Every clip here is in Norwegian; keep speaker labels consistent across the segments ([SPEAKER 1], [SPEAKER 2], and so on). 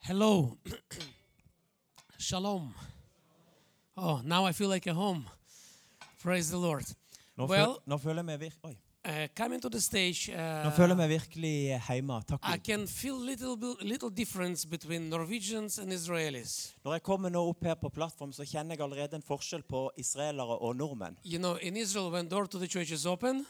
[SPEAKER 1] Hello. Shalom. Oh, now I feel like at home. Praise the Lord.
[SPEAKER 2] Nå,
[SPEAKER 1] Well-
[SPEAKER 2] føl, nå, føler jeg meg vir Oi.
[SPEAKER 1] Uh, coming to the stage,
[SPEAKER 2] nå
[SPEAKER 1] uh,
[SPEAKER 2] føler jeg meg virkelig hjemme. Takk
[SPEAKER 1] I
[SPEAKER 2] Gud.
[SPEAKER 1] can feel little bit- little difference between Norwegians and Israelis.
[SPEAKER 2] Når jeg kommer nå opp her på plattform, så kjenner jeg allerede en forskjell på israelere og nordmenn.
[SPEAKER 1] You know, in Israel, when door to the church is open,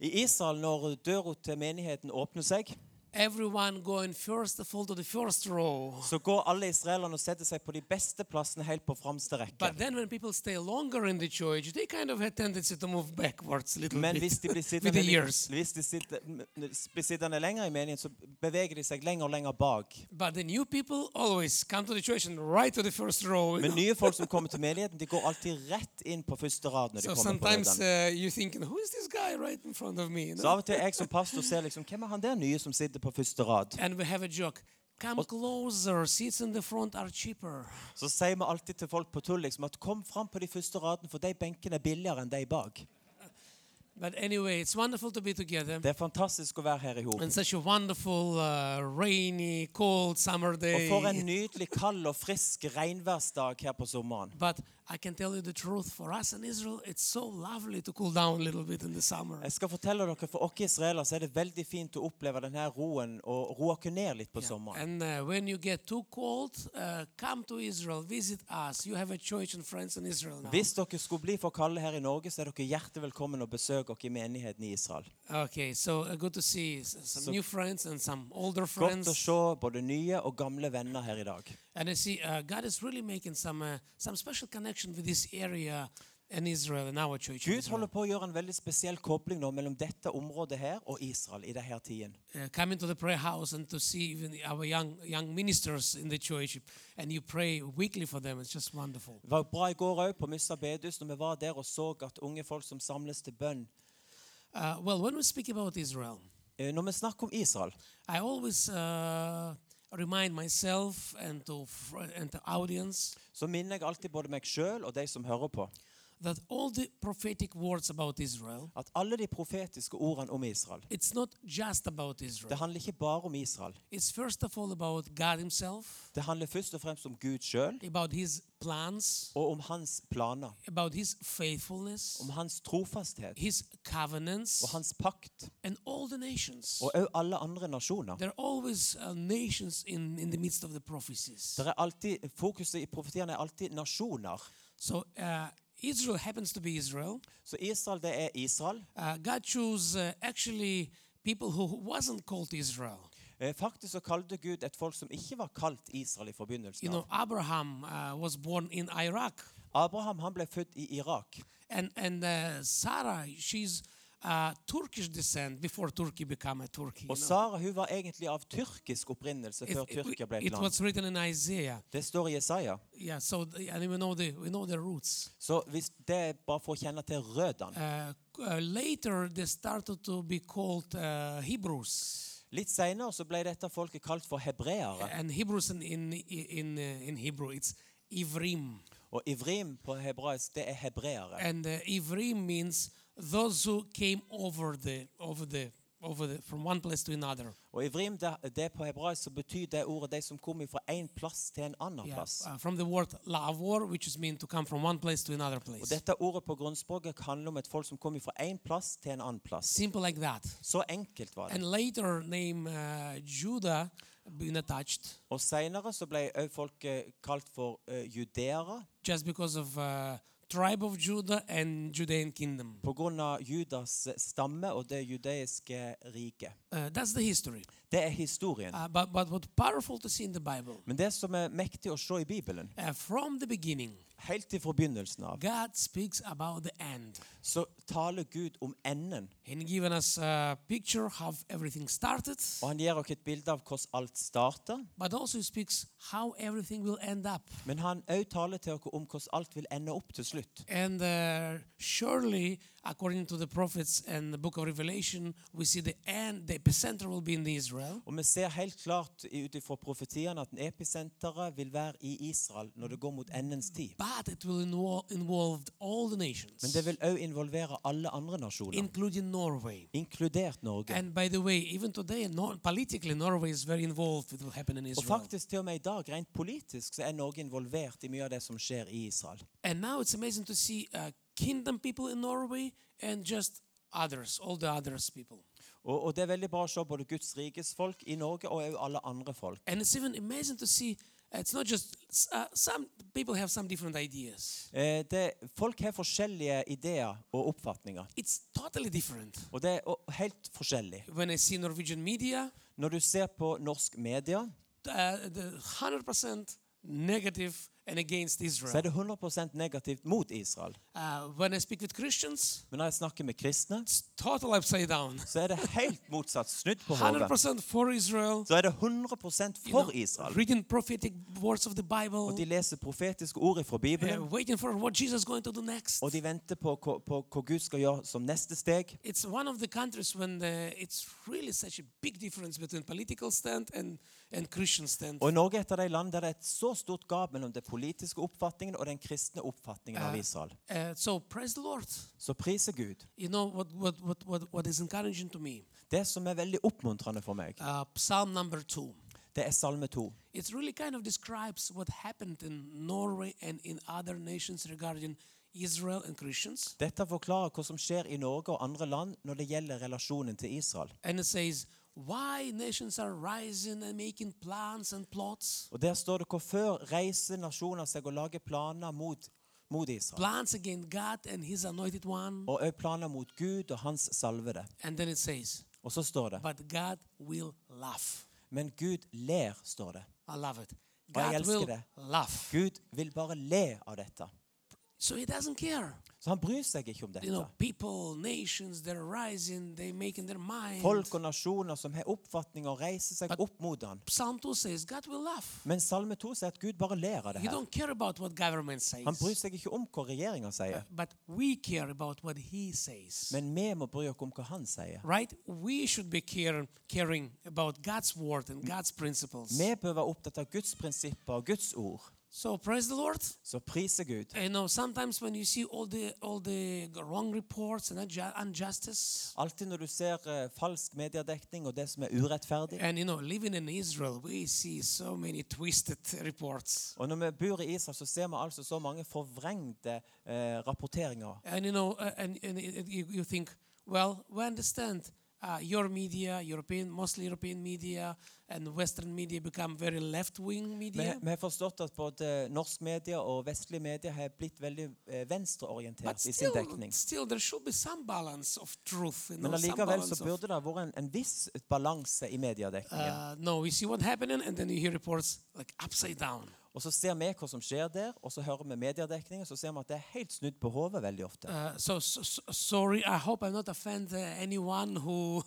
[SPEAKER 2] I Israel, når døra til menigheten åpner seg,
[SPEAKER 1] everyone going first of all to the first row.
[SPEAKER 2] så går alle israelerne og setter seg på de beste plassene helt på fremste rekke.
[SPEAKER 1] But then when people stay longer in the church, they kind of had tendency to move backwards a little
[SPEAKER 2] Men
[SPEAKER 1] bit
[SPEAKER 2] hvis de blir
[SPEAKER 1] with the
[SPEAKER 2] sittende, litt-
[SPEAKER 1] years.
[SPEAKER 2] hvis de sitter, m- blir sittende lenger i menigheten, så beveger de seg lenger og lenger bak.
[SPEAKER 1] But the new people always come to the church and right to the first row. you
[SPEAKER 2] Men
[SPEAKER 1] know.
[SPEAKER 2] nye folk som kommer til menigheten, de går alltid rett inn på første rad når de
[SPEAKER 1] So
[SPEAKER 2] kommer på
[SPEAKER 1] sometimes eh,
[SPEAKER 2] menigheten.
[SPEAKER 1] uh, you're thinking, who is this guy right in front of me? you
[SPEAKER 2] Så
[SPEAKER 1] know?
[SPEAKER 2] av og til jeg som pastor ser liksom, hvem er han der nye som sitter på første rad?
[SPEAKER 1] And we have a joke. Come closer. Seats in the front are cheaper.
[SPEAKER 2] Så sier vi alltid til folk på tull liksom at kom fram på de første radene, for de benkene er billigere enn de bak.
[SPEAKER 1] But anyway, it's wonderful to be together
[SPEAKER 2] Det er fantastisk å være her i hop.
[SPEAKER 1] on such a wonderful, uh, rainy, cold summer
[SPEAKER 2] Og for en
[SPEAKER 1] day.
[SPEAKER 2] nydelig kald og frisk regnværsdag her på sommeren.
[SPEAKER 1] But I can tell you the truth. For us in Israel, it's so lovely to cool down a little bit in the summer.
[SPEAKER 2] Jeg skal fortelle dere, For oss israelere så er det veldig fint å oppleve denne roen og roe oss ned litt på sommeren.
[SPEAKER 1] And uh, when you get too cold, uh, come to Israel, visit us. You have a church and friends in Israel now.
[SPEAKER 2] Hvis dere skulle bli for kalde her i Norge, så er dere hjertelig velkommen og besøk oss i menigheten i Israel.
[SPEAKER 1] Okay, so uh, good to see s- some
[SPEAKER 2] So-
[SPEAKER 1] new friends and some older
[SPEAKER 2] Godt å
[SPEAKER 1] friends.
[SPEAKER 2] se både nye og gamle venner her i dag.
[SPEAKER 1] And I see uh, God is really making some uh, some special connection with this area in Israel in our church. in
[SPEAKER 2] Gud
[SPEAKER 1] Israel.
[SPEAKER 2] holder på å gjøre en veldig spesiell kobling nå mellom dette området her og Israel i denne tiden.
[SPEAKER 1] Uh, coming to the prayer house and to see even our young young ministers in the church, and you pray weekly for them. It's just wonderful.
[SPEAKER 2] Det var bra i går òg på Myssa bedehus når vi var der og så at unge folk som samles til bønn.
[SPEAKER 1] Uh, well, when we speak about Israel,
[SPEAKER 2] Eh, Når vi snakker om Israel,
[SPEAKER 1] I always uh, remind myself and to fr- and the audience
[SPEAKER 2] så minner jeg alltid både meg sjøl og de som hører på,
[SPEAKER 1] that all the prophetic words about Israel,
[SPEAKER 2] at alle de profetiske ordene om Israel
[SPEAKER 1] it's not just about
[SPEAKER 2] Det
[SPEAKER 1] Israel.
[SPEAKER 2] handler ikke bare om Israel.
[SPEAKER 1] It's first of all about God Himself,
[SPEAKER 2] Det handler først og fremst om Gud sjøl
[SPEAKER 1] about His plans,
[SPEAKER 2] og om hans planer,
[SPEAKER 1] about His faithfulness,
[SPEAKER 2] om hans trofasthet
[SPEAKER 1] His
[SPEAKER 2] og
[SPEAKER 1] covenants,
[SPEAKER 2] hans pakt,
[SPEAKER 1] and all the nations.
[SPEAKER 2] og òg alle andre nasjoner.
[SPEAKER 1] There are always uh, nations in, in the midst of the prophecies.
[SPEAKER 2] Der er alltid, Fokuset i profetiene er alltid nasjoner.
[SPEAKER 1] So uh, Israel happens to be Israel.
[SPEAKER 2] Så Israel, det er Israel.
[SPEAKER 1] Uh, God chose uh, actually people who who wasn't called Israel.
[SPEAKER 2] Eh, Faktisk så kalte Gud et folk som ikke var kalt Israel i forbindelsen
[SPEAKER 1] You
[SPEAKER 2] av.
[SPEAKER 1] know, Abraham uh, was born in Iraq,
[SPEAKER 2] Abraham han ble født i Irak.
[SPEAKER 1] and and uh, Sarah, she's uh, Turkish descent before Turkey became a Turkey.
[SPEAKER 2] Og
[SPEAKER 1] you know.
[SPEAKER 2] Sara hun var egentlig av tyrkisk opprinnelse
[SPEAKER 1] It-
[SPEAKER 2] før
[SPEAKER 1] it-
[SPEAKER 2] Tyrkia ble
[SPEAKER 1] it
[SPEAKER 2] et land.
[SPEAKER 1] was written in Isaiah.
[SPEAKER 2] Det står i Jesaja.
[SPEAKER 1] Yeah, so the, and we know the we know the roots.
[SPEAKER 2] Så hvis det er bare for å kjenne til rødene.
[SPEAKER 1] Uh, c- uh, later they started to be called uh, Hebrews,
[SPEAKER 2] Litt senere så ble dette folket kalt for hebreere.
[SPEAKER 1] and Hebrews in in in, uh, in Hebrew it's Ivrim,
[SPEAKER 2] Og ivrim på hebraisk, det er hebreere.
[SPEAKER 1] and uh, Ivrim means those who came over the over the over the from one place to another.
[SPEAKER 2] Og ivrim, det, det på hebraisk så betyr det ordet de som kom fra én plass til en annen
[SPEAKER 1] Yeah,
[SPEAKER 2] plass.
[SPEAKER 1] uh, from the word lavor, which is mean to come from one place to another
[SPEAKER 2] Og
[SPEAKER 1] place.
[SPEAKER 2] dette ordet på grunnspråket handler om et folk som kom fra én plass til en annen plass.
[SPEAKER 1] Simple like that.
[SPEAKER 2] Så enkelt var det.
[SPEAKER 1] And later name uh, Judah being attached
[SPEAKER 2] Og senere så ble òg folk eh, kalt for eh, judeere
[SPEAKER 1] just because of uh, tribe of Judah and Judean kingdom.
[SPEAKER 2] pga. Judas stamme og det jødeiske riket.
[SPEAKER 1] Uh, that's the history.
[SPEAKER 2] Det er historien.
[SPEAKER 1] Uh, but but what powerful to see in the Bible,
[SPEAKER 2] Men det som er mektig å se i Bibelen,
[SPEAKER 1] uh, from the beginning,
[SPEAKER 2] helt i forbindelsen av,
[SPEAKER 1] God speaks about the end
[SPEAKER 2] så taler Gud om enden.
[SPEAKER 1] and given us a picture how everything started,
[SPEAKER 2] Og han gir oss et bilde av hvordan alt starter,
[SPEAKER 1] but also he speaks how everything will end up.
[SPEAKER 2] men han òg taler til oss om hvordan alt vil ende opp til slutt.
[SPEAKER 1] And uh, surely according to the prophets and the book of Revelation, we see the end, the epicenter will be in Israel.
[SPEAKER 2] Og vi ser helt klart i- ut ifra profetiene at episenteret vil være i Israel når det går mot endens tid.
[SPEAKER 1] But it will invo- involve all the
[SPEAKER 2] Men
[SPEAKER 1] nations,
[SPEAKER 2] det vil òg involvere alle andre nasjoner,
[SPEAKER 1] including Norway.
[SPEAKER 2] inkludert Norge.
[SPEAKER 1] And by the way, even today, nor- politically, Norway is very involved with what happened in
[SPEAKER 2] Og
[SPEAKER 1] Israel.
[SPEAKER 2] faktisk til og med i dag, rent politisk, så er Norge involvert i mye av det som skjer i Israel.
[SPEAKER 1] And now it's amazing to see uh, kingdom people in Norway and just others, all the others people.
[SPEAKER 2] Og, og det er veldig bra å se både Guds rikes folk i Norge og òg alle andre folk.
[SPEAKER 1] And it's even amazing to see uh, it's not just s- uh, some people have some different ideas.
[SPEAKER 2] Eh, det, folk har forskjellige ideer og oppfatninger,
[SPEAKER 1] It's totally different.
[SPEAKER 2] og det er o- helt forskjellig.
[SPEAKER 1] When I see Norwegian media,
[SPEAKER 2] Når du ser på norsk media,
[SPEAKER 1] uh, the 100% negative and against
[SPEAKER 2] så
[SPEAKER 1] Israel.
[SPEAKER 2] er det 100 negativt mot Israel.
[SPEAKER 1] Uh, when I speak with Christians,
[SPEAKER 2] Men når jeg snakker med kristne,
[SPEAKER 1] it's total upside down.
[SPEAKER 2] så er det helt motsatt, snudd på hodet.
[SPEAKER 1] 100% for Israel.
[SPEAKER 2] Så er det 100
[SPEAKER 1] you
[SPEAKER 2] for
[SPEAKER 1] know,
[SPEAKER 2] Israel.
[SPEAKER 1] Reading prophetic words of the
[SPEAKER 2] Og
[SPEAKER 1] Bible.
[SPEAKER 2] de leser profetiske ord fra
[SPEAKER 1] uh,
[SPEAKER 2] Bibelen,
[SPEAKER 1] waiting for what Jesus is going to do next.
[SPEAKER 2] og de venter på, hva- på hva Gud skal gjøre som neste steg.
[SPEAKER 1] It's one of the countries when the, it's really such a big difference between political stand and, and Christian stand.
[SPEAKER 2] Og Norge er et av de land der det er et så stort gap mellom den politiske oppfatningen og den kristne oppfatningen av Israel.
[SPEAKER 1] Uh, so praise the Lord.
[SPEAKER 2] Så priser Gud.
[SPEAKER 1] You know what what what what, what is encouraging to me?
[SPEAKER 2] Det som er veldig oppmuntrende for meg,
[SPEAKER 1] Uh, Psalm number two.
[SPEAKER 2] det er Salme 2.
[SPEAKER 1] It really kind of describes what happened in Norway and in other nations regarding Israel and Christians.
[SPEAKER 2] Dette forklarer hva som skjer i Norge og andre land når det gjelder relasjonen til Israel.
[SPEAKER 1] And it says why nations are rising and making plans and plots,
[SPEAKER 2] Og Der står det hvor før reiser nasjoner seg og lager planer mot, mot Israel.
[SPEAKER 1] plans against God and His anointed one.
[SPEAKER 2] Og også planer mot Gud og hans salvede.
[SPEAKER 1] And then it says
[SPEAKER 2] Og så står det
[SPEAKER 1] But God will laugh.
[SPEAKER 2] Men Gud ler, står det.
[SPEAKER 1] I love it.
[SPEAKER 2] Och jag
[SPEAKER 1] God
[SPEAKER 2] älskar
[SPEAKER 1] will
[SPEAKER 2] det.
[SPEAKER 1] laugh.
[SPEAKER 2] Gud vil bare le av dette.
[SPEAKER 1] So he doesn't care.
[SPEAKER 2] Så han bryr seg ikke om
[SPEAKER 1] You
[SPEAKER 2] dette.
[SPEAKER 1] know, people, nations, they're rising, they're making their mind.
[SPEAKER 2] Folk og nasjoner som har oppfatninger og reiser seg opp mot han.
[SPEAKER 1] Psalm 2 says God will laugh.
[SPEAKER 2] Men Salme 2 sier at Gud bare ler av det
[SPEAKER 1] He
[SPEAKER 2] her.
[SPEAKER 1] don't care about what government says.
[SPEAKER 2] Han bryr seg ikke om hva regjeringa sier,
[SPEAKER 1] But we care about what he says.
[SPEAKER 2] men vi må bry oss om hva han sier.
[SPEAKER 1] Right? We should be care, caring about God's word and God's principles.
[SPEAKER 2] Vi bør være opptatt av Guds prinsipper og Guds ord.
[SPEAKER 1] So praise the Lord.
[SPEAKER 2] Så priser Gud.
[SPEAKER 1] You know, sometimes when you see all the all the wrong reports and unju- injustice,
[SPEAKER 2] Alltid når du ser eh, falsk mediedekning og det som er urettferdig.
[SPEAKER 1] And you know, living in Israel, we see so many twisted reports.
[SPEAKER 2] Og når vi bor i Israel, så ser vi altså så mange forvrengte eh, rapporteringer.
[SPEAKER 1] And you know, uh, and, and it- it- you, you think, well, we understand uh, your media, European, mostly European media, and Western media become very left-wing
[SPEAKER 2] Vi,
[SPEAKER 1] media.
[SPEAKER 2] vi har forstått at både norsk media og vestlige medier har blitt veldig eh,
[SPEAKER 1] But
[SPEAKER 2] venstreorientert i sin
[SPEAKER 1] still,
[SPEAKER 2] dekning.
[SPEAKER 1] still, there should be some balance of truth. You know,
[SPEAKER 2] Men
[SPEAKER 1] some
[SPEAKER 2] allikevel så
[SPEAKER 1] balance of-
[SPEAKER 2] burde det vært en, en viss balanse i mediedekningen.
[SPEAKER 1] uh, no, we see what happening, and then you hear reports like upside down.
[SPEAKER 2] Og så ser vi hva som skjer der, og så hører vi mediedekningen, så ser vi at det er helt snudd på hodet veldig ofte.
[SPEAKER 1] Uh, so, so, so sorry, I hope I'm not offend uh, anyone who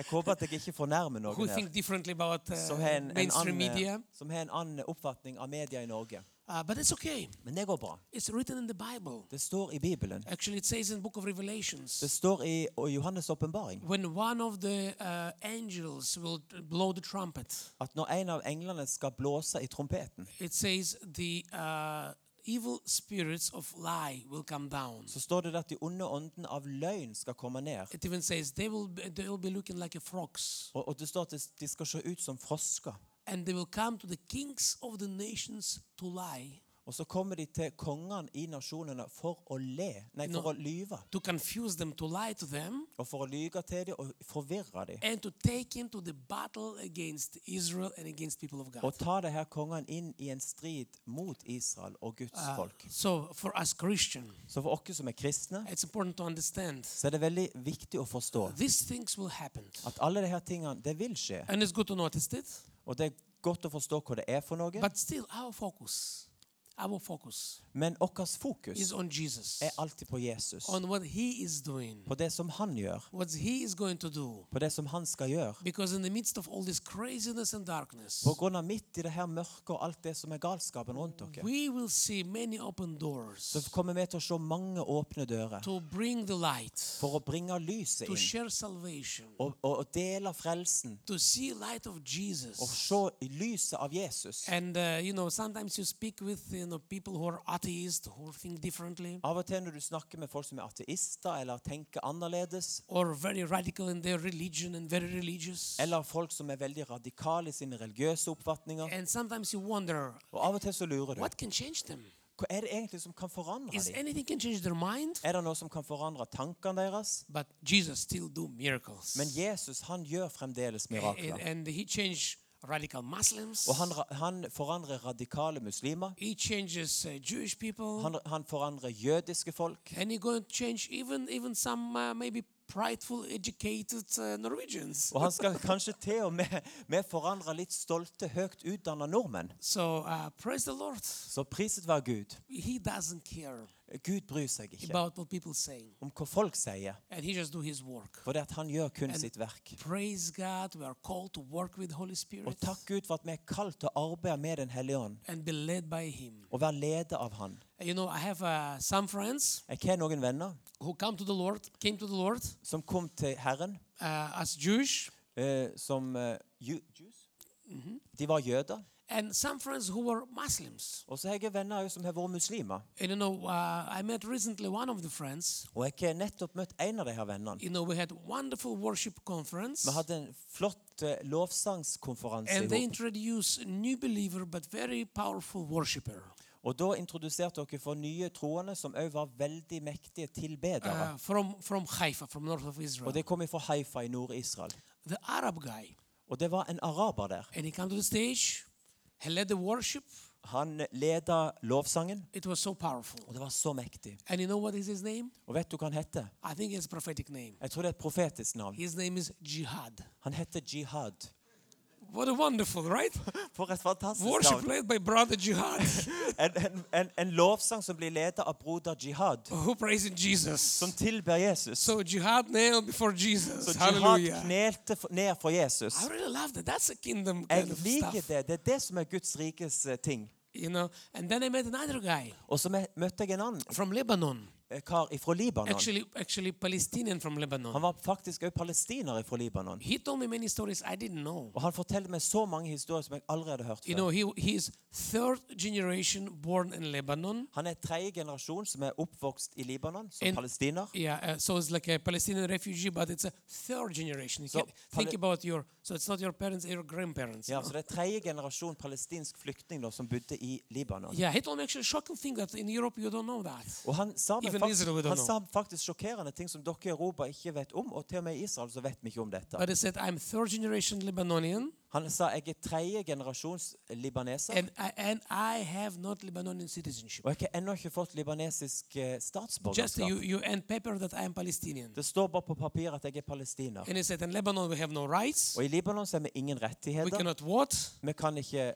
[SPEAKER 2] Jeg håper at jeg ikke fornærmer
[SPEAKER 1] who
[SPEAKER 2] noen her
[SPEAKER 1] think differently about uh,
[SPEAKER 2] som har en, en
[SPEAKER 1] mainstream media.
[SPEAKER 2] annen, som har en annen oppfatning av media i Norge.
[SPEAKER 1] Uh, but it's okay.
[SPEAKER 2] Men det går bra.
[SPEAKER 1] It's written in the Bible.
[SPEAKER 2] Det står i Bibelen.
[SPEAKER 1] Actually, it says in the book of
[SPEAKER 2] Det
[SPEAKER 1] Revelations
[SPEAKER 2] står i og Johannes' åpenbaring
[SPEAKER 1] when one of the uh, angels will blow the trumpet,
[SPEAKER 2] at når en av englene skal blåse i trompeten,
[SPEAKER 1] it says the uh, evil spirits of lie will come down.
[SPEAKER 2] så står det at de onde åndene av løgn skal komme ned.
[SPEAKER 1] It even says they will be, they will be looking like a frogs,
[SPEAKER 2] Og, og det står at de- de skal se ut som frosker.
[SPEAKER 1] and they will come to the kings of the nations to lie,
[SPEAKER 2] Og så kommer de til kongene i nasjonene for å le, nei, for å lyve.
[SPEAKER 1] to confuse them, to lie to them,
[SPEAKER 2] Og for å lyge til dem og forvirre dem.
[SPEAKER 1] and to take into the battle against Israel and against people of God.
[SPEAKER 2] Og ta det her kongene inn i en strid mot Israel og Guds folk.
[SPEAKER 1] So for us Christian,
[SPEAKER 2] Så for oss som er kristne,
[SPEAKER 1] it's important to understand
[SPEAKER 2] så er det veldig viktig å forstå
[SPEAKER 1] these things will happen.
[SPEAKER 2] at alle disse tingene, det vil skje.
[SPEAKER 1] And it's good to notice it,
[SPEAKER 2] Og det er godt å forstå hva det er for noe.
[SPEAKER 1] but still, our focus, our focus
[SPEAKER 2] Men vårt fokus
[SPEAKER 1] is on Jesus,
[SPEAKER 2] er alltid på Jesus.
[SPEAKER 1] on what He is doing,
[SPEAKER 2] På det som han gjør.
[SPEAKER 1] what He is going to do.
[SPEAKER 2] På det som han skal gjøre.
[SPEAKER 1] Because in the midst of all this craziness and darkness,
[SPEAKER 2] På grunn av midt i det her mørket og alt det som er galskapen rundt dere,
[SPEAKER 1] we will see many open
[SPEAKER 2] så
[SPEAKER 1] doors
[SPEAKER 2] kommer vi til å se mange åpne dører
[SPEAKER 1] to bring the light,
[SPEAKER 2] for å bringe lyset
[SPEAKER 1] to
[SPEAKER 2] inn
[SPEAKER 1] share salvation,
[SPEAKER 2] og, og, og dele frelsen
[SPEAKER 1] to see light of
[SPEAKER 2] og
[SPEAKER 1] Jesus.
[SPEAKER 2] se lyset av Jesus.
[SPEAKER 1] And uh, you know, sometimes you speak with you know people who are atheists who think differently
[SPEAKER 2] Av og til når du snakker med folk som er ateister eller tenker annerledes,
[SPEAKER 1] or very radical in their religion and very religious.
[SPEAKER 2] eller folk som er veldig radikale i sine religiøse oppfatninger,
[SPEAKER 1] And sometimes you wonder
[SPEAKER 2] og av og til så lurer
[SPEAKER 1] Eh.
[SPEAKER 2] du
[SPEAKER 1] what can change them.
[SPEAKER 2] Hva er det egentlig som kan forandre
[SPEAKER 1] Is
[SPEAKER 2] dem?
[SPEAKER 1] anything can change their mind?
[SPEAKER 2] Er det noe som kan forandre tankene deres?
[SPEAKER 1] But Jesus still do miracles. Eh,
[SPEAKER 2] Men Jesus han gjør fremdeles
[SPEAKER 1] and,
[SPEAKER 2] mirakler.
[SPEAKER 1] and he changed radical Muslims.
[SPEAKER 2] Og han, ra- han forandrer radikale muslimer.
[SPEAKER 1] He changes uh, Jewish people.
[SPEAKER 2] Han, han forandrer jødiske folk.
[SPEAKER 1] and he's going to change even even some uh, maybe prideful, educated uh, Norwegians.
[SPEAKER 2] Og han skal kanskje til og med, med forandre litt stolte, høyt utdanna nordmenn.
[SPEAKER 1] So uh, praise the Lord.
[SPEAKER 2] Så priset være Gud.
[SPEAKER 1] He doesn't care
[SPEAKER 2] Gud bryr seg ikke
[SPEAKER 1] about what people saying,
[SPEAKER 2] om hva folk sier,
[SPEAKER 1] and he just do his work.
[SPEAKER 2] for det at han gjør kun sitt verk.
[SPEAKER 1] Praise God. We are called to work with Holy Spirit
[SPEAKER 2] Og takk Gud for at vi er kalt til å arbeide med Den hellige ånd
[SPEAKER 1] and be led by Him.
[SPEAKER 2] og være ledet av Han.
[SPEAKER 1] You know, I have uh, some friends
[SPEAKER 2] Jeg har noen venner
[SPEAKER 1] who come to the Lord, came to the Lord
[SPEAKER 2] som kom til Herren
[SPEAKER 1] uh, as Jewish,
[SPEAKER 2] eh, som eh, ju- Jews. De var jøder.
[SPEAKER 1] and some friends who were Muslims.
[SPEAKER 2] Og så har jeg venner også som har vært muslimer.
[SPEAKER 1] And you know, uh, I met recently one of the friends.
[SPEAKER 2] Og jeg har nettopp møtt en av de her vennene.
[SPEAKER 1] You know, we had wonderful worship conference.
[SPEAKER 2] Vi hadde en flott eh, lovsangskonferanse
[SPEAKER 1] And they
[SPEAKER 2] ihop.
[SPEAKER 1] introduce a new believer but very powerful worshiper.
[SPEAKER 2] Og da introduserte dere for nye troende som også var veldig mektige tilbedere.
[SPEAKER 1] Uh, from from Haifa, from north of Israel.
[SPEAKER 2] Og det kom fra Haifa i Nord-Israel.
[SPEAKER 1] the Arab guy.
[SPEAKER 2] Og det var en araber der.
[SPEAKER 1] And he came to the stage. He led the worship.
[SPEAKER 2] Han leda lovsangen,
[SPEAKER 1] It was so powerful.
[SPEAKER 2] og det var så mektig.
[SPEAKER 1] And you know what is his name?
[SPEAKER 2] Og vet du hva han heter?
[SPEAKER 1] I think it's a prophetic name.
[SPEAKER 2] Jeg tror det er et profetisk navn.
[SPEAKER 1] His name is Jihad.
[SPEAKER 2] Han heter Jihad.
[SPEAKER 1] What a wonderful, right?
[SPEAKER 2] For et fantastisk
[SPEAKER 1] worship
[SPEAKER 2] navn!
[SPEAKER 1] led by brother Jihad.
[SPEAKER 2] En, en, en, en lovsang som blir leda av broder Jihad,
[SPEAKER 1] who praising Jesus.
[SPEAKER 2] som tilber Jesus.
[SPEAKER 1] So Jihad nailed before Jesus.
[SPEAKER 2] Så Jihad
[SPEAKER 1] Hallelujah.
[SPEAKER 2] knelte for, ned for Jesus.
[SPEAKER 1] I really love that. That's a kingdom
[SPEAKER 2] Jeg
[SPEAKER 1] kind of
[SPEAKER 2] liker
[SPEAKER 1] stuff.
[SPEAKER 2] det. Det er det som er Guds rikes eh, ting.
[SPEAKER 1] You know. And then I met another guy
[SPEAKER 2] Og så me- møtte jeg en annen
[SPEAKER 1] from Lebanon.
[SPEAKER 2] eh, kar fra Libanon.
[SPEAKER 1] actually actually Palestinian from Lebanon.
[SPEAKER 2] Han var faktisk også palestiner fra Libanon.
[SPEAKER 1] He told me many stories I didn't know.
[SPEAKER 2] Og han forteller meg så mange historier som jeg aldri hadde hørt
[SPEAKER 1] You
[SPEAKER 2] før.
[SPEAKER 1] know, he he is third generation born in Lebanon.
[SPEAKER 2] Han er tredje generasjon som er oppvokst i Libanon, som
[SPEAKER 1] In-
[SPEAKER 2] palestiner.
[SPEAKER 1] Yeah, uh, so it's like a Palestinian refugee, but it's a third generation. You
[SPEAKER 2] So
[SPEAKER 1] can think
[SPEAKER 2] Pale-
[SPEAKER 1] about your so it's not your parents, your grandparents.
[SPEAKER 2] Ja, Så det er tredje generasjon palestinsk flyktning da, som bodde i Libanon.
[SPEAKER 1] Yeah, he told me actually a shocking thing that in Europe you don't know that.
[SPEAKER 2] Og han sa,
[SPEAKER 1] Even
[SPEAKER 2] meg
[SPEAKER 1] Israel we
[SPEAKER 2] faktisk,
[SPEAKER 1] don't
[SPEAKER 2] han sa faktisk sjokkerende ting som dere i Europa ikke vet om, og til og med i Israel så vet vi ikke om dette.
[SPEAKER 1] But he said I'm third generation Lebanonian,
[SPEAKER 2] Han sa jeg er tredje generasjons libaneser,
[SPEAKER 1] and I, and I have not Lebanonian citizenship.
[SPEAKER 2] og jeg har ennå ikke fått libanesisk eh,
[SPEAKER 1] Just you
[SPEAKER 2] statsborgerskap.
[SPEAKER 1] you and paper that I am Palestinian.
[SPEAKER 2] Det står bare på papir at jeg er palestiner.
[SPEAKER 1] And he said in Lebanon we have no rights.
[SPEAKER 2] Og i Libanon så har vi ingen
[SPEAKER 1] We
[SPEAKER 2] rettigheter.
[SPEAKER 1] cannot vote.
[SPEAKER 2] Vi kan ikke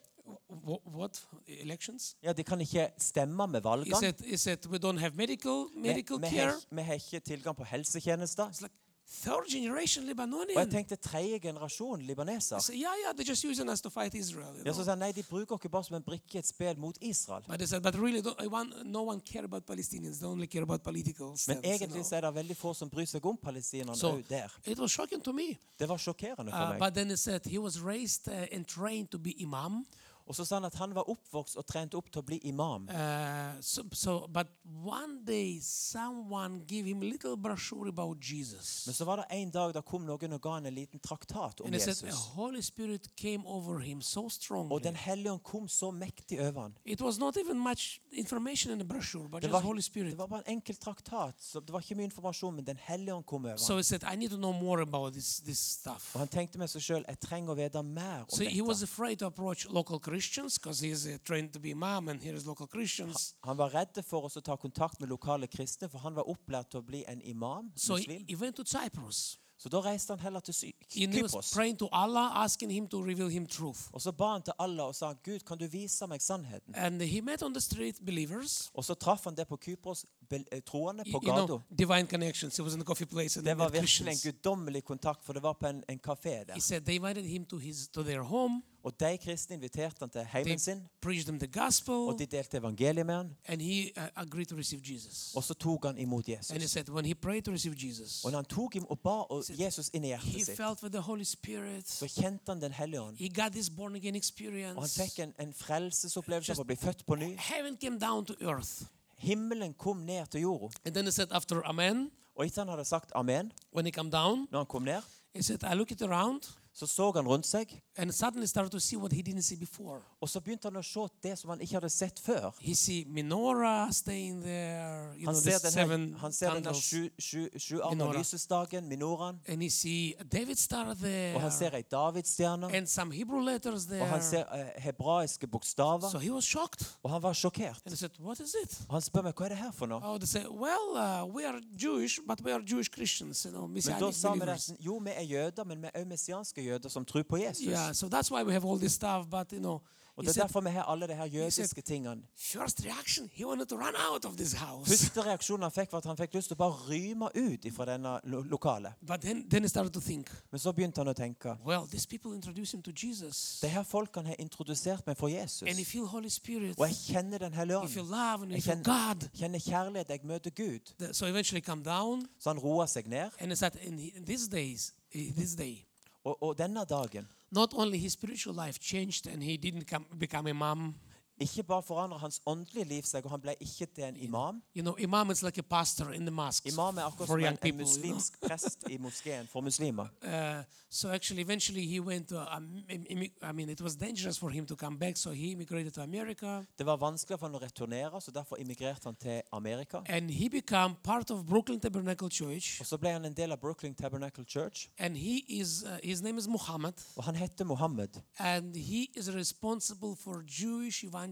[SPEAKER 1] Wh- what elections?
[SPEAKER 2] Ja, de kan ikke stemme med
[SPEAKER 1] He
[SPEAKER 2] valgene.
[SPEAKER 1] said, he said we don't have medical
[SPEAKER 2] Vi,
[SPEAKER 1] medical
[SPEAKER 2] vi,
[SPEAKER 1] care.
[SPEAKER 2] har, vi har ikke tilgang på helsetjenester.
[SPEAKER 1] It's like third generation
[SPEAKER 2] Og jeg
[SPEAKER 1] Lebanonian.
[SPEAKER 2] tenkte tredje generasjon
[SPEAKER 1] I
[SPEAKER 2] libaneser.
[SPEAKER 1] said, yeah, yeah, they're just using us to fight Israel. you
[SPEAKER 2] Jeg
[SPEAKER 1] know.
[SPEAKER 2] sa han, nei, de bruker oss bare som en brikke i et spill mot Israel.
[SPEAKER 1] But they said, but really, don't, I want, no one care about Palestinians. They only care about political
[SPEAKER 2] Men
[SPEAKER 1] stance. you
[SPEAKER 2] egentlig
[SPEAKER 1] know.
[SPEAKER 2] så er det veldig få som bryr seg om palestinerne
[SPEAKER 1] Så-
[SPEAKER 2] òg der.
[SPEAKER 1] It was shocking to me.
[SPEAKER 2] Det var sjokkerende
[SPEAKER 1] Uh,
[SPEAKER 2] for meg.
[SPEAKER 1] but then he said he was raised uh, and trained to be imam.
[SPEAKER 2] Og så sa han at han var oppvokst og trent opp til å bli imam.
[SPEAKER 1] Uh, so, so, but one day someone gave him a little brochure about Jesus.
[SPEAKER 2] Men så var det en dag da kom noen og ga han en liten traktat om
[SPEAKER 1] And he said, "Oh, the
[SPEAKER 2] Jesus.
[SPEAKER 1] Holy Spirit came over him so strongly.
[SPEAKER 2] Og Den hellige ånd kom så mektig over han.
[SPEAKER 1] It was not even much information in the brochure, but
[SPEAKER 2] Det
[SPEAKER 1] just
[SPEAKER 2] var,
[SPEAKER 1] Holy
[SPEAKER 2] det
[SPEAKER 1] Spirit.
[SPEAKER 2] var bare en enkel traktat. Så det var ikke mye informasjon, men Den hellige ånd kom over han.
[SPEAKER 1] So he said, I need to know more about this this stuff.
[SPEAKER 2] Og han tenkte med seg sjøl jeg trenger å vite mer om
[SPEAKER 1] So he was
[SPEAKER 2] dette.
[SPEAKER 1] afraid to approach local Christians because he's uh, trained to be imam and here is local Christians.
[SPEAKER 2] Han var redd for oss å ta kontakt med lokale kristne, for han var opplært til å bli en imam,
[SPEAKER 1] So he,
[SPEAKER 2] muslim.
[SPEAKER 1] he went to Cyprus
[SPEAKER 2] Så da reiste han heller til Sy-
[SPEAKER 1] He was
[SPEAKER 2] Kypros.
[SPEAKER 1] praying to Allah, asking him to reveal him truth.
[SPEAKER 2] Og så ba han til Allah og sa, Gud, kan du vise meg sannheten?
[SPEAKER 1] And he met on the street believers.
[SPEAKER 2] Og så traff han det på Kypros, bel- eh, troende
[SPEAKER 1] You
[SPEAKER 2] på gata.
[SPEAKER 1] know, divine connections. He was in a coffee place and
[SPEAKER 2] Det
[SPEAKER 1] they
[SPEAKER 2] var
[SPEAKER 1] met
[SPEAKER 2] virkelig en
[SPEAKER 1] Christians.
[SPEAKER 2] guddommelig kontakt, for det var på en, en kafé
[SPEAKER 1] He
[SPEAKER 2] der.
[SPEAKER 1] said they invited him to his to their home.
[SPEAKER 2] Og de kristne inviterte han til
[SPEAKER 1] They
[SPEAKER 2] heimen sin,
[SPEAKER 1] preached them the
[SPEAKER 2] og
[SPEAKER 1] gospel,
[SPEAKER 2] de delte evangeliet med han.
[SPEAKER 1] and he uh, agreed to receive Jesus.
[SPEAKER 2] Og så tok han imot
[SPEAKER 1] And he
[SPEAKER 2] Jesus.
[SPEAKER 1] said when he prayed to receive Jesus,
[SPEAKER 2] Og når han tok im og ba og Jesus inn i
[SPEAKER 1] he
[SPEAKER 2] hjertet sitt,
[SPEAKER 1] felt with the Holy Spirit.
[SPEAKER 2] så kjente han Den hellige ånd.
[SPEAKER 1] He got this born again
[SPEAKER 2] Og han
[SPEAKER 1] experience.
[SPEAKER 2] fikk en, en frelsesopplevelse av å bli født på ny.
[SPEAKER 1] Heaven came down to earth.
[SPEAKER 2] Himmelen kom ned til jorda.
[SPEAKER 1] And then he said after Amen,
[SPEAKER 2] Og etter han hadde sagt amen,
[SPEAKER 1] when he came down,
[SPEAKER 2] når han kom ned,
[SPEAKER 1] he said I looked around
[SPEAKER 2] så så han rundt seg,
[SPEAKER 1] and suddenly started to see what he didn't see before.
[SPEAKER 2] og så begynte han å se det som han ikke hadde sett før.
[SPEAKER 1] He see menorah staying there, you know,
[SPEAKER 2] Han
[SPEAKER 1] the
[SPEAKER 2] ser
[SPEAKER 1] seven
[SPEAKER 2] denne, han ser denne
[SPEAKER 1] candles.
[SPEAKER 2] sju, sju, sjuarma
[SPEAKER 1] Minora.
[SPEAKER 2] lysestaken, minoraen,
[SPEAKER 1] and he see David star there,
[SPEAKER 2] og han ser ei davidsstjerne,
[SPEAKER 1] and some Hebrew letters
[SPEAKER 2] og
[SPEAKER 1] there.
[SPEAKER 2] han ser eh, hebraiske
[SPEAKER 1] so
[SPEAKER 2] bokstaver,
[SPEAKER 1] he was shocked.
[SPEAKER 2] og han var sjokkert.
[SPEAKER 1] And he said, What is it?
[SPEAKER 2] Og Han spør meg hva er det her for noe.
[SPEAKER 1] Oh, they say, Well, uh, we are Jewish, but we are Jewish Christians, you know,
[SPEAKER 2] Men
[SPEAKER 1] Messianic
[SPEAKER 2] da sa vi
[SPEAKER 1] believers.
[SPEAKER 2] nesten jo, vi er jøder, men vi er òg messianske jøder som tror på
[SPEAKER 1] Yeah,
[SPEAKER 2] Jesus.
[SPEAKER 1] so that's why we have all this stuff. But, you know,
[SPEAKER 2] Og
[SPEAKER 1] he
[SPEAKER 2] Det er
[SPEAKER 1] said,
[SPEAKER 2] derfor vi har alle de her jødiske tingene.
[SPEAKER 1] First reaction, he wanted to run out of this house.
[SPEAKER 2] Første reaksjonen han fikk, var at han fikk lyst til å bare ryme ut fra denne lo lokalet.
[SPEAKER 1] but then, then he started to think,
[SPEAKER 2] Men så begynte han å tenke.
[SPEAKER 1] Well, these people introduce him to Jesus,
[SPEAKER 2] De her folkene har introdusert meg for
[SPEAKER 1] and he
[SPEAKER 2] Jesus.
[SPEAKER 1] feel Holy Spirit,
[SPEAKER 2] Og jeg kjenner Den hellige
[SPEAKER 1] he feel
[SPEAKER 2] ånd.
[SPEAKER 1] love, and he
[SPEAKER 2] Jeg
[SPEAKER 1] feel
[SPEAKER 2] kjenner-
[SPEAKER 1] God.
[SPEAKER 2] Kjenner kjærlighet. Jeg møter Gud.
[SPEAKER 1] The- So eventually, come down,
[SPEAKER 2] Så han roer seg ned.
[SPEAKER 1] and he said, in, in these days, in this day,
[SPEAKER 2] Og, og denne dagen
[SPEAKER 1] not only his spiritual life changed, and he didn't come, become imam.
[SPEAKER 2] ikke bare forandrer hans åndelige liv seg, og han ble ikke til en imam.
[SPEAKER 1] You know, imam is like a pastor in the mosque
[SPEAKER 2] Imam er
[SPEAKER 1] for
[SPEAKER 2] akkurat som en,
[SPEAKER 1] young
[SPEAKER 2] en
[SPEAKER 1] people. you know.
[SPEAKER 2] muslimsk prest i moskeen for muslimer.
[SPEAKER 1] Uh, so actually, eventually, he went to. Um, im- im- I mean, it was dangerous for him to come back, so he immigrated to America,
[SPEAKER 2] Det var vanskelig for han å returnere, så derfor immigrerte han til Amerika.
[SPEAKER 1] and he became part of Brooklyn Tabernacle Church.
[SPEAKER 2] Og så ble han en del av Brooklyn Tabernacle Church,
[SPEAKER 1] And he is. Uh, his name is Muhammad,
[SPEAKER 2] og han heter Mohammed.
[SPEAKER 1] and he is responsible for Jewish evangelism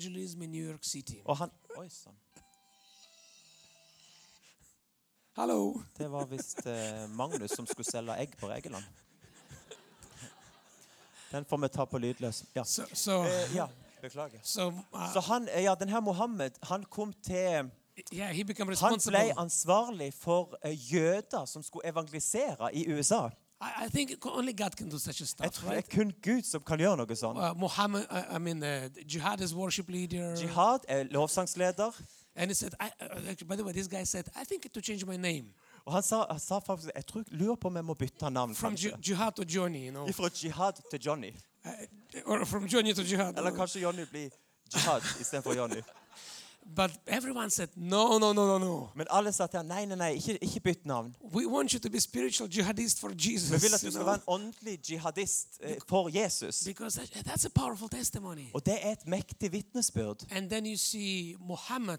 [SPEAKER 1] in New York City.
[SPEAKER 2] Og han Oi sann.
[SPEAKER 1] Hello.
[SPEAKER 2] Det var visst eh, Magnus som skulle selge egg på Egeland. Den får vi ta på lydløs. Ja.
[SPEAKER 1] So, so,
[SPEAKER 2] Eh, ja. Beklager.
[SPEAKER 1] Uh, so uh,
[SPEAKER 2] Så han, eh, ja, den her Mohammed, han kom til
[SPEAKER 1] yeah, he became
[SPEAKER 2] Han
[SPEAKER 1] responsible.
[SPEAKER 2] ble ansvarlig for eh, jøder som skulle evangelisere i USA.
[SPEAKER 1] I, I think only God can do such a
[SPEAKER 2] Jeg
[SPEAKER 1] stuff,
[SPEAKER 2] tror det
[SPEAKER 1] right?
[SPEAKER 2] er kun Gud som kan gjøre noe sånt.
[SPEAKER 1] Uh, Muhammad, uh, I mean, uh, jihad is worship leader.
[SPEAKER 2] Jihad er lovsangsleder,
[SPEAKER 1] And he said, I, uh, actually, by the way, this guy said, I think to change my name
[SPEAKER 2] og han sa, han sa faktisk Jeg tror, lurer på om jeg må bytte navn.
[SPEAKER 1] from Ju-
[SPEAKER 2] kanskje.
[SPEAKER 1] Jihad to Johnny, you know, Uh,
[SPEAKER 2] Fra jihad til Johnny.
[SPEAKER 1] or from Johnny to Jihad.
[SPEAKER 2] Eller kanskje Johnny blir jihad istedenfor Johnny.
[SPEAKER 1] But everyone said, no, no, no, no, no.
[SPEAKER 2] Men alle sa til han nei, nei, nei, ikke, ikke bytt navn.
[SPEAKER 1] We want you to be spiritual jihadist for
[SPEAKER 2] Vi vil
[SPEAKER 1] Jesus,
[SPEAKER 2] at du
[SPEAKER 1] you
[SPEAKER 2] skal
[SPEAKER 1] know,
[SPEAKER 2] være en åndelig jihadist eh, for Jesus.
[SPEAKER 1] because that, that's a powerful testimony.
[SPEAKER 2] Og det er et mektig vitnesbyrd.
[SPEAKER 1] And then you see Muhammad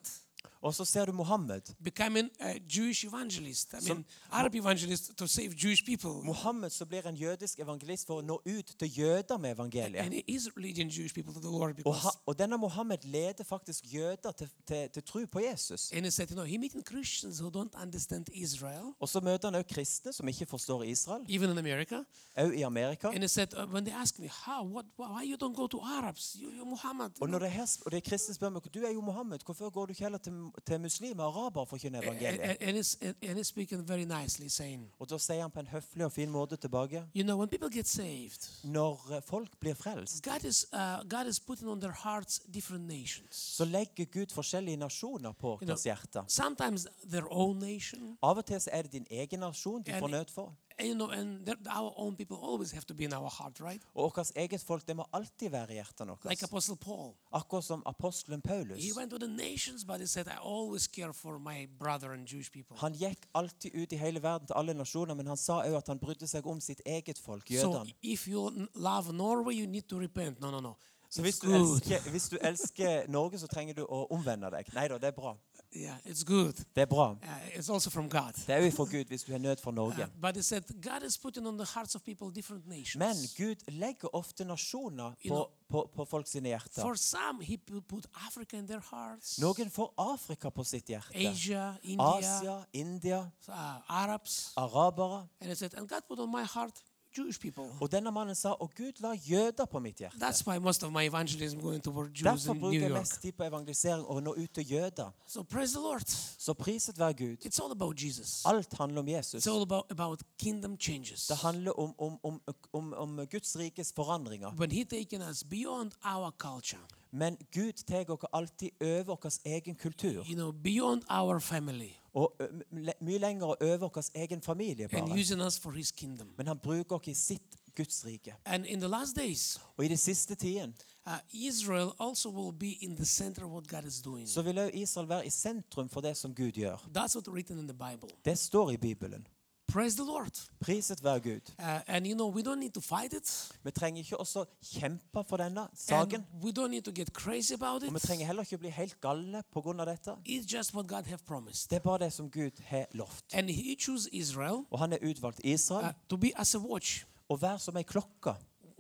[SPEAKER 2] Og så ser du Mohammed.
[SPEAKER 1] becoming a Jewish evangelist. I mean, Arab evangelist to save Jewish people.
[SPEAKER 2] Mohammed som blir en jødisk evangelist for å nå ut til jøder med evangeliet.
[SPEAKER 1] And he is leading Jewish people to the Lord
[SPEAKER 2] Og, ha,
[SPEAKER 1] because,
[SPEAKER 2] og denne Mohammed leder faktisk jøder til, til, til tro på Jesus.
[SPEAKER 1] and he said, you know, he meeting Christians who don't understand Israel,
[SPEAKER 2] Og så møter han også kristne som ikke forstår Israel,
[SPEAKER 1] even in America.
[SPEAKER 2] også i Amerika.
[SPEAKER 1] And he said, uh, when they ask me, how, what, why why you don't go to Arabs? You, you Muhammad. you
[SPEAKER 2] Og
[SPEAKER 1] know."
[SPEAKER 2] når det er, her- og det er kristne spør meg, du er jo Mohammed, hvorfor går du ikke heller til, til muslimer og araber for å kjenne
[SPEAKER 1] and,
[SPEAKER 2] evangeliet?
[SPEAKER 1] and, and, he's, and, and he's speaking very nicely, saying,
[SPEAKER 2] Og da sier han på en høflig og fin måte tilbake,
[SPEAKER 1] you know, when people get saved,
[SPEAKER 2] når eh, folk blir frelst,
[SPEAKER 1] God is, uh, God is putting on their hearts different nations.
[SPEAKER 2] så legger Gud forskjellige nasjoner på
[SPEAKER 1] You know,
[SPEAKER 2] deres hjerte.
[SPEAKER 1] Sometimes their own nation,
[SPEAKER 2] Av og til så er det din egen nasjon du
[SPEAKER 1] And-
[SPEAKER 2] får nød for.
[SPEAKER 1] and, you know, and their- our own people always have to be in our heart, right?
[SPEAKER 2] Og vårt eget folk det må alltid være i hjertet
[SPEAKER 1] Like
[SPEAKER 2] vårt.
[SPEAKER 1] Apostle Paul.
[SPEAKER 2] Akkurat som apostelen Paulus.
[SPEAKER 1] He went to the nations, but he said, I always care for my brother and Jewish people.
[SPEAKER 2] Han gikk alltid ut i hele verden til alle nasjoner, men han sa òg at han brydde seg om sitt eget folk,
[SPEAKER 1] So
[SPEAKER 2] jødene.
[SPEAKER 1] if you n- love Norway, you need to repent. No, no, no.
[SPEAKER 2] Så
[SPEAKER 1] It's
[SPEAKER 2] hvis du,
[SPEAKER 1] good.
[SPEAKER 2] elsker, hvis du elsker Norge, så trenger du å omvende deg. Nei da, det er bra.
[SPEAKER 1] Yeah, it's good.
[SPEAKER 2] Det er bra.
[SPEAKER 1] Uh, it's also from God.
[SPEAKER 2] Det er jo for Gud hvis du har nød for
[SPEAKER 1] Uh,
[SPEAKER 2] Norge.
[SPEAKER 1] but it said God is putting on the hearts of people different nations.
[SPEAKER 2] Men Gud legger ofte nasjoner
[SPEAKER 1] You
[SPEAKER 2] på,
[SPEAKER 1] know-
[SPEAKER 2] på, på folk sine hjerter.
[SPEAKER 1] For some, He pu- put Africa in their hearts,
[SPEAKER 2] Noen får Afrika på sitt hjerte.
[SPEAKER 1] Asia, India,
[SPEAKER 2] Asia, India,
[SPEAKER 1] uh, Arabs.
[SPEAKER 2] arabere.
[SPEAKER 1] And it said, and God put on my heart Jewish people.
[SPEAKER 2] Og denne mannen sa «Å Gud la jøder på mitt hjerte.
[SPEAKER 1] That's why most of my evangelism going toward Jews
[SPEAKER 2] Derfor
[SPEAKER 1] in New
[SPEAKER 2] bruker jeg
[SPEAKER 1] York.
[SPEAKER 2] mest tid på evangelisering og å nå ut til jøder.
[SPEAKER 1] So praise the Lord.
[SPEAKER 2] Så priset være Gud.
[SPEAKER 1] It's all about Jesus.
[SPEAKER 2] Alt handler om Jesus.
[SPEAKER 1] It's all about, about kingdom changes.
[SPEAKER 2] Det handler om, om, om, om, om Guds rikes forandringer.
[SPEAKER 1] When He taking us beyond our culture,
[SPEAKER 2] Men Gud tar oss alltid over vår egen kultur.
[SPEAKER 1] you know, beyond our family,
[SPEAKER 2] Og ø, m- le- mye lenger over vår egen familie,
[SPEAKER 1] and
[SPEAKER 2] bare.
[SPEAKER 1] using us for His kingdom.
[SPEAKER 2] Men han bruker oss i sitt Guds rike.
[SPEAKER 1] And in the last days,
[SPEAKER 2] Og i den siste tiden
[SPEAKER 1] uh, Israel also will be in the center of what God is doing.
[SPEAKER 2] så vil også Israel være i sentrum for det som Gud gjør.
[SPEAKER 1] That's what's written in the Bible.
[SPEAKER 2] Det står i Bibelen.
[SPEAKER 1] Praise the Lord.
[SPEAKER 2] Priset være Gud.
[SPEAKER 1] Uh, and you know, we don't need to fight it.
[SPEAKER 2] Vi trenger ikke også kjempe for denne
[SPEAKER 1] And
[SPEAKER 2] saken.
[SPEAKER 1] we don't need to get crazy about
[SPEAKER 2] Og vi
[SPEAKER 1] it.
[SPEAKER 2] trenger heller ikke bli helt galle pga. dette.
[SPEAKER 1] It's just what God have promised.
[SPEAKER 2] Det er bare det som Gud har lovt.
[SPEAKER 1] And He chose Israel
[SPEAKER 2] Og han er utvalgt
[SPEAKER 1] uh,
[SPEAKER 2] Israel.
[SPEAKER 1] to be as a watch.
[SPEAKER 2] Og vær som ei klokke.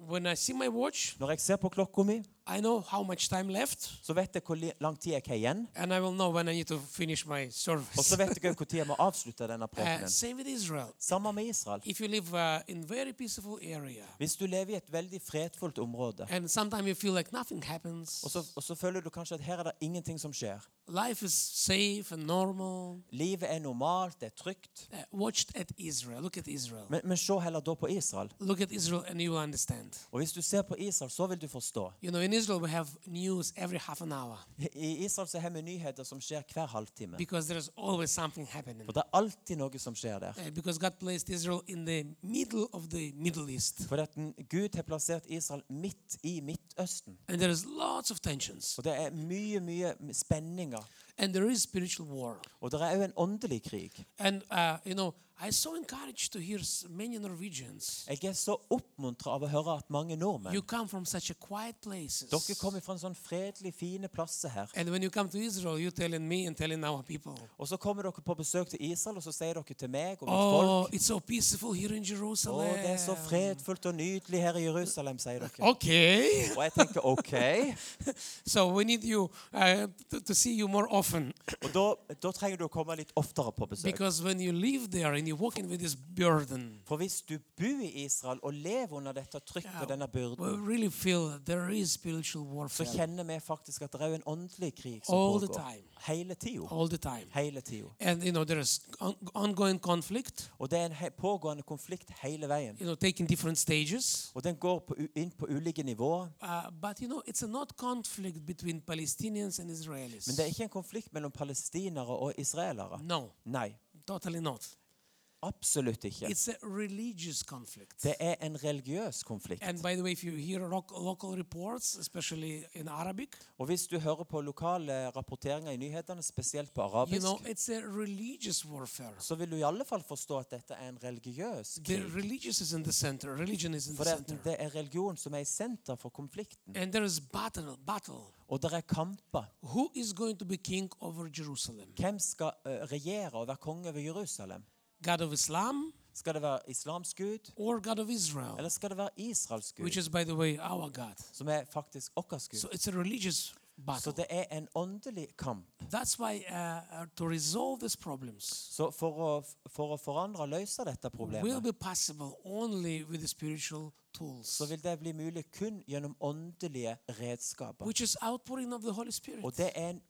[SPEAKER 1] When I see my watch,
[SPEAKER 2] Når jeg ser på klokka mi,
[SPEAKER 1] I know how much time left,
[SPEAKER 2] så vet jeg hvor li- lang tid jeg har igjen.
[SPEAKER 1] and I will know when I need to finish my
[SPEAKER 2] Og så
[SPEAKER 1] service.
[SPEAKER 2] vet jeg når jeg må avslutte denne
[SPEAKER 1] Uh,
[SPEAKER 2] prekenen.
[SPEAKER 1] same with Israel.
[SPEAKER 2] Sammen med Israel.
[SPEAKER 1] If you live uh, in very peaceful area,
[SPEAKER 2] Hvis du lever i et veldig fredfullt område,
[SPEAKER 1] and sometimes you feel like nothing happens,
[SPEAKER 2] og så, og så føler du kanskje at her er det ingenting som skjer.
[SPEAKER 1] life is safe and normal.
[SPEAKER 2] Livet er normalt, det er trygt.
[SPEAKER 1] Uh, watch at Israel. Look at Israel.
[SPEAKER 2] Men, men se heller da på Israel.
[SPEAKER 1] Look at Israel, and you will understand.
[SPEAKER 2] Og hvis du ser på Israel, så vil du forstå.
[SPEAKER 1] You know, in Israel, we have news every half an hour
[SPEAKER 2] I Israel så har vi nyheter som skjer hver halvtime.
[SPEAKER 1] because there's always something happening.
[SPEAKER 2] For det er alltid noe som skjer der.
[SPEAKER 1] Uh, because God placed Israel in the middle of the Middle East,
[SPEAKER 2] For at den- Gud har plassert Israel midt i Midtøsten.
[SPEAKER 1] and there is lots of tensions,
[SPEAKER 2] Og det er mye, mye spenninger.
[SPEAKER 1] and there is spiritual war.
[SPEAKER 2] Og det er òg en åndelig krig.
[SPEAKER 1] And uh, you know, I so encouraged to hear s- many Norwegians.
[SPEAKER 2] Jeg er så oppmuntra av å høre at mange nordmenn
[SPEAKER 1] You come from such a quiet places,
[SPEAKER 2] Dere kommer fra en sånn fredelig, fine plass her.
[SPEAKER 1] and when you come to Israel, you're telling me and telling our people.
[SPEAKER 2] Og så kommer dere på besøk til Israel, og så sier dere til meg og mitt
[SPEAKER 1] Oh,
[SPEAKER 2] folk
[SPEAKER 1] it's so peaceful here in
[SPEAKER 2] Å,
[SPEAKER 1] Jerusalem.
[SPEAKER 2] det er så fredfullt og nydelig her i Jerusalem, sier dere.
[SPEAKER 1] Okay.
[SPEAKER 2] Og jeg tenker OK.
[SPEAKER 1] So we need you uh, to, to see you more often
[SPEAKER 2] Og da, da trenger du å komme litt oftere på besøk.
[SPEAKER 1] because when you live there and you're walking with this burden,
[SPEAKER 2] For hvis du bor i Israel og lever under dette trykket og denne
[SPEAKER 1] we
[SPEAKER 2] byrden,
[SPEAKER 1] really feel that there is spiritual
[SPEAKER 2] så
[SPEAKER 1] warfare
[SPEAKER 2] kjenner vi faktisk at det er jo en åndelig krig som
[SPEAKER 1] all the
[SPEAKER 2] pågår.
[SPEAKER 1] time,
[SPEAKER 2] Hele tida.
[SPEAKER 1] all the time.
[SPEAKER 2] Hele tida.
[SPEAKER 1] And you know there is on- ongoing conflict,
[SPEAKER 2] Og det er en he pågående konflikt hele veien.
[SPEAKER 1] you know, taking different stages.
[SPEAKER 2] Og den går på, u- inn på ulike nivåer.
[SPEAKER 1] Uh, but you know, it's a not conflict between Palestinians and Israelis.
[SPEAKER 2] Men det er ikke en konflikt mellom palestinere og israelere.
[SPEAKER 1] No,
[SPEAKER 2] Nei,
[SPEAKER 1] totally not.
[SPEAKER 2] absolutt ikke.
[SPEAKER 1] It's a religious conflict.
[SPEAKER 2] Det er en religiøs konflikt.
[SPEAKER 1] And by the way, if you hear loc- local reports, especially in Arabic,
[SPEAKER 2] Og hvis du hører på lokale rapporteringer i nyhetene, spesielt på
[SPEAKER 1] you know,
[SPEAKER 2] arabisk,
[SPEAKER 1] it's a religious warfare.
[SPEAKER 2] så vil du i alle fall forstå at dette er en religiøs
[SPEAKER 1] The
[SPEAKER 2] krig.
[SPEAKER 1] religious is in the center. Religion is in the
[SPEAKER 2] For det,
[SPEAKER 1] center.
[SPEAKER 2] det er religion som er i senter for konflikten.
[SPEAKER 1] And there is battle, battle.
[SPEAKER 2] Og det er kamper.
[SPEAKER 1] Who is going to be king over Jerusalem?
[SPEAKER 2] Hvem skal eh, regjere og være konge over Jerusalem?
[SPEAKER 1] God of Islam
[SPEAKER 2] Skal det være islamsk gud,
[SPEAKER 1] or God of Israel,
[SPEAKER 2] eller skal det være Israels
[SPEAKER 1] which
[SPEAKER 2] gud,
[SPEAKER 1] is, by the way, our God.
[SPEAKER 2] som er faktisk vår gud?
[SPEAKER 1] So it's a religious
[SPEAKER 2] Så
[SPEAKER 1] battle.
[SPEAKER 2] det er en åndelig kamp.
[SPEAKER 1] That's why uh, uh, to resolve these problems
[SPEAKER 2] Så for å, for å forandre og løse dette
[SPEAKER 1] will
[SPEAKER 2] problemet,
[SPEAKER 1] be possible only with the spiritual tools,
[SPEAKER 2] så vil det bli mulig kun gjennom åndelige redskaper.
[SPEAKER 1] which is outpouring of the Holy Spirit,
[SPEAKER 2] Og det er en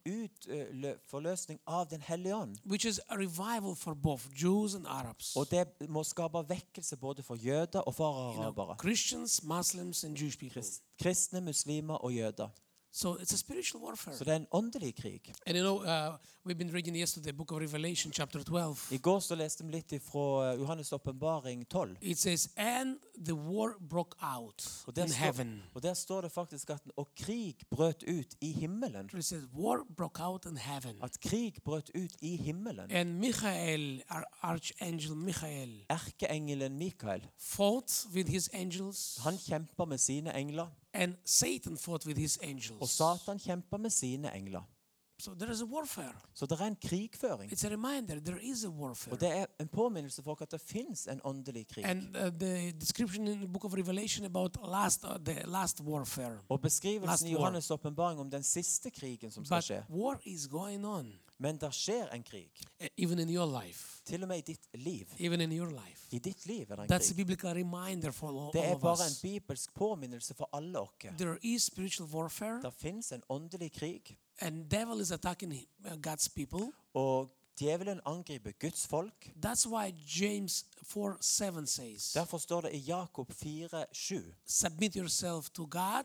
[SPEAKER 2] utforløsning av Den hellige ånd.
[SPEAKER 1] which is a revival for both Jews and Arabs.
[SPEAKER 2] Og det må skape vekkelse både for jøder og for
[SPEAKER 1] you know,
[SPEAKER 2] arabere.
[SPEAKER 1] Christians, Muslims, and Jewish people.
[SPEAKER 2] Krist- Kristne, muslimer og jøder.
[SPEAKER 1] So it's a spiritual warfare.
[SPEAKER 2] Så det er en åndelig krig.
[SPEAKER 1] And you know, uh, we've been reading yesterday the book of Revelation, chapter 12.
[SPEAKER 2] I går så leste vi litt fra Johannes' åpenbaring 12.
[SPEAKER 1] It says, And the war broke out
[SPEAKER 2] Og der,
[SPEAKER 1] in
[SPEAKER 2] står,
[SPEAKER 1] heaven.
[SPEAKER 2] og der står det faktisk at Og krig brøt ut i himmelen.
[SPEAKER 1] It says, War broke out in heaven.
[SPEAKER 2] At krig brøt ut i himmelen.
[SPEAKER 1] And Michael, our archangel Michael,
[SPEAKER 2] Erkeengelen Mikael,
[SPEAKER 1] fought with his angels,
[SPEAKER 2] han kjemper med sine engler.
[SPEAKER 1] and Satan fought with his
[SPEAKER 2] Og
[SPEAKER 1] angels.
[SPEAKER 2] Satan kjemper med sine engler.
[SPEAKER 1] So there is a warfare.
[SPEAKER 2] Så det er en krigføring.
[SPEAKER 1] It's a reminder there is a warfare.
[SPEAKER 2] Og det er en påminnelse for oss at det fins en åndelig krig.
[SPEAKER 1] And uh, the description in the book of Revelation about last uh, the last warfare.
[SPEAKER 2] Og
[SPEAKER 1] Last
[SPEAKER 2] beskrivelsen i
[SPEAKER 1] war.
[SPEAKER 2] Johannes' åpenbaring om den siste krigen som skal
[SPEAKER 1] But
[SPEAKER 2] skje.
[SPEAKER 1] war is going on
[SPEAKER 2] Men det skjer en krig.
[SPEAKER 1] e- even in your life,
[SPEAKER 2] Til og med i ditt liv.
[SPEAKER 1] even in your life.
[SPEAKER 2] I ditt liv er det en
[SPEAKER 1] That's a
[SPEAKER 2] krig.
[SPEAKER 1] biblical reminder for all,
[SPEAKER 2] Det
[SPEAKER 1] all
[SPEAKER 2] er
[SPEAKER 1] of
[SPEAKER 2] bare en
[SPEAKER 1] us.
[SPEAKER 2] bibelsk påminnelse for alle oss.
[SPEAKER 1] There is spiritual warfare,
[SPEAKER 2] Det fins en åndelig krig,
[SPEAKER 1] and devil is attacking uh, God's people.
[SPEAKER 2] og djevelen angriper Guds folk.
[SPEAKER 1] That's why James 4 7 says,
[SPEAKER 2] Derfor står det i Jakob 4,7
[SPEAKER 1] Submit yourself to God,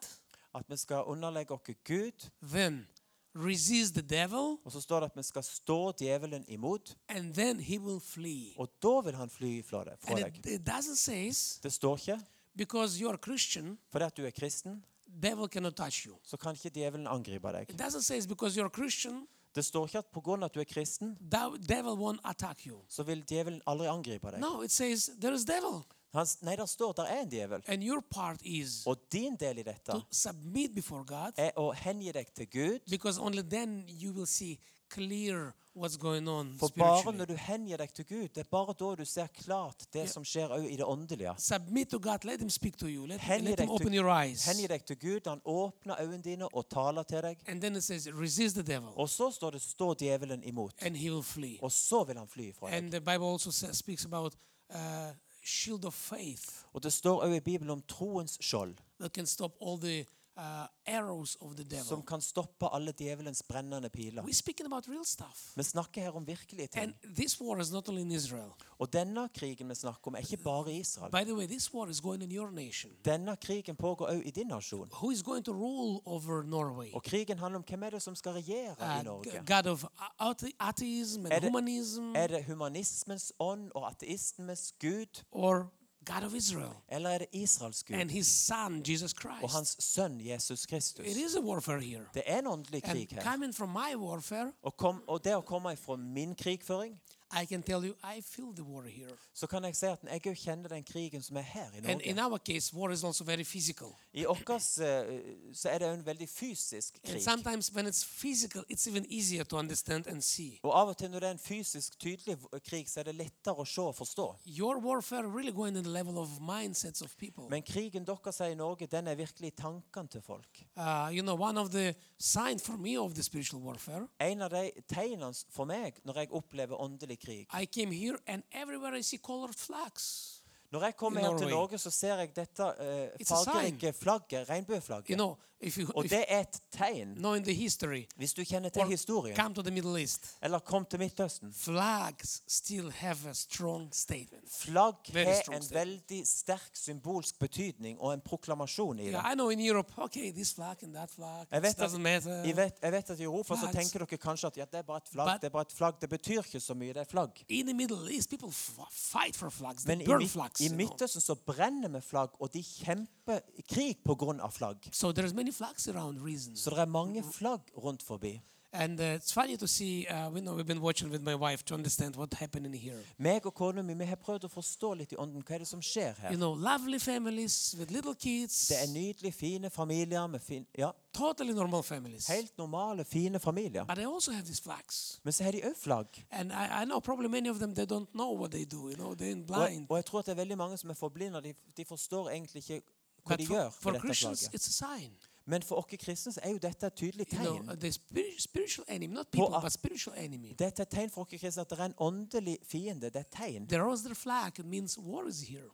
[SPEAKER 2] at vi skal underlegge oss Gud.
[SPEAKER 1] then resist the devil,
[SPEAKER 2] Og så står det at vi skal stå djevelen imot,
[SPEAKER 1] and then he will flee.
[SPEAKER 2] og da vil han fly fra deg. Fra
[SPEAKER 1] And
[SPEAKER 2] deg.
[SPEAKER 1] it, it doesn't say
[SPEAKER 2] Det står ikke.
[SPEAKER 1] because you're a Christian,
[SPEAKER 2] Fordi at du er kristen,
[SPEAKER 1] devil cannot touch you.
[SPEAKER 2] så kan ikke djevelen angripe deg.
[SPEAKER 1] It doesn't say because you're a Christian,
[SPEAKER 2] Det står ikke at pga. at du er kristen,
[SPEAKER 1] thou- devil won't attack you.
[SPEAKER 2] så vil djevelen aldri angripe deg.
[SPEAKER 1] No, it says there is devil,
[SPEAKER 2] Han, s- nei, der står der er en djevel.
[SPEAKER 1] and your part is
[SPEAKER 2] Og din del i dette
[SPEAKER 1] to submit before God,
[SPEAKER 2] er å hengi deg til Gud.
[SPEAKER 1] because only then you will see clear what's going on
[SPEAKER 2] For bare
[SPEAKER 1] spiritually.
[SPEAKER 2] når du hengir deg til Gud, det er bare da du ser klart det som skjer òg i det åndelige.
[SPEAKER 1] Submit to God. Let Him speak to you. Let,
[SPEAKER 2] Hengi
[SPEAKER 1] let Him
[SPEAKER 2] deg,
[SPEAKER 1] open
[SPEAKER 2] til,
[SPEAKER 1] your eyes.
[SPEAKER 2] hengi deg til Gud. Han åpner øynene dine og taler til deg.
[SPEAKER 1] And then it says, resist the devil,
[SPEAKER 2] Og så står det 'stå djevelen imot'.
[SPEAKER 1] and he will flee.
[SPEAKER 2] Og så vil han fly fra deg.
[SPEAKER 1] And the Bible also says, speaks about uh, shield of faith
[SPEAKER 2] Og det står òg i Bibelen om troens skjold,
[SPEAKER 1] that can stop all the uh, arrows of the
[SPEAKER 2] som
[SPEAKER 1] devil.
[SPEAKER 2] kan stoppe alle djevelens brennende piler.
[SPEAKER 1] We're speaking about real stuff.
[SPEAKER 2] Vi snakker her om virkelige
[SPEAKER 1] And
[SPEAKER 2] ting.
[SPEAKER 1] this war is not only in Israel.
[SPEAKER 2] Og denne krigen vi snakker om, er ikke bare i Israel.
[SPEAKER 1] By the way, this war is going in your nation.
[SPEAKER 2] Denne krigen pågår òg i din nasjon.
[SPEAKER 1] Who is going to rule over Norway?
[SPEAKER 2] Og krigen handler om hvem er det som skal regjere
[SPEAKER 1] Uh,
[SPEAKER 2] i Norge.
[SPEAKER 1] God of athe- atheism and
[SPEAKER 2] Er det-
[SPEAKER 1] humanism,
[SPEAKER 2] Er det humanismens ånd og ateismens gud,
[SPEAKER 1] or God of Israel
[SPEAKER 2] eller er det Israels
[SPEAKER 1] and
[SPEAKER 2] gud
[SPEAKER 1] His Son Jesus
[SPEAKER 2] og
[SPEAKER 1] Christ?
[SPEAKER 2] hans sønn Jesus
[SPEAKER 1] It
[SPEAKER 2] Kristus?
[SPEAKER 1] is a warfare here.
[SPEAKER 2] Det er en åndelig
[SPEAKER 1] And
[SPEAKER 2] krig her.
[SPEAKER 1] coming from my warfare,
[SPEAKER 2] Og, kom, og det å komme ifra min krigføring,
[SPEAKER 1] I can tell you, I feel the war here.
[SPEAKER 2] så kan jeg si at jeg òg kjenner den krigen som er her i
[SPEAKER 1] And
[SPEAKER 2] Norge.
[SPEAKER 1] in our case, war is also very physical.
[SPEAKER 2] I oss eh, så er det jo en veldig fysisk
[SPEAKER 1] And
[SPEAKER 2] krig.
[SPEAKER 1] sometimes when it's physical, it's even easier to understand and see.
[SPEAKER 2] Og av og til når det er en fysisk tydelig v- krig, så er det lettere å se og forstå.
[SPEAKER 1] Your warfare really going in the level of mindsets of people.
[SPEAKER 2] Men krigen deres her i Norge, den er virkelig i tankene til folk.
[SPEAKER 1] Uh, you know, one of the signs for me of the spiritual warfare,
[SPEAKER 2] En av de tegnene s- for meg når jeg opplever åndelig krig
[SPEAKER 1] I came here and everywhere I see colored flags.
[SPEAKER 2] Når jeg
[SPEAKER 1] I
[SPEAKER 2] kommer hjem til
[SPEAKER 1] Norway.
[SPEAKER 2] Norge, så ser jeg dette eh,
[SPEAKER 1] It's a
[SPEAKER 2] fargerike flagget, regnbueflagget.
[SPEAKER 1] You know, if you
[SPEAKER 2] og
[SPEAKER 1] if
[SPEAKER 2] det er et tegn.
[SPEAKER 1] you know in the history,
[SPEAKER 2] Hvis du kjenner
[SPEAKER 1] or
[SPEAKER 2] til historien,
[SPEAKER 1] come to the Middle East,
[SPEAKER 2] eller kom til Midtøsten
[SPEAKER 1] flags still have a strong statement.
[SPEAKER 2] Flagg
[SPEAKER 1] Very
[SPEAKER 2] har
[SPEAKER 1] strong
[SPEAKER 2] en
[SPEAKER 1] statement.
[SPEAKER 2] veldig sterk symbolsk betydning og en proklamasjon i det.
[SPEAKER 1] Yeah, I know in Europe, okay, this flag and that flag,
[SPEAKER 2] Jeg
[SPEAKER 1] it
[SPEAKER 2] vet, at,
[SPEAKER 1] doesn't matter.
[SPEAKER 2] jeg, vet, jeg vet at i Europa så
[SPEAKER 1] Flags.
[SPEAKER 2] tenker dere kanskje at ja, det er bare et flagg.
[SPEAKER 1] But-
[SPEAKER 2] det er bare et flagg, det betyr ikke så mye, det er flagg.
[SPEAKER 1] In the Middle East, people f- fight for flags. They
[SPEAKER 2] Men i,
[SPEAKER 1] burn
[SPEAKER 2] Mid-
[SPEAKER 1] flags.
[SPEAKER 2] i
[SPEAKER 1] you know.
[SPEAKER 2] Midtøsten så brenner vi flagg, og de kjemper i krig pga. flagg.
[SPEAKER 1] So there's many flags around reasons.
[SPEAKER 2] Så det er mange flagg rundt forbi.
[SPEAKER 1] And uh, it's funny to see, uh, we know we've been watching with my wife to understand what's happening here.
[SPEAKER 2] Meg og kona mi vi har prøvd å forstå litt i ånden hva er det som skjer
[SPEAKER 1] You
[SPEAKER 2] her.
[SPEAKER 1] know, lovely families with little kids,
[SPEAKER 2] Det er nydelig fine familier med fin, ja,
[SPEAKER 1] totally normal families.
[SPEAKER 2] helt normale, fine familier.
[SPEAKER 1] But they also have these flags.
[SPEAKER 2] Men så har de òg flagg.
[SPEAKER 1] And I, I know probably many of them, they don't know what they do. You know, they're in
[SPEAKER 2] Og, jeg-
[SPEAKER 1] blind.
[SPEAKER 2] og jeg tror at det er veldig mange som er forblinda. De, de forstår egentlig ikke hva
[SPEAKER 1] But
[SPEAKER 2] de
[SPEAKER 1] for,
[SPEAKER 2] gjør
[SPEAKER 1] for
[SPEAKER 2] med dette
[SPEAKER 1] Christians,
[SPEAKER 2] flagget.
[SPEAKER 1] it's a sign.
[SPEAKER 2] Men for oss kristne så er jo dette et tydelig
[SPEAKER 1] You know,
[SPEAKER 2] tegn.
[SPEAKER 1] uh, the spiri- spiritual enemy, not people,
[SPEAKER 2] at-
[SPEAKER 1] but spiritual enemy.
[SPEAKER 2] Dette er et tegn for oss kristne at det er en åndelig fiende. Det er et tegn.
[SPEAKER 1] They rose their flag, it means war is here.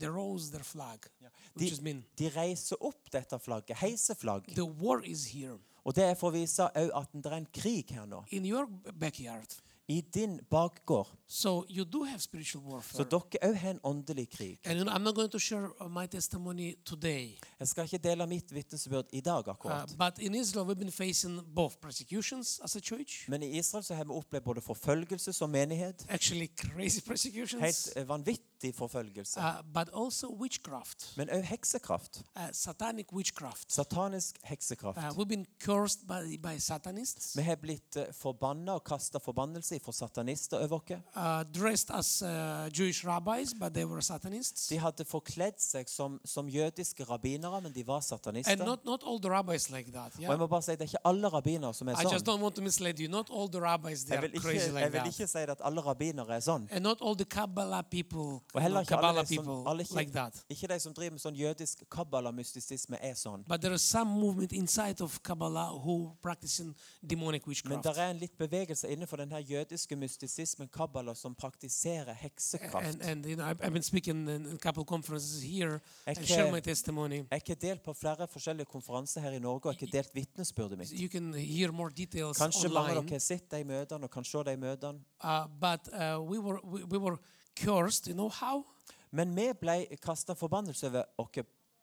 [SPEAKER 1] They rose their flag, which is mean
[SPEAKER 2] De reiser opp dette flagget, heiser flagg.
[SPEAKER 1] the war is here
[SPEAKER 2] Og det er for å vise òg at det er en krig her nå.
[SPEAKER 1] in your b- backyard.
[SPEAKER 2] I din bakgård.
[SPEAKER 1] So you do have spiritual
[SPEAKER 2] Så
[SPEAKER 1] warfare.
[SPEAKER 2] dere òg har en åndelig krig.
[SPEAKER 1] And you know, I'm not going to share uh, my testimony today,
[SPEAKER 2] Jeg skal ikke dele mitt vitnesbyrd i dag
[SPEAKER 1] uh,
[SPEAKER 2] akkurat.
[SPEAKER 1] but in Israel we've been facing both persecutions as a church,
[SPEAKER 2] Men i Israel så har vi opplevd både forfølgelse som menighet,
[SPEAKER 1] actually crazy
[SPEAKER 2] helt
[SPEAKER 1] persecutions,
[SPEAKER 2] eh, vanvittig alltid forfølgelse.
[SPEAKER 1] uh, but also witchcraft,
[SPEAKER 2] Men òg heksekraft.
[SPEAKER 1] uh, satanic witchcraft.
[SPEAKER 2] Satanisk
[SPEAKER 1] Uh,
[SPEAKER 2] heksekraft.
[SPEAKER 1] we've been cursed by, by Satanists,
[SPEAKER 2] Vi har blitt eh, forbanna og kasta forbannelse fra satanister over oss.
[SPEAKER 1] uh, dressed as uh, Jewish rabbis, but they were Satanists.
[SPEAKER 2] De hadde forkledd seg som, som jødiske rabbinere, men de var
[SPEAKER 1] And
[SPEAKER 2] satanister.
[SPEAKER 1] not, not all the rabbis like that.
[SPEAKER 2] Og
[SPEAKER 1] Yeah?
[SPEAKER 2] jeg må bare si, Det er ikke alle rabbinere som er
[SPEAKER 1] I just
[SPEAKER 2] sånn.
[SPEAKER 1] don't want to mislead you. Not all the rabbis they
[SPEAKER 2] Jeg
[SPEAKER 1] are
[SPEAKER 2] vil ikke,
[SPEAKER 1] crazy like
[SPEAKER 2] jeg vil
[SPEAKER 1] that.
[SPEAKER 2] ikke si at alle rabbinere er sånn.
[SPEAKER 1] And not all the Kabbalah people,
[SPEAKER 2] Og
[SPEAKER 1] you know,
[SPEAKER 2] heller ikke alle
[SPEAKER 1] Kabbalah
[SPEAKER 2] de som,
[SPEAKER 1] people
[SPEAKER 2] alle ikke,
[SPEAKER 1] like that.
[SPEAKER 2] ikke de som driver med sånn jødisk kabbala-mystisisme, er sånn.
[SPEAKER 1] But there is some movement inside of Kabbalah who practicing demonic
[SPEAKER 2] Men
[SPEAKER 1] witchcraft.
[SPEAKER 2] det er en litt bevegelse innenfor den her jødiske mystisismen kabbala som praktiserer
[SPEAKER 1] And,
[SPEAKER 2] heksekraft.
[SPEAKER 1] and you know, I've, I've been speaking in a couple conferences here and
[SPEAKER 2] Okay.
[SPEAKER 1] share my testimony.
[SPEAKER 2] Jeg har delt på flere forskjellige konferanser her i Norge, og jeg har delt vitnesbyrdet mitt.
[SPEAKER 1] You can hear more details
[SPEAKER 2] Kanskje mange av
[SPEAKER 1] online.
[SPEAKER 2] dere har sett de møtene og kan se de møtene.
[SPEAKER 1] Uh, but uh, we were we, we were cursed. You know how?
[SPEAKER 2] Men vi ble kasta forbannelse over oss.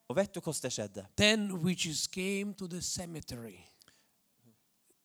[SPEAKER 2] Og vet du hvordan det skjedde?
[SPEAKER 1] Ten witches came to the cemetery.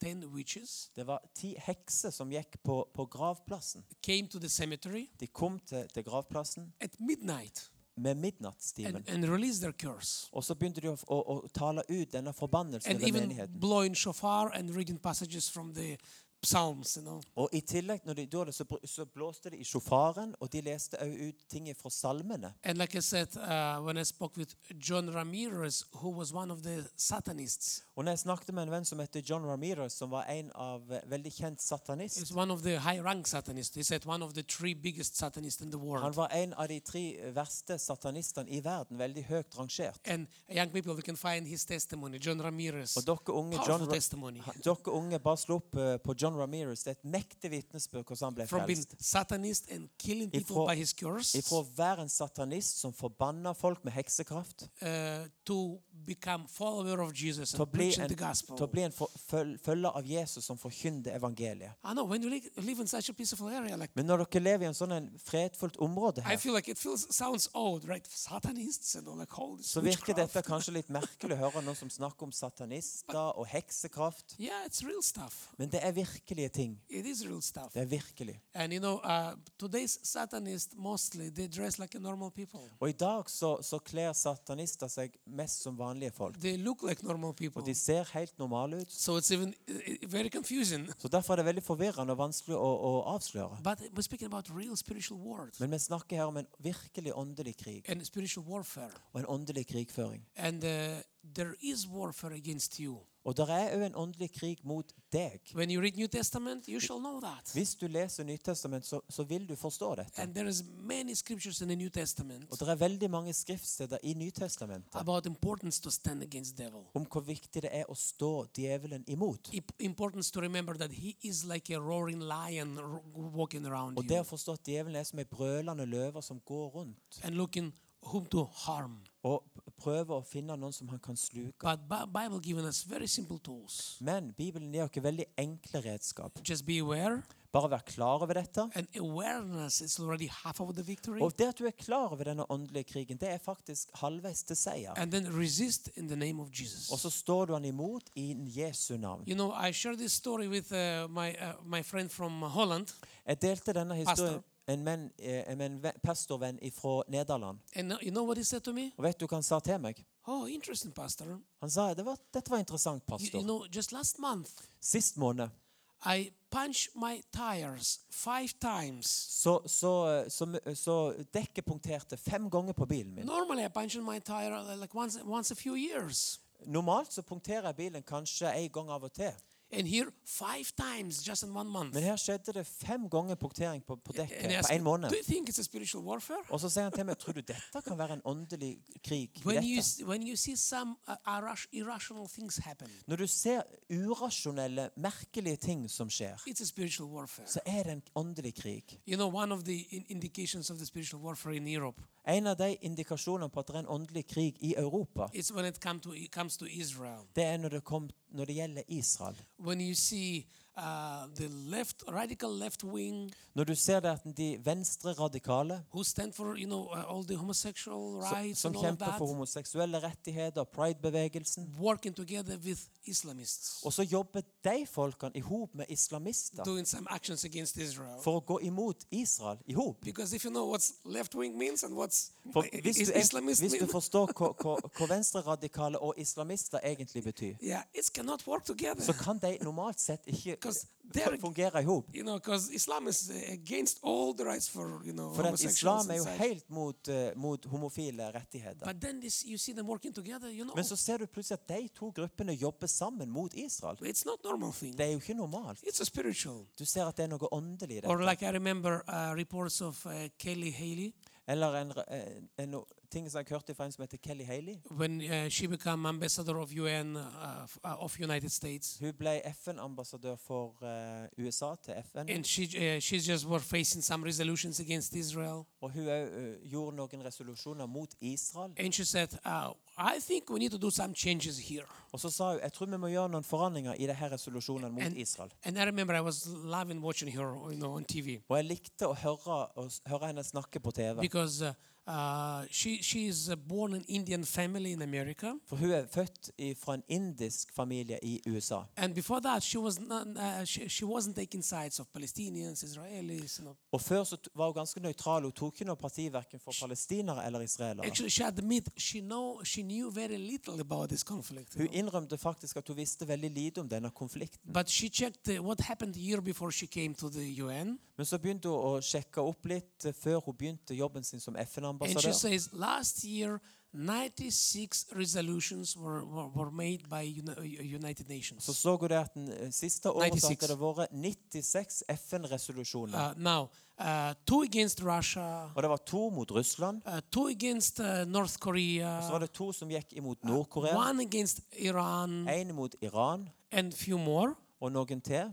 [SPEAKER 1] Ten witches
[SPEAKER 2] Det var ti hekser som gikk på, på gravplassen.
[SPEAKER 1] came to the cemetery
[SPEAKER 2] De kom til, til gravplassen
[SPEAKER 1] at midnight
[SPEAKER 2] med
[SPEAKER 1] and,
[SPEAKER 2] midnattstimen.
[SPEAKER 1] and released their curse.
[SPEAKER 2] Og så begynte de å, å, å tale ut denne forbannelsen
[SPEAKER 1] And
[SPEAKER 2] over
[SPEAKER 1] even
[SPEAKER 2] menigheten.
[SPEAKER 1] blowing shofar and reading passages from the Psalms, you know.
[SPEAKER 2] Og i tillegg når de gjorde det, så, br- så blåste de i sjofaren, og de leste også ut ting fra salmene.
[SPEAKER 1] And like I said, uh, when I spoke with John Ramirez, who was one of the Satanists,
[SPEAKER 2] Og når jeg snakket med en venn som heter John Ramirez, som var en av eh, veldig kjent satanist
[SPEAKER 1] is one of the high rank Satanists. He said one of the three biggest Satanists in the
[SPEAKER 2] Han
[SPEAKER 1] world.
[SPEAKER 2] var en av de tre verste satanistene i verden, veldig høyt rangert.
[SPEAKER 1] And young people, we can find his testimony, John Ramirez.
[SPEAKER 2] Og dere unge, John,
[SPEAKER 1] Powerful
[SPEAKER 2] Ra-
[SPEAKER 1] testimony.
[SPEAKER 2] ha- dere unge bare slå opp eh, på John Ramirez. Det er et mektig vitnesbyrd hvordan han ble
[SPEAKER 1] From being
[SPEAKER 2] frelst.
[SPEAKER 1] Satanist and killing people
[SPEAKER 2] Ifrå-
[SPEAKER 1] by his curse
[SPEAKER 2] Ifra å være en satanist som forbanna folk med heksekraft,
[SPEAKER 1] uh, to become follower of Jesus
[SPEAKER 2] til å
[SPEAKER 1] and
[SPEAKER 2] bli
[SPEAKER 1] preaching
[SPEAKER 2] en,
[SPEAKER 1] the
[SPEAKER 2] til å
[SPEAKER 1] gospel.
[SPEAKER 2] bli en for- føl- følger av Jesus som forkynner evangeliet.
[SPEAKER 1] I know when you li- live in such a peaceful area, like
[SPEAKER 2] Men når dere lever i en sånn en fredfullt område
[SPEAKER 1] I
[SPEAKER 2] her,
[SPEAKER 1] feel like it feels sounds old, right? Satanists and all like all this
[SPEAKER 2] så virker
[SPEAKER 1] witchcraft.
[SPEAKER 2] dette kanskje litt merkelig å høre noen som snakker om satanister og heksekraft.
[SPEAKER 1] Yeah, it's real stuff.
[SPEAKER 2] Men det er virkelige ting.
[SPEAKER 1] It is real stuff.
[SPEAKER 2] Det er virkelig.
[SPEAKER 1] And you know, uh, today's Satanists mostly they dress like a normal people.
[SPEAKER 2] Og i dag så, så kler satanister seg mest som vanlige folk.
[SPEAKER 1] They look like normal people.
[SPEAKER 2] Og de ser helt normale ut.
[SPEAKER 1] So it's even uh, uh, very confusing.
[SPEAKER 2] Så derfor er det veldig forvirrende og vanskelig å, å avsløre.
[SPEAKER 1] But we're speaking about real spiritual war
[SPEAKER 2] Men vi snakker her om en virkelig åndelig krig
[SPEAKER 1] and spiritual warfare.
[SPEAKER 2] og en åndelig krigføring.
[SPEAKER 1] And uh, there is warfare against you.
[SPEAKER 2] Og der er òg en åndelig krig mot deg.
[SPEAKER 1] When you read New Testament, you shall know that.
[SPEAKER 2] Hvis du leser Nytestamentet, så, så vil du forstå dette.
[SPEAKER 1] And there is many scriptures in the New Testament
[SPEAKER 2] Og det er veldig mange skriftsteder i Nytestamentet
[SPEAKER 1] about importance to stand against devil.
[SPEAKER 2] om hvor viktig det er å stå djevelen imot.
[SPEAKER 1] Im- Importance to remember that he is like a roaring lion ro- walking around
[SPEAKER 2] Og det
[SPEAKER 1] you
[SPEAKER 2] å forstå at djevelen er som ei brølende løve som går rundt
[SPEAKER 1] and looking whom to harm.
[SPEAKER 2] og p- prøver å finne noen som han kan sluke.
[SPEAKER 1] But Bi- Bible giving us very simple tools.
[SPEAKER 2] Men Bibelen gir oss veldig enkle redskap.
[SPEAKER 1] Just be aware,
[SPEAKER 2] Bare vær klar over dette.
[SPEAKER 1] and awareness is already half of the victory.
[SPEAKER 2] Og det at du er klar over denne åndelige krigen, det er faktisk halvveis til seier.
[SPEAKER 1] And then resist in the name of Jesus.
[SPEAKER 2] Og så står du han imot i Jesu navn.
[SPEAKER 1] You know, I shared this story with uh, my uh, my friend from Holland,
[SPEAKER 2] Jeg delte denne historien
[SPEAKER 1] Pastor.
[SPEAKER 2] en menn- eh, med en ve- pastorvenn fra Nederland.
[SPEAKER 1] and uh, you know what he said to me?
[SPEAKER 2] Og vet du hva han sa til meg?
[SPEAKER 1] Oh, interesting, Pastor.
[SPEAKER 2] Han sa det var, dette var interessant,
[SPEAKER 1] You, you
[SPEAKER 2] pastor.
[SPEAKER 1] know, just last month
[SPEAKER 2] Sist måned
[SPEAKER 1] I punched my tires five times.
[SPEAKER 2] så, så, så, så dekket punkterte fem ganger på bilen min.
[SPEAKER 1] Normally, I punch my tire uh, like once once a few years,
[SPEAKER 2] Normalt så punkterer jeg bilen kanskje en gang av og til.
[SPEAKER 1] and here five times just in one month.
[SPEAKER 2] Men her skjedde det fem ganger punktering på, på
[SPEAKER 1] And he
[SPEAKER 2] dekket
[SPEAKER 1] asked
[SPEAKER 2] på
[SPEAKER 1] me,
[SPEAKER 2] en måned.
[SPEAKER 1] Do you think it's a spiritual warfare?
[SPEAKER 2] Og så sier han til meg tror du dette kan være en åndelig krig. i
[SPEAKER 1] When you,
[SPEAKER 2] dette?
[SPEAKER 1] s- when you see some uh, irras- irrational things happen,
[SPEAKER 2] Når du ser urasjonelle, merkelige ting som skjer,
[SPEAKER 1] it's a spiritual warfare.
[SPEAKER 2] så er det en åndelig krig.
[SPEAKER 1] You know, one of the in- indications of the spiritual warfare in Europe
[SPEAKER 2] En av de indikasjonene på at det er en åndelig krig i Europa,
[SPEAKER 1] is when it, come to, it comes to Israel.
[SPEAKER 2] det er når det, kom, når det gjelder Israel.
[SPEAKER 1] When you see uh, the left, radical left wing,
[SPEAKER 2] Når du ser det at de venstre radikale
[SPEAKER 1] who stand for you know uh, all the homosexual
[SPEAKER 2] som,
[SPEAKER 1] rights
[SPEAKER 2] som
[SPEAKER 1] and all of
[SPEAKER 2] kjemper
[SPEAKER 1] that,
[SPEAKER 2] for homoseksuelle rettigheter, pridebevegelsen
[SPEAKER 1] working together with Islamists,
[SPEAKER 2] Og så jobber de folkene i hop med islamister
[SPEAKER 1] doing some actions against Israel.
[SPEAKER 2] for å gå imot Israel i hop.
[SPEAKER 1] because if you know what left wing means and what
[SPEAKER 2] For hvis du, er,
[SPEAKER 1] Islamist
[SPEAKER 2] hvis du
[SPEAKER 1] mean,
[SPEAKER 2] forstår hva, hva, hva venstreradikale og islamister egentlig betyr,
[SPEAKER 1] yeah, it cannot work together.
[SPEAKER 2] så kan de normalt sett ikke
[SPEAKER 1] 'Cause they're-
[SPEAKER 2] fungere i hop.
[SPEAKER 1] you know, because Islam is uh, against all the rights for you know
[SPEAKER 2] For at
[SPEAKER 1] homosexuals and
[SPEAKER 2] islam er jo
[SPEAKER 1] such.
[SPEAKER 2] helt mot, eh, mot homofile rettigheter.
[SPEAKER 1] But then this, you see them working together. You know,
[SPEAKER 2] Men så ser du plutselig at de to gruppene jobber sammen mot Israel.
[SPEAKER 1] it's not normal thing.
[SPEAKER 2] Det er jo ikke normalt.
[SPEAKER 1] It's a spiritual.
[SPEAKER 2] Du ser at det er noe åndelig i det.
[SPEAKER 1] Or like I remember uh, reports of uh, Kelly Haley
[SPEAKER 2] Eller en, en, en ting som jeg hørte fra en som heter Kelly Haley.
[SPEAKER 1] when uh, she became ambassador of UN uh, f- uh, of United States,
[SPEAKER 2] Hun ble FN-ambassadør for eh, USA til FN,
[SPEAKER 1] and she uh, she just were facing some resolutions against Israel,
[SPEAKER 2] og hun eh, gjorde noen resolusjoner mot Israel.
[SPEAKER 1] and she said, uh, "I think we need to do some changes here."
[SPEAKER 2] Og så sa hun jeg tror vi må gjøre noen forandringer i disse resolusjonene mot
[SPEAKER 1] And-
[SPEAKER 2] Israel.
[SPEAKER 1] And I remember I was loving watching her, you know, on TV
[SPEAKER 2] Og jeg likte å høre, å s- høre henne snakke på TV.
[SPEAKER 1] because uh, uh, she she is uh, born an Indian family in America,
[SPEAKER 2] For hun er født i, fra en indisk familie i USA.
[SPEAKER 1] and before that she was not uh, she, she wasn't taking sides of Palestinians, Israelis. You know.
[SPEAKER 2] Og før så t- var hun ganske nøytral. Hun tok ikke noe parti hverken for palestinere eller israelere.
[SPEAKER 1] Actually, she admit she know she knew very little about this conflict. you
[SPEAKER 2] Hun
[SPEAKER 1] know.
[SPEAKER 2] innrømte faktisk at hun visste veldig lite om denne konflikten.
[SPEAKER 1] But she checked uh, what happened the year before she came to the UN.
[SPEAKER 2] Men så begynte hun å sjekke opp litt eh, før hun begynte jobben sin som
[SPEAKER 1] And she
[SPEAKER 2] FN-ambassadør.
[SPEAKER 1] says last year, 96 resolutions were, were, were made by Uni- United
[SPEAKER 2] Så
[SPEAKER 1] Nations.
[SPEAKER 2] så hun det at den eh, siste året så
[SPEAKER 1] 96.
[SPEAKER 2] hadde det vært 96 FN-resolusjoner.
[SPEAKER 1] Uh, now, uh, two against Russia,
[SPEAKER 2] Og det var to mot Russland,
[SPEAKER 1] uh, two against uh, North
[SPEAKER 2] og så var
[SPEAKER 1] Korea,
[SPEAKER 2] det to som gikk imot Nord-Korea,
[SPEAKER 1] one against Iran,
[SPEAKER 2] én mot Iran
[SPEAKER 1] and few more.
[SPEAKER 2] og noen til.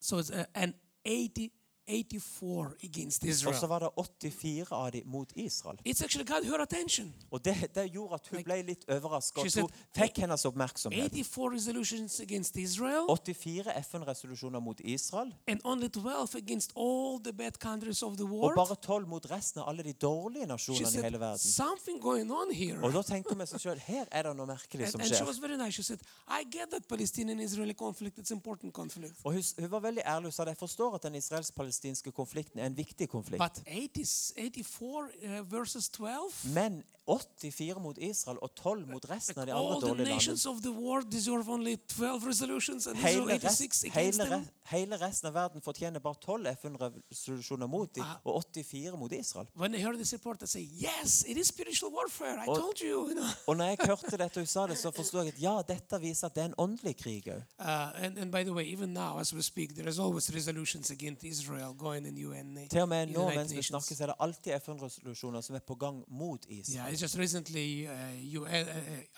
[SPEAKER 1] So it's uh, an 80, 84 against
[SPEAKER 2] Og så
[SPEAKER 1] Israel.
[SPEAKER 2] var det 84 av dem mot Israel.
[SPEAKER 1] It's actually got her attention.
[SPEAKER 2] Og det, det gjorde at hun ble litt overraska.
[SPEAKER 1] She
[SPEAKER 2] Og
[SPEAKER 1] said,
[SPEAKER 2] hun fikk hennes oppmerksomhet.
[SPEAKER 1] 84 resolutions against Israel
[SPEAKER 2] 84 FN-resolusjoner mot Israel,
[SPEAKER 1] and only 12 against all the bad countries of the
[SPEAKER 2] og
[SPEAKER 1] world.
[SPEAKER 2] bare 12 mot resten av alle de dårlige
[SPEAKER 1] She
[SPEAKER 2] nasjonene i hele
[SPEAKER 1] said,
[SPEAKER 2] verden.
[SPEAKER 1] something going on here.
[SPEAKER 2] Og da tenker vi seg selv, her er det noe merkelig
[SPEAKER 1] And,
[SPEAKER 2] som
[SPEAKER 1] and she
[SPEAKER 2] skjer.
[SPEAKER 1] was very nice. She said, I get that Palestinian-Israeli conflict. It's important conflict.
[SPEAKER 2] Og hun, s- hun var veldig ærlig og sa at jeg forstår at den israelsk-palestinske konflikten er en viktig konflikt.
[SPEAKER 1] But 80, 84 uh, versus 12?
[SPEAKER 2] Men 84 mot Israel og 12 mot resten av de andre
[SPEAKER 1] All the
[SPEAKER 2] dårlige
[SPEAKER 1] nations
[SPEAKER 2] landene.
[SPEAKER 1] of the world deserve only 12 resolutions and Israel
[SPEAKER 2] Hele, rest,
[SPEAKER 1] 86 against
[SPEAKER 2] hele,
[SPEAKER 1] them?
[SPEAKER 2] re- hele resten av verden fortjener bare 12 FN-resolusjoner mot dem,
[SPEAKER 1] Ah.
[SPEAKER 2] og 84 mot Israel.
[SPEAKER 1] When I heard this report, I say, yes, it is spiritual warfare. I
[SPEAKER 2] Og-
[SPEAKER 1] told you. you know.
[SPEAKER 2] Og når jeg hørte dette og hun sa det, så forsto jeg at ja, dette viser at det er en åndelig krig òg.
[SPEAKER 1] Uh, and, and by the way, even now, as we speak, there is always resolutions against Israel going in UN. na-
[SPEAKER 2] Til og med nå
[SPEAKER 1] United
[SPEAKER 2] mens vi
[SPEAKER 1] Nations.
[SPEAKER 2] snakker, så er det alltid FN-resolusjoner som er på gang mot
[SPEAKER 1] Yeah,
[SPEAKER 2] Israel.
[SPEAKER 1] it's just recently uh, you, uh,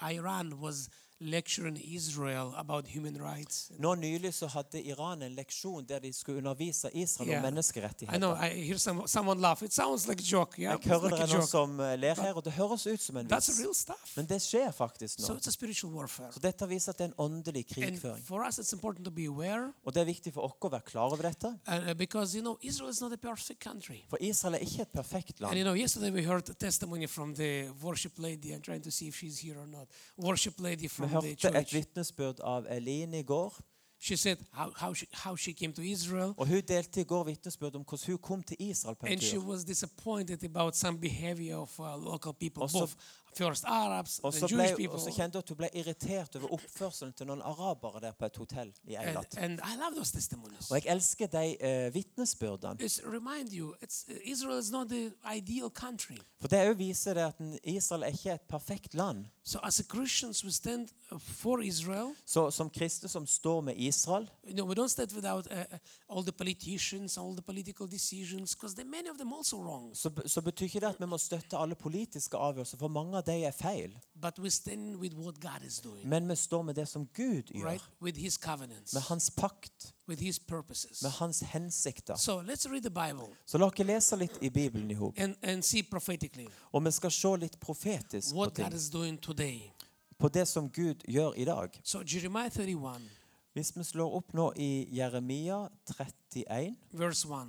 [SPEAKER 1] uh, Iran was lecturing Israel about human rights.
[SPEAKER 2] Nå nylig så hadde Iran en leksjon der de skulle undervise Israel
[SPEAKER 1] Yeah.
[SPEAKER 2] om
[SPEAKER 1] I know.
[SPEAKER 2] menneskerettigheter.
[SPEAKER 1] I hear some, someone laugh. It sounds like a joke. Yeah,
[SPEAKER 2] Jeg hører
[SPEAKER 1] like
[SPEAKER 2] det
[SPEAKER 1] a
[SPEAKER 2] er noen
[SPEAKER 1] joke.
[SPEAKER 2] som eh, ler her, og det høres ut som en
[SPEAKER 1] That's
[SPEAKER 2] vits.
[SPEAKER 1] real stuff.
[SPEAKER 2] Men det skjer faktisk
[SPEAKER 1] So
[SPEAKER 2] nå.
[SPEAKER 1] it's a spiritual warfare.
[SPEAKER 2] Så dette viser at det er en åndelig
[SPEAKER 1] And
[SPEAKER 2] krigføring.
[SPEAKER 1] for us, it's important to be aware
[SPEAKER 2] Og det er viktig for oss å være klar over dette.
[SPEAKER 1] uh, uh, because you know Israel is not a perfect country.
[SPEAKER 2] For Israel er ikke et perfekt
[SPEAKER 1] And you
[SPEAKER 2] land.
[SPEAKER 1] know, yesterday we heard a testimony from the worship lady. I'm trying to see if she's here or not. Worship lady
[SPEAKER 2] Vi
[SPEAKER 1] from the
[SPEAKER 2] hørte et
[SPEAKER 1] church.
[SPEAKER 2] vitnesbyrd av Eline i går.
[SPEAKER 1] She said how, how, she, how she came to Israel.
[SPEAKER 2] Og hun delte i går vitnesbyrd om hvordan hun kom til Israel på en
[SPEAKER 1] and she
[SPEAKER 2] tur.
[SPEAKER 1] was disappointed about some behavior of uh, local people,
[SPEAKER 2] Also-
[SPEAKER 1] both first Arabs
[SPEAKER 2] Og
[SPEAKER 1] and
[SPEAKER 2] så, ble,
[SPEAKER 1] Jewish
[SPEAKER 2] og
[SPEAKER 1] people.
[SPEAKER 2] så kjente hun at hun ble irritert over oppførselen til noen arabere der på et hotell i
[SPEAKER 1] And,
[SPEAKER 2] Eilat.
[SPEAKER 1] and I love those testimonies.
[SPEAKER 2] Og jeg elsker de eh, vitnesbyrdene.
[SPEAKER 1] It's remind you, it's, uh, Israel is not the ideal country.
[SPEAKER 2] For det òg viser det at en- Israel er ikke et perfekt land.
[SPEAKER 1] So as a Christians, we stand uh, for Israel.
[SPEAKER 2] Så som kristne som står med Israel,
[SPEAKER 1] You know, we don't stand without uh, uh, all the politicians, all the political decisions, because many of them also wrong.
[SPEAKER 2] så, be- så betyr ikke det at vi må støtte alle politiske avgjørelser, for mange av de er feil.
[SPEAKER 1] But we stand with what God is doing,
[SPEAKER 2] Men vi står med det som Gud gjør.
[SPEAKER 1] right? With His covenants,
[SPEAKER 2] Med hans pakt,
[SPEAKER 1] with His purposes.
[SPEAKER 2] med hans hensikter.
[SPEAKER 1] So let's read the Bible
[SPEAKER 2] Så la oss lese litt i Bibelen i hop.
[SPEAKER 1] and, and see prophetically.
[SPEAKER 2] Og vi skal se litt profetisk på,
[SPEAKER 1] what God
[SPEAKER 2] ting,
[SPEAKER 1] is doing today.
[SPEAKER 2] på det som Gud gjør i dag.
[SPEAKER 1] So Jeremiah 31,
[SPEAKER 2] Hvis vi slår opp nå i Jeremia 31
[SPEAKER 1] verse 1.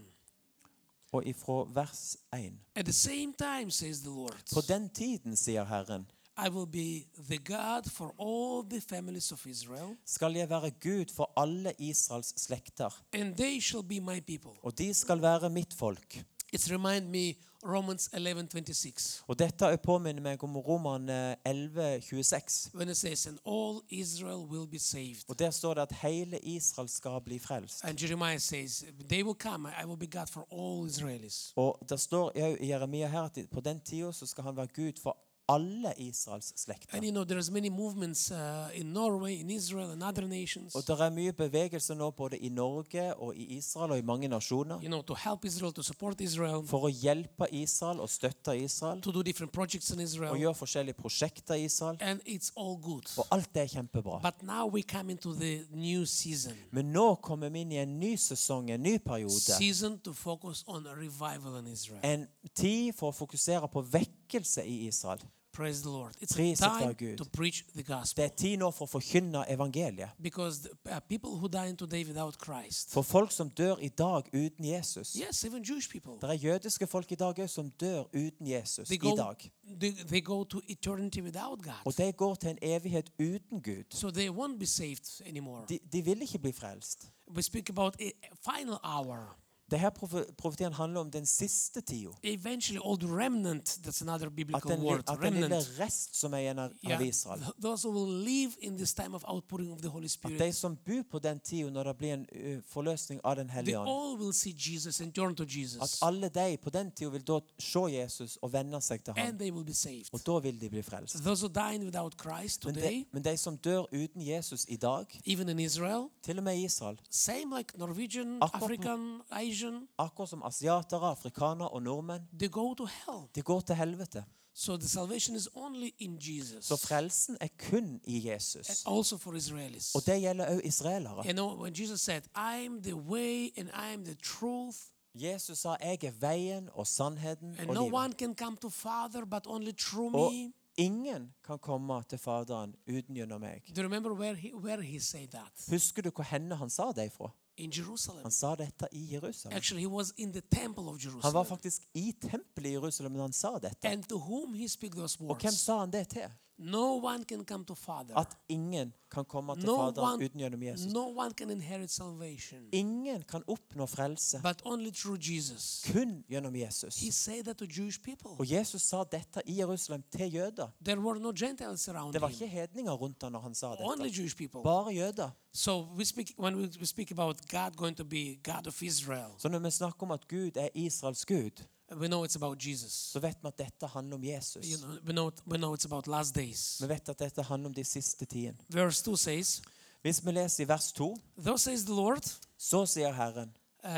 [SPEAKER 2] og ifra vers 1
[SPEAKER 1] At the same time, says the Lord,
[SPEAKER 2] På den tiden, sier Herren,
[SPEAKER 1] I will be the God for all the families of Israel,
[SPEAKER 2] skal jeg være Gud for alle Israels slekter,
[SPEAKER 1] and they shall be my people.
[SPEAKER 2] og de skal være mitt folk.
[SPEAKER 1] It reminds me Romans 11:26
[SPEAKER 2] Og dette er påminner meg om eh, Romerne 11,26.
[SPEAKER 1] when it says, "And all Israel will be saved."
[SPEAKER 2] Og der står det at hele Israel skal bli frelst.
[SPEAKER 1] And Jeremiah says, "They will come. I will be God for all Israelis."
[SPEAKER 2] Og det står jo i Jeremia her at på den tida så skal han være Gud for alle Israels slekter.
[SPEAKER 1] And you know, there's many movements uh, in Norway, in Israel, and other nations.
[SPEAKER 2] Og det er mye bevegelse nå både i Norge og i Israel og i mange nasjoner
[SPEAKER 1] You know, to help Israel, to support Israel,
[SPEAKER 2] for å hjelpe Israel og støtte Israel
[SPEAKER 1] to do different projects in
[SPEAKER 2] og
[SPEAKER 1] Israel,
[SPEAKER 2] gjøre forskjellige prosjekter i Israel.
[SPEAKER 1] and it's all good.
[SPEAKER 2] Og alt det er kjempebra.
[SPEAKER 1] But now we come into the new season,
[SPEAKER 2] Men nå kommer vi inn i en ny sesong, en ny periode.
[SPEAKER 1] season to focus on revival in Israel.
[SPEAKER 2] En tid for å fokusere på vekkelse i Israel.
[SPEAKER 1] Praise the Lord. It's
[SPEAKER 2] Priset vare
[SPEAKER 1] time
[SPEAKER 2] Gud.
[SPEAKER 1] to preach the gospel.
[SPEAKER 2] Det er tid nå for å forkynne evangeliet.
[SPEAKER 1] Because the, uh, people who dying today without Christ,
[SPEAKER 2] For folk som dør i dag uten Jesus.
[SPEAKER 1] yes, even Jewish people,
[SPEAKER 2] Det er jødiske folk i dag òg som dør uten Jesus
[SPEAKER 1] they
[SPEAKER 2] i
[SPEAKER 1] go,
[SPEAKER 2] dag.
[SPEAKER 1] they, they go to eternity without God.
[SPEAKER 2] Og de går til en evighet uten Gud.
[SPEAKER 1] So they won't be saved anymore.
[SPEAKER 2] De, de vil ikke bli frelst.
[SPEAKER 1] We speak about a final hour.
[SPEAKER 2] Dette profetien handler om den siste tida.
[SPEAKER 1] Eventually, all the remnant, that's another
[SPEAKER 2] At
[SPEAKER 1] biblical
[SPEAKER 2] den, li-
[SPEAKER 1] word,
[SPEAKER 2] at den lille
[SPEAKER 1] remnant.
[SPEAKER 2] rest som er igjen av
[SPEAKER 1] Yeah,
[SPEAKER 2] av Israel
[SPEAKER 1] th- those who will live in this time of outpouring of the Holy
[SPEAKER 2] At
[SPEAKER 1] Spirit,
[SPEAKER 2] de som bor på den tida når det blir en ø, forløsning av Den
[SPEAKER 1] they
[SPEAKER 2] hellige ånd
[SPEAKER 1] all will see Jesus and turn to
[SPEAKER 2] At
[SPEAKER 1] Jesus,
[SPEAKER 2] alle de på den tida vil da se Jesus og venne seg til ham.
[SPEAKER 1] and they will be saved.
[SPEAKER 2] Og da vil de bli frelst.
[SPEAKER 1] Those who dying without Christ
[SPEAKER 2] Men de,
[SPEAKER 1] today,
[SPEAKER 2] men de som dør uten Jesus i dag,
[SPEAKER 1] even in Israel,
[SPEAKER 2] til og med i Israel,
[SPEAKER 1] same like Norwegian,
[SPEAKER 2] Akkurat-
[SPEAKER 1] African, Asian,
[SPEAKER 2] akkurat som asiatere, afrikanere og nordmenn,
[SPEAKER 1] they go to hell.
[SPEAKER 2] de går til helvete.
[SPEAKER 1] So the salvation is only in Jesus.
[SPEAKER 2] Så frelsen er kun i Jesus.
[SPEAKER 1] and also for Israelis.
[SPEAKER 2] Og det gjelder òg israelere.
[SPEAKER 1] You know, when Jesus said, I am the way and I am the truth,
[SPEAKER 2] Jesus sa 'Jeg er veien og sannheten
[SPEAKER 1] and
[SPEAKER 2] og
[SPEAKER 1] no
[SPEAKER 2] livet'.
[SPEAKER 1] one can come to Father but only through
[SPEAKER 2] Og
[SPEAKER 1] me.
[SPEAKER 2] ingen kan komme til Faderen uten gjennom meg.
[SPEAKER 1] Do you remember where he, where he said that?
[SPEAKER 2] Husker du hvor henne han sa det ifra?
[SPEAKER 1] In Jerusalem.
[SPEAKER 2] Han sa dette i Jerusalem.
[SPEAKER 1] Actually, he was in the temple of
[SPEAKER 2] Han var
[SPEAKER 1] Jerusalem.
[SPEAKER 2] faktisk i tempelet i Jerusalem da han sa dette.
[SPEAKER 1] And to whom he spoke those
[SPEAKER 2] Og hvem
[SPEAKER 1] words?
[SPEAKER 2] sa han det til?
[SPEAKER 1] No one can come to Father.
[SPEAKER 2] At ingen kan komme til
[SPEAKER 1] No
[SPEAKER 2] Faderen
[SPEAKER 1] one- Mm.
[SPEAKER 2] uten gjennom Jesus.
[SPEAKER 1] No one can inherit salvation
[SPEAKER 2] Ingen kan oppnå frelse
[SPEAKER 1] but only through Jesus.
[SPEAKER 2] kun gjennom Jesus.
[SPEAKER 1] He said that to Jewish people.
[SPEAKER 2] Og Jesus sa dette i Jerusalem til jøder.
[SPEAKER 1] There were no Gentiles around
[SPEAKER 2] Det var
[SPEAKER 1] him.
[SPEAKER 2] ikke hedninger rundt han når han sa
[SPEAKER 1] Only
[SPEAKER 2] dette.
[SPEAKER 1] Jewish people.
[SPEAKER 2] Bare jøder.
[SPEAKER 1] So we speak when we we speak about God going to be God of Israel,
[SPEAKER 2] Så når vi snakker om at Gud er Israels Gud,
[SPEAKER 1] we know it's about Jesus.
[SPEAKER 2] så vet vi at dette handler om
[SPEAKER 1] You
[SPEAKER 2] Jesus.
[SPEAKER 1] know, we know we know it's about last days.
[SPEAKER 2] Vi vet at dette handler om de siste tiden.
[SPEAKER 1] Verse two says,
[SPEAKER 2] Hvis vi leser i vers 2,
[SPEAKER 1] "Thus says the Lord,
[SPEAKER 2] så sier Herren
[SPEAKER 1] uh,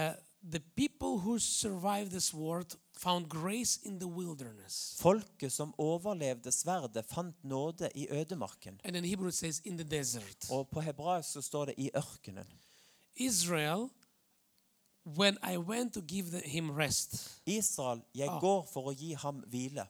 [SPEAKER 1] the people who survived this world found grace in the wilderness."
[SPEAKER 2] Folket som overlevde sverdet, fant nåde i ødemarken.
[SPEAKER 1] And in Hebrew it says, "In the desert."
[SPEAKER 2] Og på hebraisk så står det i ørkenen.
[SPEAKER 1] Israel, when I went to give the, him rest,
[SPEAKER 2] Israel, jeg
[SPEAKER 1] Ah.
[SPEAKER 2] går for å gi ham hvile.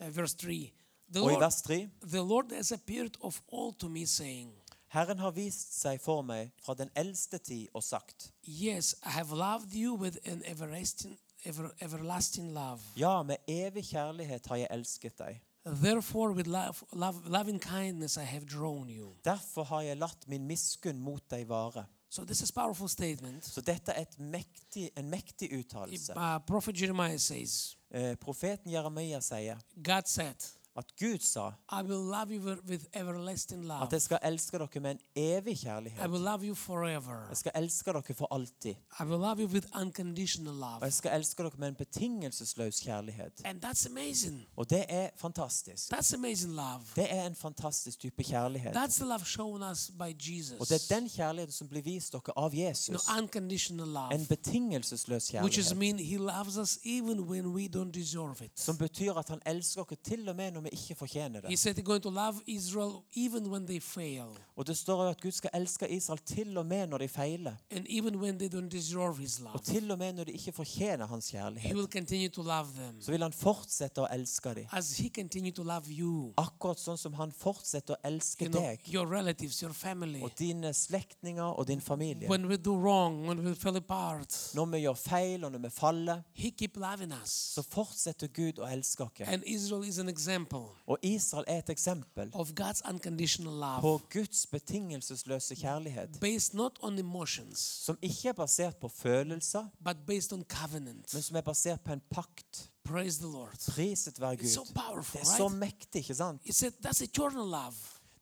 [SPEAKER 1] uh, verse three, the
[SPEAKER 2] Og i
[SPEAKER 1] Lord,
[SPEAKER 2] vers 3
[SPEAKER 1] the Lord has appeared of old to me, saying.
[SPEAKER 2] Herren har vist seg for meg fra den eldste tid og sagt
[SPEAKER 1] Yes, I have loved you with an everlasting, ever, everlasting love.
[SPEAKER 2] Ja, med evig kjærlighet har jeg elsket deg.
[SPEAKER 1] Therefore, with love, love, loving kindness, I have drawn you.
[SPEAKER 2] Derfor har jeg latt min miskunn mot deg vare.
[SPEAKER 1] So this is powerful statement.
[SPEAKER 2] Så dette er et mektig, en mektig
[SPEAKER 1] If,
[SPEAKER 2] uttalelse.
[SPEAKER 1] Uh, Prophet Jeremiah says,
[SPEAKER 2] Eh, profeten Jeremia sier
[SPEAKER 1] God said,
[SPEAKER 2] at Gud sa
[SPEAKER 1] I will love you with- with everlasting
[SPEAKER 2] at
[SPEAKER 1] love.
[SPEAKER 2] jeg skal elske dere med en evig
[SPEAKER 1] I
[SPEAKER 2] kjærlighet.
[SPEAKER 1] will love you forever.
[SPEAKER 2] Jeg skal elske dere for alltid.
[SPEAKER 1] I will love you with unconditional
[SPEAKER 2] Og jeg
[SPEAKER 1] love.
[SPEAKER 2] skal elske dere med en betingelsesløs kjærlighet.
[SPEAKER 1] And that's amazing.
[SPEAKER 2] Og det er fantastisk.
[SPEAKER 1] That's amazing love.
[SPEAKER 2] Det er en fantastisk type kjærlighet.
[SPEAKER 1] That's the love shown us by
[SPEAKER 2] Og det er
[SPEAKER 1] Jesus.
[SPEAKER 2] den kjærligheten som blir vist dere av
[SPEAKER 1] No,
[SPEAKER 2] Jesus.
[SPEAKER 1] unconditional
[SPEAKER 2] En
[SPEAKER 1] love.
[SPEAKER 2] betingelsesløs
[SPEAKER 1] Which is
[SPEAKER 2] kjærlighet.
[SPEAKER 1] mean he loves us even when we don't deserve it.
[SPEAKER 2] Som betyr at han elsker dere til og med når vi ikke fortjener
[SPEAKER 1] He
[SPEAKER 2] det.
[SPEAKER 1] said he's going to love Israel even when they fail
[SPEAKER 2] Og det står jo at Gud skal elske Israel til og med når de feiler.
[SPEAKER 1] and even when they don't deserve his
[SPEAKER 2] Og
[SPEAKER 1] love.
[SPEAKER 2] til og med når de ikke fortjener
[SPEAKER 1] He
[SPEAKER 2] hans kjærlighet.
[SPEAKER 1] will continue to love them
[SPEAKER 2] Så vil han fortsette å elske dem.
[SPEAKER 1] as he continue to love you.
[SPEAKER 2] Akkurat sånn som han fortsetter å elske
[SPEAKER 1] You know,
[SPEAKER 2] deg
[SPEAKER 1] your relatives, your family.
[SPEAKER 2] og dine slektninger og din familie.
[SPEAKER 1] When we do wrong, when we fall apart,
[SPEAKER 2] Når vi gjør feil, og når vi faller,
[SPEAKER 1] he keep loving us.
[SPEAKER 2] så fortsetter Gud å elske oss.
[SPEAKER 1] And Israel is an example
[SPEAKER 2] Og Israel er et eksempel
[SPEAKER 1] of God's unconditional
[SPEAKER 2] på
[SPEAKER 1] love
[SPEAKER 2] Guds betingelsesløse kjærlighet,
[SPEAKER 1] based not on emotions
[SPEAKER 2] som ikke er basert på følelser,
[SPEAKER 1] but based on covenant.
[SPEAKER 2] men som er basert på en pakt.
[SPEAKER 1] Praise the Lord.
[SPEAKER 2] Priset være
[SPEAKER 1] It's so
[SPEAKER 2] Gud.
[SPEAKER 1] powerful,
[SPEAKER 2] Det er så
[SPEAKER 1] right?
[SPEAKER 2] mektig, ikke sant?
[SPEAKER 1] He said that's eternal love.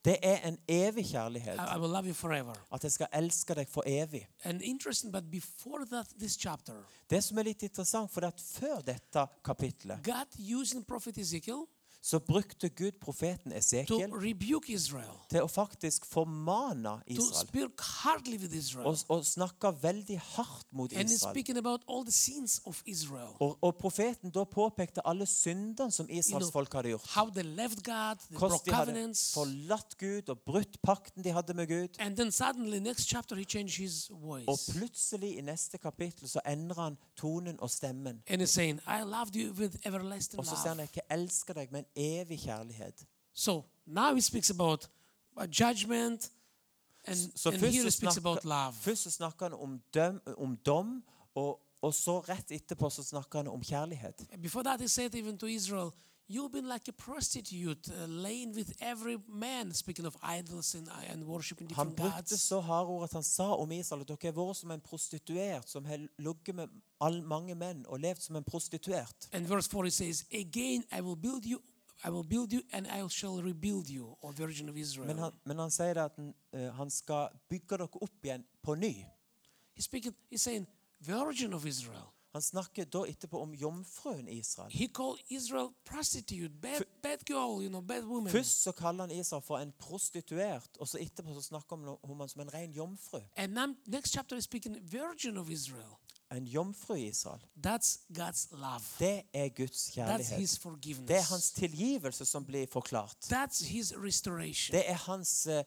[SPEAKER 2] Det er en evig kjærlighet.
[SPEAKER 1] I, I will love you forever.
[SPEAKER 2] At jeg skal elske deg for evig.
[SPEAKER 1] And interesting, but before that, this chapter,
[SPEAKER 2] Det som er litt interessant, for at før dette kapitlet
[SPEAKER 1] God using prophet Ezekiel
[SPEAKER 2] så brukte Gud profeten
[SPEAKER 1] to
[SPEAKER 2] Esekiel
[SPEAKER 1] rebuke Israel,
[SPEAKER 2] til å faktisk formane
[SPEAKER 1] to
[SPEAKER 2] Israel.
[SPEAKER 1] speak hardly with Israel.
[SPEAKER 2] Og, og snakke veldig hardt mot
[SPEAKER 1] And he's
[SPEAKER 2] Israel.
[SPEAKER 1] speaking about all the sins of Israel.
[SPEAKER 2] Og, og profeten da påpekte alle syndene som Israels folk hadde gjort.
[SPEAKER 1] How they left God, they
[SPEAKER 2] Hvordan
[SPEAKER 1] broke
[SPEAKER 2] de hadde
[SPEAKER 1] covenants.
[SPEAKER 2] forlatt Gud og brutt pakten de hadde med Gud.
[SPEAKER 1] And then suddenly, next chapter, he changed his
[SPEAKER 2] Og
[SPEAKER 1] voice.
[SPEAKER 2] plutselig, i neste kapittel, så endrer han tonen og stemmen.
[SPEAKER 1] And he's saying, I loved you with everlasting
[SPEAKER 2] Og så sier
[SPEAKER 1] love.
[SPEAKER 2] han ikke 'elsker deg', men 'evig kjærlighet'.
[SPEAKER 1] So now he speaks about uh, judgment, and,
[SPEAKER 2] Så
[SPEAKER 1] and
[SPEAKER 2] først
[SPEAKER 1] here he
[SPEAKER 2] så
[SPEAKER 1] speaks
[SPEAKER 2] snakker,
[SPEAKER 1] about love.
[SPEAKER 2] først så snakker han om, døm, om dom, og, og så rett etterpå så snakker han om kjærlighet.
[SPEAKER 1] And Before that, he said even to Israel, You've been like a prostitute, uh, laying with every man, speaking of idols and, uh, and worshiping
[SPEAKER 2] Han
[SPEAKER 1] different
[SPEAKER 2] brukte
[SPEAKER 1] gods.
[SPEAKER 2] så harde ord at han sa om Israel at dere har vært som en prostituert som har ligget med all, mange menn og levd som en prostituert.
[SPEAKER 1] And verse 4 he says, Again I will build you, I will build you, and I shall rebuild you, O Virgin of Israel.
[SPEAKER 2] Men han, men han sier det at han, eh, han skal bygge dere opp igjen på ny.
[SPEAKER 1] he's speaking, he's saying, Virgin of Israel.
[SPEAKER 2] Han snakker da etterpå om jomfruen Israel.
[SPEAKER 1] He called Israel prostitute, bad, bad girl, you know, bad woman.
[SPEAKER 2] Først så kaller han Israel for en prostituert, og så etterpå så snakker han om han som en ren jomfru.
[SPEAKER 1] And now, next chapter is speaking Virgin of Israel.
[SPEAKER 2] En jomfru i Israel.
[SPEAKER 1] That's God's love.
[SPEAKER 2] Det er Guds
[SPEAKER 1] That's
[SPEAKER 2] kjærlighet.
[SPEAKER 1] His
[SPEAKER 2] Det er hans
[SPEAKER 1] forgiveness.
[SPEAKER 2] tilgivelse som blir forklart.
[SPEAKER 1] That's His restoration.
[SPEAKER 2] Det er hans eh,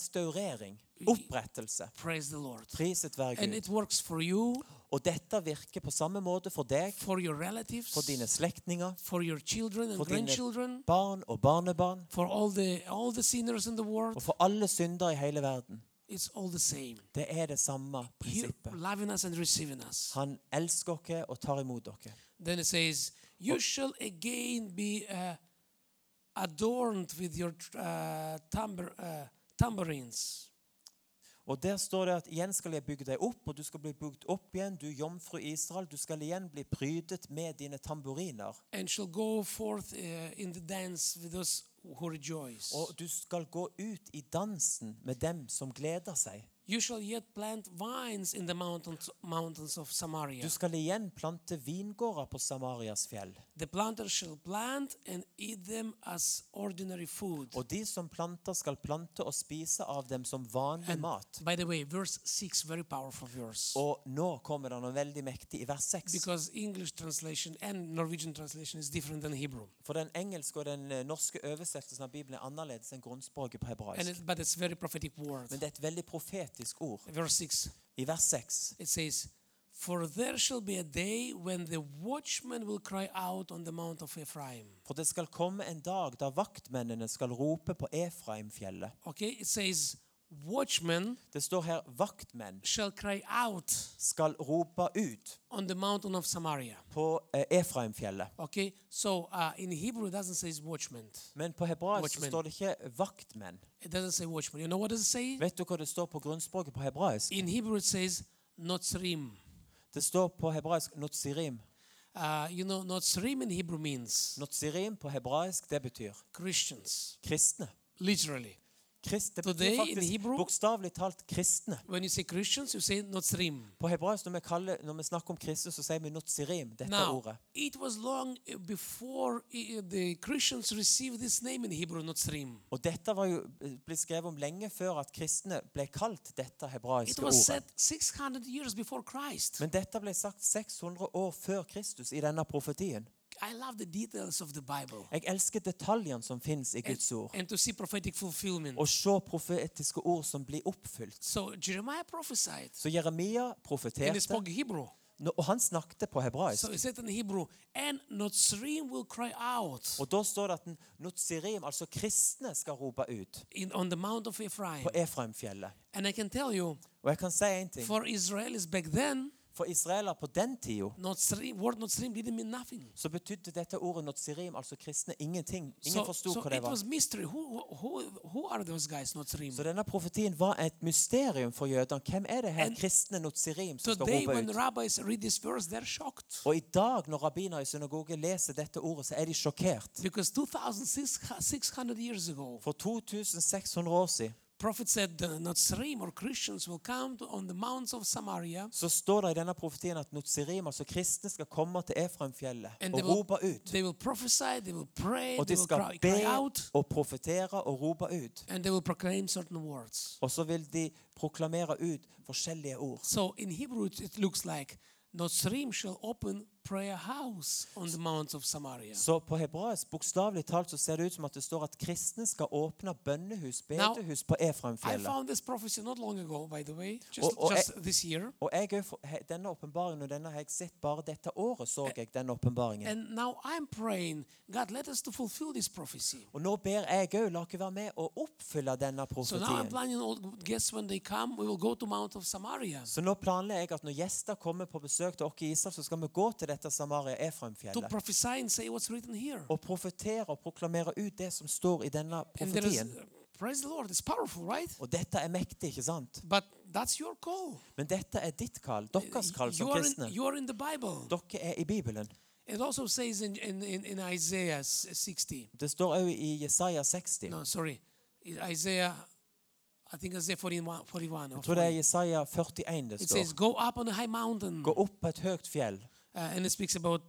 [SPEAKER 2] restaurering, opprettelse.
[SPEAKER 1] Praise the Lord.
[SPEAKER 2] Priset være
[SPEAKER 1] And
[SPEAKER 2] Gud.
[SPEAKER 1] it works for you,
[SPEAKER 2] Og dette virker på samme måte for deg,
[SPEAKER 1] for your relatives,
[SPEAKER 2] for dine slektninger,
[SPEAKER 1] for your children and
[SPEAKER 2] for dine
[SPEAKER 1] grandchildren,
[SPEAKER 2] barn og barnebarn,
[SPEAKER 1] for all the all the sinners in the world.
[SPEAKER 2] og for alle syndere i hele verden.
[SPEAKER 1] It's all the same.
[SPEAKER 2] Det er det samme
[SPEAKER 1] He
[SPEAKER 2] prinsippet.
[SPEAKER 1] loving us and receiving us.
[SPEAKER 2] Han elsker dere og tar imot dere.
[SPEAKER 1] Then it says, "You shall again be uh, adorned with your tr- uh, tambour, uh, tambourines."
[SPEAKER 2] Og der står det at igjen skal jeg bygge deg opp, og du skal bli bygd opp igjen, du jomfru Israel. Du skal igjen bli prydet med dine tamburiner.
[SPEAKER 1] and shall go forth uh, in the dance with those who rejoice.
[SPEAKER 2] Og du skal gå ut i dansen med dem som gleder seg.
[SPEAKER 1] You shall yet plant vines in the mountains, mountains of Samaria.
[SPEAKER 2] Du skal igjen plante vingårder på Samarias fjell.
[SPEAKER 1] The planter shall plant and eat them as ordinary food.
[SPEAKER 2] Og de som planter, skal plante og spise av dem som vanlig mat.
[SPEAKER 1] By the way, verse 6, very powerful verse.
[SPEAKER 2] Og nå kommer det noe veldig mektig i vers 6.
[SPEAKER 1] Because English translation and Norwegian translation is different than Hebrew.
[SPEAKER 2] For den engelske og den eh, norske oversettelsen av Bibelen er annerledes enn grunnspråket på
[SPEAKER 1] And
[SPEAKER 2] hebraisk.
[SPEAKER 1] it, but it's very prophetic word.
[SPEAKER 2] Men det er et veldig profetisk ord.
[SPEAKER 1] Verse 6,
[SPEAKER 2] I vers 6
[SPEAKER 1] it says, For there shall be a day when the watchman will cry out on the mount of Ephraim.
[SPEAKER 2] For det skal komme en dag da vaktmennene skal rope på Efraimfjellet.
[SPEAKER 1] Okay, it says, Watchmen
[SPEAKER 2] Det står her vaktmenn
[SPEAKER 1] shall cry out
[SPEAKER 2] skal rope ut
[SPEAKER 1] on the mountain of Samaria.
[SPEAKER 2] på eh, Efraimfjellet.
[SPEAKER 1] Okay, so uh, in Hebrew it doesn't say watchmen.
[SPEAKER 2] Men på hebraisk så
[SPEAKER 1] Watchmen.
[SPEAKER 2] står det ikke vaktmenn.
[SPEAKER 1] It doesn't say watchmen. You know what does it say?
[SPEAKER 2] Vet du hva det står på grunnspråket på hebraisk?
[SPEAKER 1] In Hebrew it says notzrim.
[SPEAKER 2] Det står på hebraisk notzirim.
[SPEAKER 1] Uh, you know, notzrim in Hebrew means
[SPEAKER 2] Notzirim på hebraisk, det betyr
[SPEAKER 1] Christians,
[SPEAKER 2] kristne.
[SPEAKER 1] literally.
[SPEAKER 2] Krist, det
[SPEAKER 1] Today
[SPEAKER 2] betyr
[SPEAKER 1] in
[SPEAKER 2] faktisk
[SPEAKER 1] Hebrew-
[SPEAKER 2] bokstavelig talt kristne.
[SPEAKER 1] When you say Christians, you say notzrim.
[SPEAKER 2] På hebraisk, når vi, kaller, når vi snakker om kristne, så sier vi notzirim, dette
[SPEAKER 1] Now,
[SPEAKER 2] ordet.
[SPEAKER 1] it was long uh, before uh, the Christians received this name in Hebrew, notzrim.
[SPEAKER 2] Og dette var jo ble skrevet om lenge før at kristne ble kalt dette
[SPEAKER 1] It
[SPEAKER 2] hebraiske
[SPEAKER 1] was
[SPEAKER 2] ordet.
[SPEAKER 1] said 600 years before Christ.
[SPEAKER 2] Men dette ble sagt 600 år før Kristus i denne profetien.
[SPEAKER 1] I love the details of the Bible
[SPEAKER 2] Jeg elsker detaljene som fins i
[SPEAKER 1] and,
[SPEAKER 2] Guds ord.
[SPEAKER 1] and to see prophetic fulfillment.
[SPEAKER 2] Og se profetiske ord som blir oppfylt.
[SPEAKER 1] So Jeremiah prophesied,
[SPEAKER 2] Så Jeremia
[SPEAKER 1] and he
[SPEAKER 2] profeterte,
[SPEAKER 1] spoke Hebrew.
[SPEAKER 2] nå- og han snakket
[SPEAKER 1] So
[SPEAKER 2] på hebraisk.
[SPEAKER 1] he said in Hebrew, and Nazarene will cry out
[SPEAKER 2] Og da står det at den- Nutsirim, altså kristne, skal rope ut
[SPEAKER 1] in, on the Mount of Ephraim.
[SPEAKER 2] på Efraimfjellet.
[SPEAKER 1] And I can tell you,
[SPEAKER 2] Og jeg kan si én ting.
[SPEAKER 1] for Israelis back then,
[SPEAKER 2] For israelere på den tida
[SPEAKER 1] Nazarene, word Nazarene didn't mean nothing.
[SPEAKER 2] så betydde dette ordet Nutsirim, altså kristne, ingenting. Ingen
[SPEAKER 1] So,
[SPEAKER 2] forsto
[SPEAKER 1] so
[SPEAKER 2] hva det
[SPEAKER 1] it
[SPEAKER 2] var.
[SPEAKER 1] was mystery. Who, who, who are those guys, Nazarene?
[SPEAKER 2] Så denne profetien var et mysterium for jødene. Hvem er det her
[SPEAKER 1] And
[SPEAKER 2] kristne Nutsirim som skal
[SPEAKER 1] Today,
[SPEAKER 2] rope
[SPEAKER 1] when
[SPEAKER 2] ut?
[SPEAKER 1] rabbis read this verse, they're shocked
[SPEAKER 2] Og i dag, når rabbiner i synagogen leser dette ordet, så er de sjokkert.
[SPEAKER 1] because 2,600 years ago,
[SPEAKER 2] For 2600 år siden
[SPEAKER 1] prophet said the Nazarene or Christians will come to, on the mounts of Samaria
[SPEAKER 2] så står det i denne profetien at Nutsirim, altså kristne, skal komme til Efraimfjellet
[SPEAKER 1] And
[SPEAKER 2] og
[SPEAKER 1] they will-
[SPEAKER 2] rope ut.
[SPEAKER 1] They will prophesy, they will pray,
[SPEAKER 2] Og
[SPEAKER 1] they
[SPEAKER 2] de
[SPEAKER 1] will
[SPEAKER 2] skal
[SPEAKER 1] cry,
[SPEAKER 2] be
[SPEAKER 1] cry out,
[SPEAKER 2] og profetere og rope ut.
[SPEAKER 1] and they will proclaim certain words.
[SPEAKER 2] Og så vil de proklamere ut forskjellige ord.
[SPEAKER 1] So in Hebrew, it, it looks like Nazrim shall open prayer house on the mounts of Samaria.
[SPEAKER 2] Så på hebraisk, bokstavelig talt, så ser det ut som at det står at kristne skal åpne bønnehus, bedehus, på
[SPEAKER 1] I
[SPEAKER 2] Efraimfjellet.
[SPEAKER 1] found this prophecy not long ago, by the way, just,
[SPEAKER 2] Oh, oh,
[SPEAKER 1] just this year.
[SPEAKER 2] Og jeg, er for- he- denne åpenbaringen og denne har jeg sett bare dette året. så jeg denne åpenbaringen.
[SPEAKER 1] And now I'm praying, God, let us to fulfill this prophecy.
[SPEAKER 2] Og nå ber jeg òg, la dere være med å oppfylle denne
[SPEAKER 1] So now I'm
[SPEAKER 2] profetien.
[SPEAKER 1] planning, all, guess when they come, we will go to Mount of Samaria
[SPEAKER 2] Så nå planlegger jeg at når gjester kommer på besøk til oss i Israel, så skal vi gå til dette Samaria
[SPEAKER 1] to
[SPEAKER 2] Efraimfjellet
[SPEAKER 1] prophesy and Oh, say what's written here.
[SPEAKER 2] og profetere og proklamere ut det som står i denne
[SPEAKER 1] And there is, uh,
[SPEAKER 2] profetien.
[SPEAKER 1] praise the Lord, it's powerful, right?
[SPEAKER 2] Og dette er mektig, ikke sant?
[SPEAKER 1] But that's your call.
[SPEAKER 2] Men dette er ditt kall, deres kall
[SPEAKER 1] Eh,
[SPEAKER 2] som
[SPEAKER 1] you, are in,
[SPEAKER 2] kristne.
[SPEAKER 1] you are in the Bible.
[SPEAKER 2] Dere er i Bibelen.
[SPEAKER 1] It also says in, in, in, in Isaiah s- 60.
[SPEAKER 2] Det står òg i Jesaja 60.
[SPEAKER 1] No, sorry. I- Isaiah, I think Isaiah 41. 41 or
[SPEAKER 2] Jeg tror det
[SPEAKER 1] 40.
[SPEAKER 2] er Jesaja 41 det
[SPEAKER 1] It
[SPEAKER 2] står.
[SPEAKER 1] says, Go up on a high mountain.
[SPEAKER 2] Gå opp på et høyt fjell.
[SPEAKER 1] Uh, and it speaks about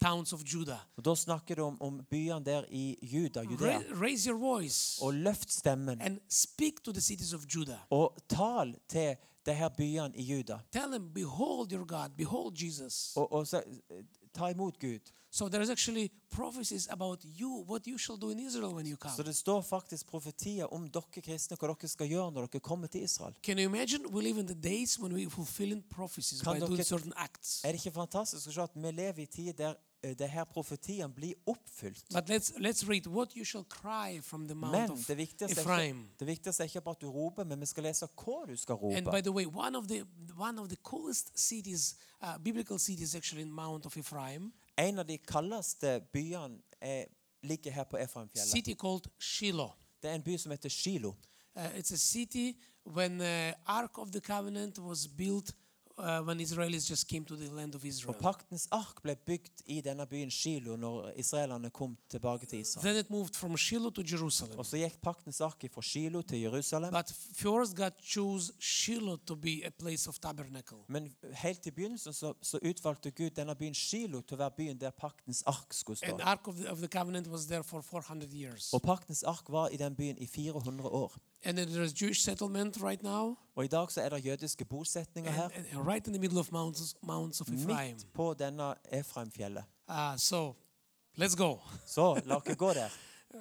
[SPEAKER 1] towns of Judah.
[SPEAKER 2] Og Da snakker det om, om byene der i Juda, Judea.
[SPEAKER 1] Ra- raise your voice
[SPEAKER 2] Og løft stemmen.
[SPEAKER 1] and speak to the cities of Judah.
[SPEAKER 2] Og tal til de her byene i Juda.
[SPEAKER 1] Tell them, Behold your God, behold Jesus.
[SPEAKER 2] Og, og så, eh, ta imot Gud.
[SPEAKER 1] So there is actually prophecies about you, what you shall do in Israel when you
[SPEAKER 2] Så
[SPEAKER 1] come.
[SPEAKER 2] det står faktisk profetier om dere kristne, hva dere skal gjøre når dere kommer til Israel.
[SPEAKER 1] Can you imagine? We live in the days when we fulfilling prophecies
[SPEAKER 2] Kan
[SPEAKER 1] by doing
[SPEAKER 2] dere-
[SPEAKER 1] certain acts.
[SPEAKER 2] Er det ikke fantastisk å se at vi lever i tid der eh, de her profetiene blir oppfylt?
[SPEAKER 1] But let's let's read what you shall cry from the mount
[SPEAKER 2] Men
[SPEAKER 1] of
[SPEAKER 2] det viktigste, er ikke,
[SPEAKER 1] Ephraim.
[SPEAKER 2] det viktigste er ikke bare at du roper, men vi skal lese hva du skal
[SPEAKER 1] And
[SPEAKER 2] rope.
[SPEAKER 1] by the way, one of the one of the coolest cities, uh, biblical cities actually in Mount of Ephraim,
[SPEAKER 2] En av de kaldeste byene er, ligger her på Efraimfjellet.
[SPEAKER 1] city called Shiloh.
[SPEAKER 2] Det er en by som heter Shilo.
[SPEAKER 1] Uh, it's a city when the Ark of the Covenant was built uh, when Israelis just came to the land of Israel.
[SPEAKER 2] Og Paktens ark ble bygd i denne byen Shilo når israelerne kom tilbake til Israel.
[SPEAKER 1] Then it moved from Shiloh to Jerusalem.
[SPEAKER 2] Og så gikk Paktens ark fra Shilo til Jerusalem.
[SPEAKER 1] But first God chose Shiloh to be a place of tabernacle.
[SPEAKER 2] Men helt i begynnelsen så, så utvalgte Gud denne byen Shilo til å være byen der Paktens ark skulle
[SPEAKER 1] And
[SPEAKER 2] stå.
[SPEAKER 1] Ark of the, of the Covenant was there for 400 years.
[SPEAKER 2] Og Paktens ark var i den byen i 400 år.
[SPEAKER 1] And then there's Jewish settlement right now.
[SPEAKER 2] Og i dag så er det jødiske bosetninger
[SPEAKER 1] and,
[SPEAKER 2] her,
[SPEAKER 1] and- and right in the middle of mountains, mounts of Ephraim.
[SPEAKER 2] midt på denne Efraimfjellet.
[SPEAKER 1] Uh, so, let's go.
[SPEAKER 2] Så la dere gå der.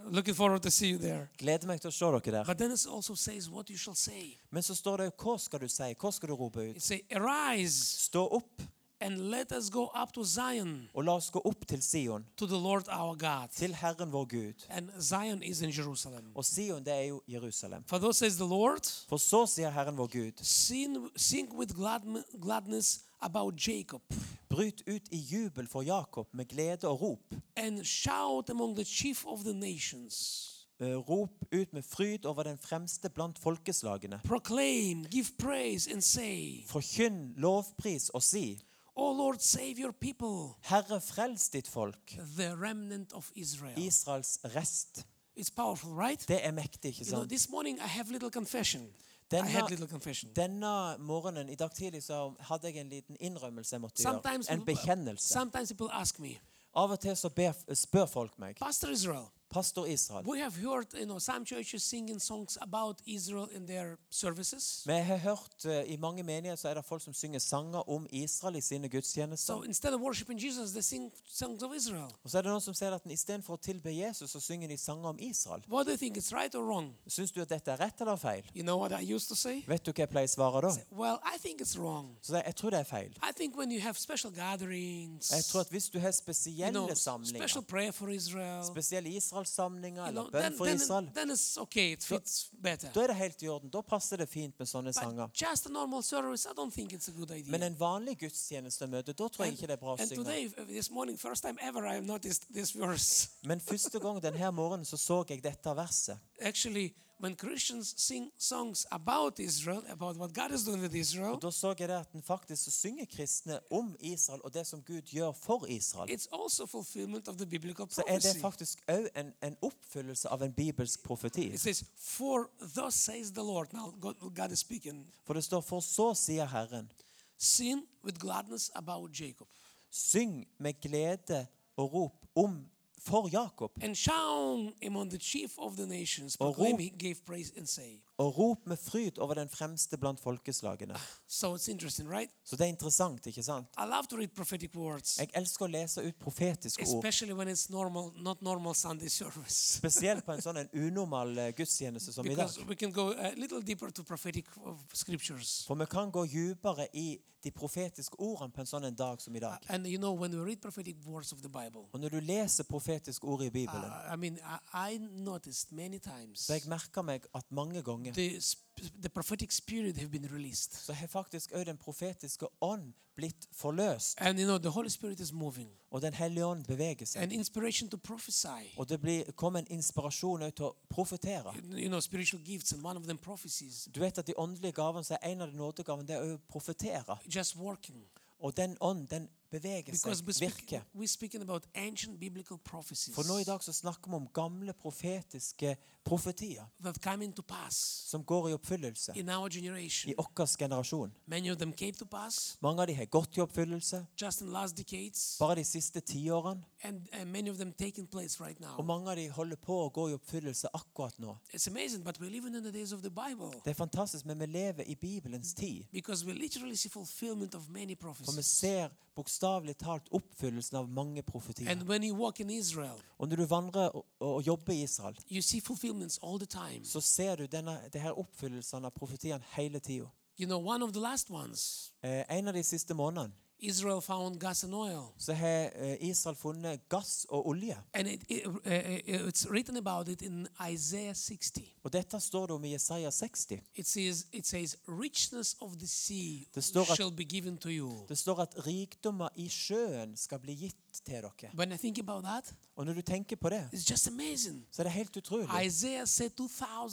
[SPEAKER 1] Looking forward to see you there.
[SPEAKER 2] Gleder meg til å se dere der.
[SPEAKER 1] But then it also says what you shall say.
[SPEAKER 2] Men så står det jo hva skal du si? Hva skal du rope
[SPEAKER 1] It
[SPEAKER 2] ut?
[SPEAKER 1] say, arise
[SPEAKER 2] Stå opp,
[SPEAKER 1] and let us go up to Zion,
[SPEAKER 2] og la oss gå opp til Sion,
[SPEAKER 1] to the Lord our God.
[SPEAKER 2] til Herren vår Gud.
[SPEAKER 1] And Zion is in Jerusalem.
[SPEAKER 2] Og Sion, det er jo Jerusalem.
[SPEAKER 1] For thus says the Lord,
[SPEAKER 2] For så sier Herren vår Gud,
[SPEAKER 1] sing, sing with gladm- gladness about Jacob,
[SPEAKER 2] bryt ut i jubel for Jakob med glede og rop.
[SPEAKER 1] and shout among the chief of the nations.
[SPEAKER 2] Eh, Rop ut med fryd over den fremste blant folkeslagene.
[SPEAKER 1] Proclaim, give praise, and say,
[SPEAKER 2] Forkynn lovpris og si,
[SPEAKER 1] O Lord, save your people.
[SPEAKER 2] Herre, frels ditt folk,
[SPEAKER 1] the remnant of Israel.
[SPEAKER 2] Israels rest.
[SPEAKER 1] It's powerful, right?
[SPEAKER 2] Det er mektig, ikke
[SPEAKER 1] You know,
[SPEAKER 2] sant?
[SPEAKER 1] this morning I have little confession. I
[SPEAKER 2] Then
[SPEAKER 1] had
[SPEAKER 2] how-
[SPEAKER 1] little confession.
[SPEAKER 2] Denne morgenen, i dag tidlig, så hadde jeg en liten innrømmelse jeg måtte gjøre.
[SPEAKER 1] Sometimes
[SPEAKER 2] En
[SPEAKER 1] people-
[SPEAKER 2] bekjennelse.
[SPEAKER 1] Sometimes people ask me,
[SPEAKER 2] Av og til så ber, spør folk meg
[SPEAKER 1] Pastor Israel,
[SPEAKER 2] Pastor Israel.
[SPEAKER 1] We have heard, you know, some churches singing songs about Israel in their services.
[SPEAKER 2] Vi har hørt eh, I mange menigheter så er det folk som synger sanger om Israel i sine gudstjenester.
[SPEAKER 1] So instead of worshiping Jesus, they sing songs of Israel.
[SPEAKER 2] Og så er det noen som sier at istedenfor å tilbe Jesus, så synger de sanger om Israel.
[SPEAKER 1] What do you think? It's right or wrong?
[SPEAKER 2] Syns du at dette er rett eller feil?
[SPEAKER 1] You know what I used to say?
[SPEAKER 2] Vet du hva jeg pleier å svare da?
[SPEAKER 1] Well, I think it's wrong.
[SPEAKER 2] Så jeg jeg tror det er feil.
[SPEAKER 1] I think when you have special gatherings,
[SPEAKER 2] Jeg tror at hvis du har
[SPEAKER 1] you know,
[SPEAKER 2] spesielle samlinger,
[SPEAKER 1] special prayer for Israel,
[SPEAKER 2] spesielle Israel-samlinger
[SPEAKER 1] you know,
[SPEAKER 2] eller
[SPEAKER 1] then,
[SPEAKER 2] bønn for
[SPEAKER 1] then,
[SPEAKER 2] Israel,
[SPEAKER 1] then it's okay. It fits better.
[SPEAKER 2] da er det helt i orden. Da passer det fint med sånne sanger.
[SPEAKER 1] But just a normal service, I don't think it's a good idea.
[SPEAKER 2] Men en vanlig gudstjenestemøte, da tror jeg ikke det er bra å
[SPEAKER 1] and
[SPEAKER 2] synge.
[SPEAKER 1] today, uh, this morning, first time ever, I have noticed this verse.
[SPEAKER 2] Men første gang denne morgenen så så jeg dette verset.
[SPEAKER 1] Actually, when Christians sing songs about Israel, about what God is doing with Israel,
[SPEAKER 2] Og Da så jeg det at en faktisk så synger kristne om Israel og det som Gud gjør for Israel.
[SPEAKER 1] it's also fulfillment of the biblical
[SPEAKER 2] Så er det
[SPEAKER 1] prophecy.
[SPEAKER 2] faktisk òg en, en oppfyllelse av en bibelsk profeti.
[SPEAKER 1] It says, For thus says the Lord. Now, God, God is speaking.
[SPEAKER 2] For det står for så sier Herren,
[SPEAKER 1] Sing with gladness about Jacob,
[SPEAKER 2] syng med glede og rop om for Jakob,
[SPEAKER 1] and shout among the chief of the nations,
[SPEAKER 2] Og rop.
[SPEAKER 1] proclaim he gave praise and say.
[SPEAKER 2] og rop med fryd over den fremste blant folkeslagene.
[SPEAKER 1] So it's interesting, right?
[SPEAKER 2] Så det er interessant, ikke sant?
[SPEAKER 1] I love to read prophetic words,
[SPEAKER 2] Jeg elsker å lese ut profetiske ord.
[SPEAKER 1] especially when it's normal, not normal Sunday service.
[SPEAKER 2] Spesielt på en sånn en unormal eh, gudstjeneste som i dag.
[SPEAKER 1] Because we can go a little deeper to prophetic uh, scriptures.
[SPEAKER 2] For vi kan gå dypere i de profetiske ordene på en sånn en dag som i dag.
[SPEAKER 1] And you know, when we read prophetic words of the Bible,
[SPEAKER 2] Og når du leser profetiske ord i Bibelen,
[SPEAKER 1] uh, I mean, I, I noticed many times
[SPEAKER 2] Så jeg merker meg at mange ganger
[SPEAKER 1] the, sp- the prophetic spirit have been released.
[SPEAKER 2] så har faktisk òg den profetiske ånd blitt forløst,
[SPEAKER 1] And you know, the Holy Spirit is moving.
[SPEAKER 2] og Den hellige ånd beveger
[SPEAKER 1] And
[SPEAKER 2] seg.
[SPEAKER 1] inspiration to prophesy.
[SPEAKER 2] Og det blir, kom en inspirasjon òg til å profetere.
[SPEAKER 1] You know, spiritual gifts, and one of them prophecies,
[SPEAKER 2] Du vet at de åndelige gavene, så er en av de nådegavene, det er å profetere.
[SPEAKER 1] just working.
[SPEAKER 2] Og den ånd, den beveger
[SPEAKER 1] Because
[SPEAKER 2] seg,
[SPEAKER 1] we're, speak-
[SPEAKER 2] virker.
[SPEAKER 1] we're speaking about ancient biblical prophecies
[SPEAKER 2] For nå i dag så snakker vi om gamle profetiske profetier
[SPEAKER 1] that come into pass
[SPEAKER 2] som går i oppfyllelse
[SPEAKER 1] in our generation.
[SPEAKER 2] i vår generasjon.
[SPEAKER 1] Many of them came to pass
[SPEAKER 2] Mange av de har gått i oppfyllelse
[SPEAKER 1] just in last decades,
[SPEAKER 2] bare de siste tiårene,
[SPEAKER 1] and, and many of them taking place right
[SPEAKER 2] og
[SPEAKER 1] now.
[SPEAKER 2] mange av de holder på å gå i oppfyllelse akkurat nå.
[SPEAKER 1] It's amazing, but we're living in the days of the Bible
[SPEAKER 2] Det er fantastisk, men vi lever i Bibelens tid.
[SPEAKER 1] because we literally see fulfillment of many
[SPEAKER 2] For vi
[SPEAKER 1] prophecies.
[SPEAKER 2] ser bokstavelig talt oppfyllelsen av mange profetier.
[SPEAKER 1] And when you walk in Israel,
[SPEAKER 2] Og når du vandrer og, og jobber i Israel,
[SPEAKER 1] you see fulfillments all the time.
[SPEAKER 2] så ser du denne, det her oppfyllelsen av profetiene hele tida.
[SPEAKER 1] You know, one of the last ones,
[SPEAKER 2] Eh, en av de siste månedene
[SPEAKER 1] Israel found gas and oil.
[SPEAKER 2] så har eh, Israel funnet gass og olje.
[SPEAKER 1] And it, it, uh, uh, it's written about it in Isaiah 60.
[SPEAKER 2] Og dette står det om i Jesaja 60.
[SPEAKER 1] It says, it says richness of the sea
[SPEAKER 2] Det står at-
[SPEAKER 1] shall be given to you.
[SPEAKER 2] Det står at rikdommer i sjøen skal bli gitt til dere.
[SPEAKER 1] When I think about that,
[SPEAKER 2] Og når du tenker på det,
[SPEAKER 1] it's just amazing.
[SPEAKER 2] så er det helt utrolig.
[SPEAKER 1] Isaiah said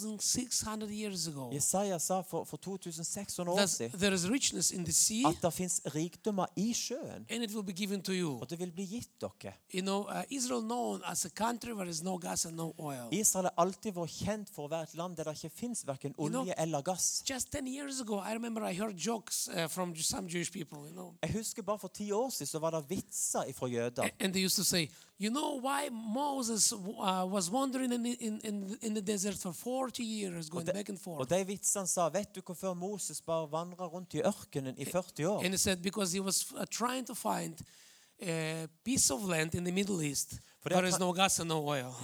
[SPEAKER 1] 2,600 years ago
[SPEAKER 2] Jesaja sa for, for 2600 år
[SPEAKER 1] that
[SPEAKER 2] siden
[SPEAKER 1] there is richness in the sea
[SPEAKER 2] at det fins rikdommer i sjøen.
[SPEAKER 1] and it will be given to you.
[SPEAKER 2] og det vil bli gitt dere.
[SPEAKER 1] You know, uh, Israel known as a country where there is no gas and no oil.
[SPEAKER 2] Israel har alltid vært kjent for å være et land der det ikke fins verken
[SPEAKER 1] know-
[SPEAKER 2] olje eller gass.
[SPEAKER 1] Just 10 years ago, I remember I heard jokes uh, from some Jewish people, you know.
[SPEAKER 2] Jeg husker bare for ti år siden så var det vitser fra jøder.
[SPEAKER 1] And they used to say, you know why Moses uh, was wandering in, in, in, in the desert for 40 years, going back and
[SPEAKER 2] Og
[SPEAKER 1] forth.
[SPEAKER 2] de vitsene sa Vet du hvorfor Moses bare vandra rundt i ørkenen i 40 år?
[SPEAKER 1] And he said, because he was uh, trying to find a piece of land in the Middle East
[SPEAKER 2] For
[SPEAKER 1] where
[SPEAKER 2] that
[SPEAKER 1] there is no gas and no oil.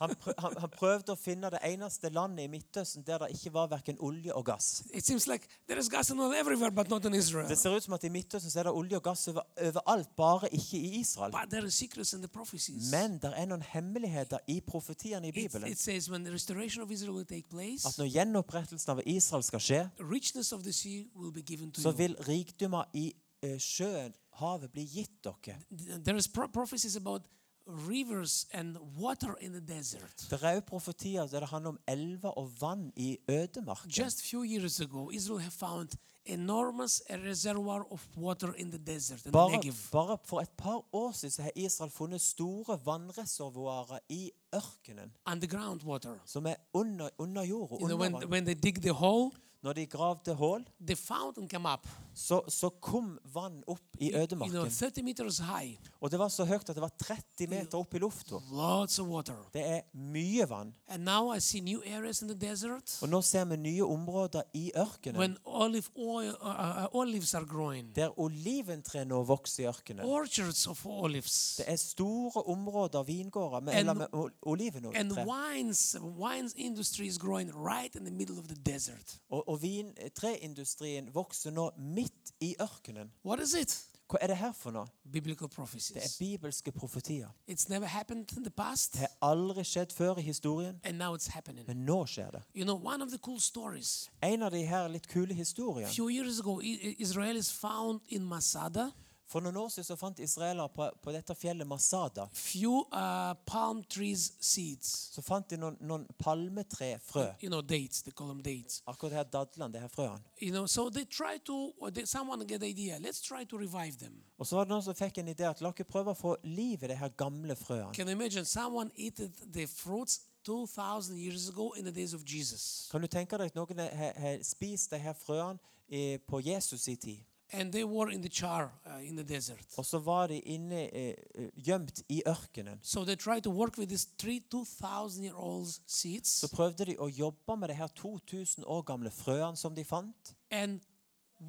[SPEAKER 2] Han, prø han, han prøvde å finne det eneste landet i Midtøsten der det ikke var verken olje og gass.
[SPEAKER 1] It seems like there is gas and oil everywhere, but not in Israel.
[SPEAKER 2] Det ser ut som at i Midtøsten så er det olje og gass over, overalt, bare ikke i Israel.
[SPEAKER 1] But there are secrets in the prophecies.
[SPEAKER 2] Men det er noen hemmeligheter i profetiene i
[SPEAKER 1] It,
[SPEAKER 2] Bibelen.
[SPEAKER 1] it says when the restoration of Israel will take
[SPEAKER 2] At
[SPEAKER 1] place,
[SPEAKER 2] når gjenopprettelsen av Israel skal skje,
[SPEAKER 1] richness of the sea will be given to
[SPEAKER 2] så
[SPEAKER 1] you.
[SPEAKER 2] vil rikdommer i eh, sjøen, havet, bli gitt dere.
[SPEAKER 1] Th- uh, There is pro- prophecies about rivers and water in the desert.
[SPEAKER 2] Det er også profetier der det handler om elver og vann i ødemarken.
[SPEAKER 1] Just few years ago, Israel have found enormous reservoir of water in the desert in
[SPEAKER 2] Bare,
[SPEAKER 1] the Negev.
[SPEAKER 2] bare for et par år siden så har Israel funnet store vannreservoarer i ørkenen,
[SPEAKER 1] Underground water.
[SPEAKER 2] som er under, under jorda.
[SPEAKER 1] You know,
[SPEAKER 2] Under
[SPEAKER 1] when,
[SPEAKER 2] vann.
[SPEAKER 1] when they dig the hole,
[SPEAKER 2] Når de gravde hull,
[SPEAKER 1] the fountain came up,
[SPEAKER 2] så, så kom vann opp i
[SPEAKER 1] you know,
[SPEAKER 2] ødemarken.
[SPEAKER 1] 30 meters high,
[SPEAKER 2] Og det var så høyt at det var 30 meter opp i lufta.
[SPEAKER 1] lots of water.
[SPEAKER 2] Det er mye vann.
[SPEAKER 1] And now I see new areas in the desert
[SPEAKER 2] Og nå ser vi nye områder i ørkenen
[SPEAKER 1] when olive oil, uh, uh, olives are growing,
[SPEAKER 2] der oliventre nå vokser i ørkenen.
[SPEAKER 1] orchards of olives,
[SPEAKER 2] Det er store områder vingårder med,
[SPEAKER 1] And-
[SPEAKER 2] eller med ol-
[SPEAKER 1] and
[SPEAKER 2] olivenoljetre.
[SPEAKER 1] wines. Wines industry is growing right in the middle of the desert.
[SPEAKER 2] Og, og vintreindustrien vokser nå midt i ørkenen.
[SPEAKER 1] What is it?
[SPEAKER 2] Hva er det her for noe?
[SPEAKER 1] Biblical
[SPEAKER 2] Det er
[SPEAKER 1] prophecies.
[SPEAKER 2] bibelske profetier.
[SPEAKER 1] It's never happened in the past,
[SPEAKER 2] Det har aldri skjedd før i historien,
[SPEAKER 1] and now it's happening.
[SPEAKER 2] men nå skjer det.
[SPEAKER 1] You know, one of the cool stories.
[SPEAKER 2] En av de her litt kule historiene.
[SPEAKER 1] few years ago, I- I- Israelis found in Masada
[SPEAKER 2] For noen år siden så fant israelere på, på dette fjellet Masada
[SPEAKER 1] few uh, palm trees seeds.
[SPEAKER 2] så fant de noen, noen palmetrefrø.
[SPEAKER 1] You know, dates. They call them dates.
[SPEAKER 2] Akkurat her dadlene, det her frøene.
[SPEAKER 1] You know, so they try to. Or they, someone get the idea. Let's try to revive them.
[SPEAKER 2] Og så var det noen som fikk en idé at la oss prøve å få liv i de her gamle frøene.
[SPEAKER 1] Can you imagine someone ate the fruits two thousand years ago in the days of Jesus,
[SPEAKER 2] Kan du tenke deg at noen har har spist de her frøene eh, på Jesus i tid?
[SPEAKER 1] and they were in the char uh, in the desert.
[SPEAKER 2] Og så var de inne eh, eh, gjemt i ørkenen.
[SPEAKER 1] So they try to work with these three two thousand year old seeds,
[SPEAKER 2] Så prøvde de å jobbe med de her 2000 år gamle frøene som de fant.
[SPEAKER 1] and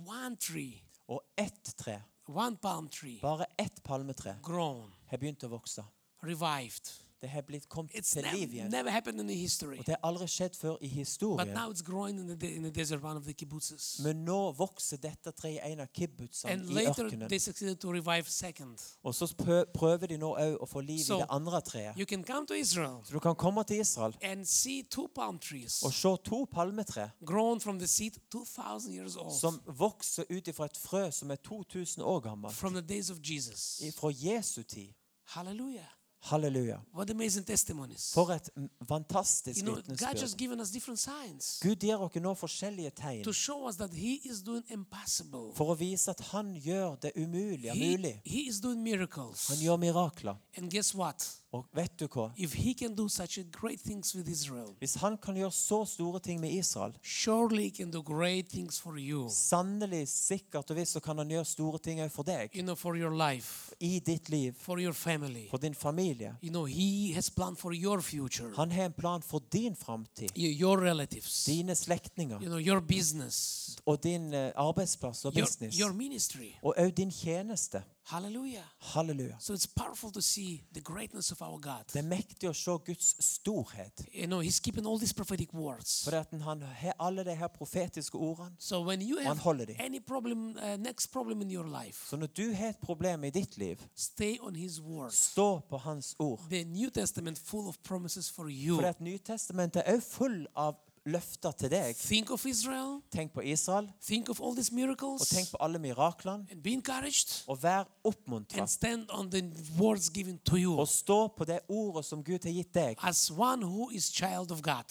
[SPEAKER 1] one tree,
[SPEAKER 2] Og ett tre,
[SPEAKER 1] one palm tree,
[SPEAKER 2] bare ett palmetre,
[SPEAKER 1] grown,
[SPEAKER 2] har begynt å vokse.
[SPEAKER 1] revived.
[SPEAKER 2] Det har blitt kommet
[SPEAKER 1] It's
[SPEAKER 2] til liv
[SPEAKER 1] nev-
[SPEAKER 2] igjen.
[SPEAKER 1] never happened in the history.
[SPEAKER 2] Og det har aldri skjedd før i
[SPEAKER 1] But
[SPEAKER 2] historien.
[SPEAKER 1] now it's growing in the, de- in the desert, one of the kibbutzes.
[SPEAKER 2] Men nå vokser dette treet i en av
[SPEAKER 1] And
[SPEAKER 2] kibbutzene i
[SPEAKER 1] later
[SPEAKER 2] ørkenen.
[SPEAKER 1] they succeeded to revive second.
[SPEAKER 2] Og så prø- prøver de nå òg å få liv
[SPEAKER 1] So,
[SPEAKER 2] i det andre treet.
[SPEAKER 1] You can come to Israel
[SPEAKER 2] Så du kan komme til Israel
[SPEAKER 1] and see two palm trees
[SPEAKER 2] og se to palmetre
[SPEAKER 1] grown from the seed 2,000 years old
[SPEAKER 2] som vokser ut ifra et frø som er 2000 år gammelt.
[SPEAKER 1] from the days of Jesus.
[SPEAKER 2] Fra Jesu tid.
[SPEAKER 1] Hallelujah.
[SPEAKER 2] Halleluja.
[SPEAKER 1] What amazing testimonies.
[SPEAKER 2] For et m-
[SPEAKER 1] You
[SPEAKER 2] fantastisk
[SPEAKER 1] know, God
[SPEAKER 2] vitnesbyrd.
[SPEAKER 1] just given us different signs
[SPEAKER 2] Gud gir dere nå forskjellige
[SPEAKER 1] to
[SPEAKER 2] tegn
[SPEAKER 1] show us that He is doing impossible.
[SPEAKER 2] for å vise at Han gjør det umulige mulig.
[SPEAKER 1] He, he is doing
[SPEAKER 2] Han
[SPEAKER 1] miracles.
[SPEAKER 2] gjør mirakler.
[SPEAKER 1] And guess what?
[SPEAKER 2] Og vet du hva?
[SPEAKER 1] If He can do such a great things with Israel,
[SPEAKER 2] Hvis Han kan gjøre så store ting med Israel,
[SPEAKER 1] surely he can do great things for you
[SPEAKER 2] sannelig, sikkert og visst så kan Han gjøre store ting òg for deg.
[SPEAKER 1] you know for your life
[SPEAKER 2] I ditt liv,
[SPEAKER 1] for your family
[SPEAKER 2] for din familie.
[SPEAKER 1] you know he has planned for your future
[SPEAKER 2] Han har en plan for din framtid,
[SPEAKER 1] y- your relatives
[SPEAKER 2] dine slektninger
[SPEAKER 1] you know your business
[SPEAKER 2] og din eh, arbeidsplass og
[SPEAKER 1] your,
[SPEAKER 2] business.
[SPEAKER 1] your ministry
[SPEAKER 2] Og òg din tjeneste.
[SPEAKER 1] hallelujah
[SPEAKER 2] Halleluja.
[SPEAKER 1] so it's powerful to see the greatness of our god
[SPEAKER 2] Det er mektig å se Guds storhet.
[SPEAKER 1] you know he's keeping all these prophetic words
[SPEAKER 2] For at han har alle de her profetiske ordene.
[SPEAKER 1] so when you
[SPEAKER 2] Han
[SPEAKER 1] have
[SPEAKER 2] holder de.
[SPEAKER 1] any problem uh, next problem in your life
[SPEAKER 2] Så når du har et problem i ditt liv,
[SPEAKER 1] stay on his word
[SPEAKER 2] stå på hans ord.
[SPEAKER 1] the new testament full of promises for you
[SPEAKER 2] For at Nytestamentet er også full av løfter til deg.
[SPEAKER 1] think of israel
[SPEAKER 2] Tenk på Israel,
[SPEAKER 1] think of all these
[SPEAKER 2] og
[SPEAKER 1] miracles
[SPEAKER 2] tenk på alle miraklene.
[SPEAKER 1] and be encouraged
[SPEAKER 2] Og vær
[SPEAKER 1] and
[SPEAKER 2] oppmuntra.
[SPEAKER 1] stand on the words given to you
[SPEAKER 2] Og stå på det ordet som Gud har gitt deg,
[SPEAKER 1] as one who is child of God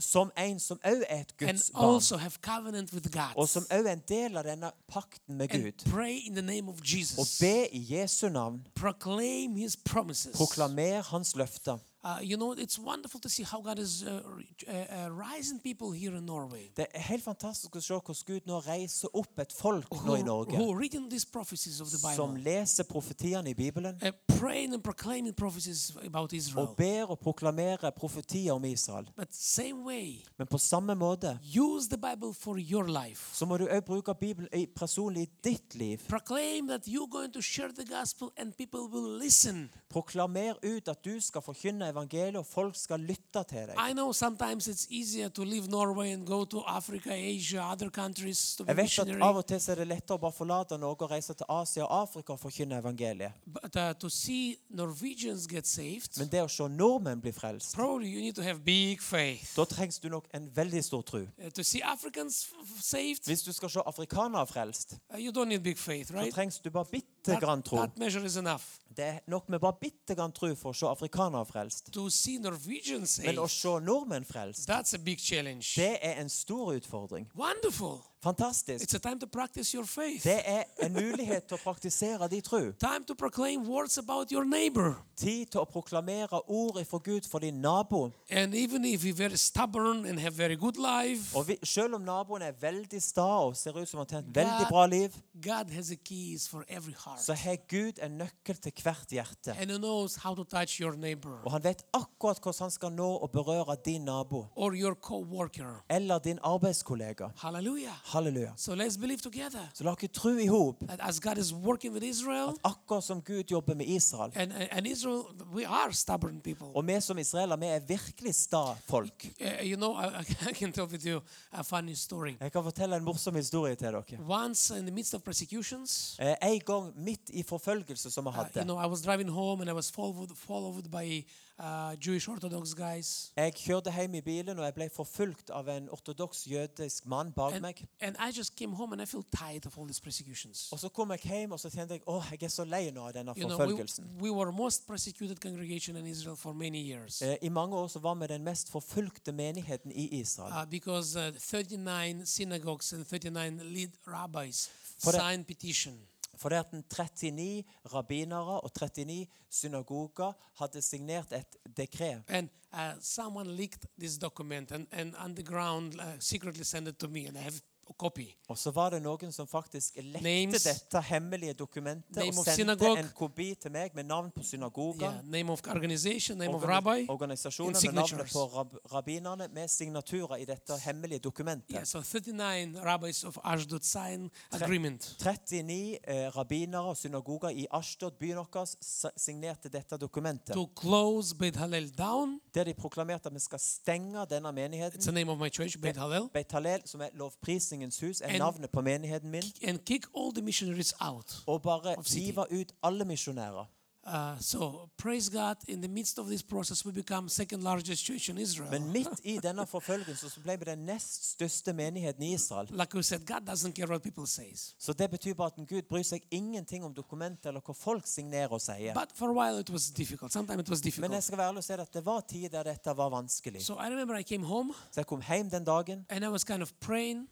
[SPEAKER 2] som en som òg er et
[SPEAKER 1] and
[SPEAKER 2] Guds barn.
[SPEAKER 1] also have covenant with God
[SPEAKER 2] Og som òg er en del av denne pakten med
[SPEAKER 1] and
[SPEAKER 2] Gud.
[SPEAKER 1] pray in the name of
[SPEAKER 2] Og
[SPEAKER 1] Jesus.
[SPEAKER 2] be i Jesu navn.
[SPEAKER 1] Proclaim his promises.
[SPEAKER 2] Proklamer hans løfter.
[SPEAKER 1] Uh, you know, it's wonderful to see how God is uh, re- uh, uh, rising people here in Norway
[SPEAKER 2] Det er helt fantastisk å se hvordan Gud nå reiser opp et folk nå Oh, i
[SPEAKER 1] who,
[SPEAKER 2] Norge
[SPEAKER 1] who reading these prophecies of the
[SPEAKER 2] som
[SPEAKER 1] Bible,
[SPEAKER 2] leser profetiene i Bibelen
[SPEAKER 1] uh, praying and proclaiming prophecies about
[SPEAKER 2] og
[SPEAKER 1] Israel.
[SPEAKER 2] ber og proklamerer profetier om Israel.
[SPEAKER 1] But same way,
[SPEAKER 2] Men på samme måte
[SPEAKER 1] use the Bible for your life.
[SPEAKER 2] så må du òg bruke Bibelen i- personlig i ditt liv.
[SPEAKER 1] Proclaim that you're going to share the gospel and people will listen.
[SPEAKER 2] Proklamer ut at du skal forkynne evangeliet, og folk skal lytte til deg.
[SPEAKER 1] I know sometimes it's easier to leave Norway and go to Africa, Asia, other countries to be
[SPEAKER 2] Jeg vet at
[SPEAKER 1] missionary.
[SPEAKER 2] av og til så er det lettere å bare forlate Norge og reise til Asia og Afrika og forkynne evangeliet.
[SPEAKER 1] But uh, to see Norwegians get saved,
[SPEAKER 2] Men det å se nordmenn bli frelst,
[SPEAKER 1] probably you need to have big faith.
[SPEAKER 2] da trengs du nok en veldig stor tro.
[SPEAKER 1] Uh, to see Africans f- f- saved,
[SPEAKER 2] Hvis du skal se afrikanere frelst,
[SPEAKER 1] uh, you don't need big faith,
[SPEAKER 2] så
[SPEAKER 1] right?
[SPEAKER 2] trengs du bare bitte
[SPEAKER 1] That,
[SPEAKER 2] grann tro.
[SPEAKER 1] that measure is enough.
[SPEAKER 2] Det er nok med bare bitte grann tro for å se afrikanere frelst.
[SPEAKER 1] To see Norwegians
[SPEAKER 2] Men å
[SPEAKER 1] saved,
[SPEAKER 2] se nordmenn frelst,
[SPEAKER 1] that's a big challenge.
[SPEAKER 2] det er en stor utfordring.
[SPEAKER 1] Wonderful.
[SPEAKER 2] Fantastisk.
[SPEAKER 1] It's a time to practice your faith.
[SPEAKER 2] Det er en mulighet til å praktisere de tro.
[SPEAKER 1] Time to proclaim words about your neighbor.
[SPEAKER 2] Tid til å proklamere ordet fra Gud for din nabo.
[SPEAKER 1] And even if you're very stubborn and have very good life,
[SPEAKER 2] Og vi, selv om naboen er veldig sta og ser ut som han har et veldig bra liv,
[SPEAKER 1] God has the keys for every heart.
[SPEAKER 2] så har Gud en nøkkel til hvert hjerte.
[SPEAKER 1] And he knows how to touch your neighbor
[SPEAKER 2] Og han vet akkurat hvordan han skal nå og berøre din nabo
[SPEAKER 1] or your co-worker.
[SPEAKER 2] eller din arbeidskollega.
[SPEAKER 1] Hallelujah.
[SPEAKER 2] Halleluja.
[SPEAKER 1] So let's believe together
[SPEAKER 2] Så la dere tro i hop,
[SPEAKER 1] that as God is working with Israel,
[SPEAKER 2] akkurat som Gud jobber med Israel.
[SPEAKER 1] and, and Israel, we are stubborn people.
[SPEAKER 2] Og vi som israelere, vi er virkelig sta folk.
[SPEAKER 1] Uh, you know, I, I can tell with you a funny story.
[SPEAKER 2] Jeg kan fortelle en morsom historie til dere.
[SPEAKER 1] Once in the midst of persecutions,
[SPEAKER 2] Eh, En gang midt i forfølgelse som vi
[SPEAKER 1] uh, you
[SPEAKER 2] hadde,
[SPEAKER 1] know, I was driving home and I was followed, followed by uh, Jewish Orthodox guys.
[SPEAKER 2] jeg kjørte hjem i bilen og jeg ble forfulgt av en ortodoks jødisk mann bak
[SPEAKER 1] And,
[SPEAKER 2] meg.
[SPEAKER 1] and I just came home and I feel tired of all these persecutions.
[SPEAKER 2] Og så kom jeg hjem og så kjente jeg, åh, jeg er så lei nå av denne
[SPEAKER 1] You know, we,
[SPEAKER 2] forfølgelsen.
[SPEAKER 1] we were most persecuted congregation in Israel for many years
[SPEAKER 2] Eh, I mange år så var vi den mest forfulgte menigheten i Israel.
[SPEAKER 1] uh, because uh, 39 synagogues and 39 lead rabbis
[SPEAKER 2] For the-
[SPEAKER 1] signed petition.
[SPEAKER 2] For det at den 39 rabbinere og 39 synagoger hadde signert et dekret.
[SPEAKER 1] And uh, someone leaked this document and, and underground uh, secretly sent it to me, and I have a copy.
[SPEAKER 2] Og så var det noen som faktisk lekte
[SPEAKER 1] Names.
[SPEAKER 2] dette hemmelige dokumentet
[SPEAKER 1] Name
[SPEAKER 2] og
[SPEAKER 1] of
[SPEAKER 2] sendte
[SPEAKER 1] synagogue.
[SPEAKER 2] en kopi til meg med navn på
[SPEAKER 1] Yeah,
[SPEAKER 2] synagogen,
[SPEAKER 1] name of organization, name of
[SPEAKER 2] organi-
[SPEAKER 1] rabbi.
[SPEAKER 2] organisasjonen
[SPEAKER 1] and
[SPEAKER 2] og navnet
[SPEAKER 1] signatures.
[SPEAKER 2] på rab rabbinerne med signaturer i dette hemmelige dokumentet.
[SPEAKER 1] Yeah, so 39 rabbis of Ashdod signed agreement.
[SPEAKER 2] 39 eh, rabbinere og synagoger i Ashdod, byen vår, s- signerte dette dokumentet.
[SPEAKER 1] To close Beit Hallel down,
[SPEAKER 2] Der de proklamerte at vi skal stenge denne
[SPEAKER 1] it's
[SPEAKER 2] menigheten.
[SPEAKER 1] the name of my church, Beit Hallel,
[SPEAKER 2] Beit Hallel, som er lovprisningens hus, er
[SPEAKER 1] And-
[SPEAKER 2] navnet på menigheten min.
[SPEAKER 1] and kick all the missionaries out.
[SPEAKER 2] og bare
[SPEAKER 1] Of city.
[SPEAKER 2] hive ut alle misjonærer.
[SPEAKER 1] Uh, so praise God! In the midst of this process, we become second largest church in Israel.
[SPEAKER 2] Men midt i denne forfølgelsen så ble vi den nest største menigheten i Israel.
[SPEAKER 1] like we said, God doesn't care what people says.
[SPEAKER 2] Så det betyr bare at Gud bryr seg ingenting om dokumenter eller hva folk signerer og sier.
[SPEAKER 1] But for a while, it was difficult. Sometimes it was difficult.
[SPEAKER 2] Men jeg skal være ærlig og si at det var tid der dette var vanskelig.
[SPEAKER 1] so I remember I came home
[SPEAKER 2] Så jeg kom hjem den dagen,
[SPEAKER 1] and I was kind of praying,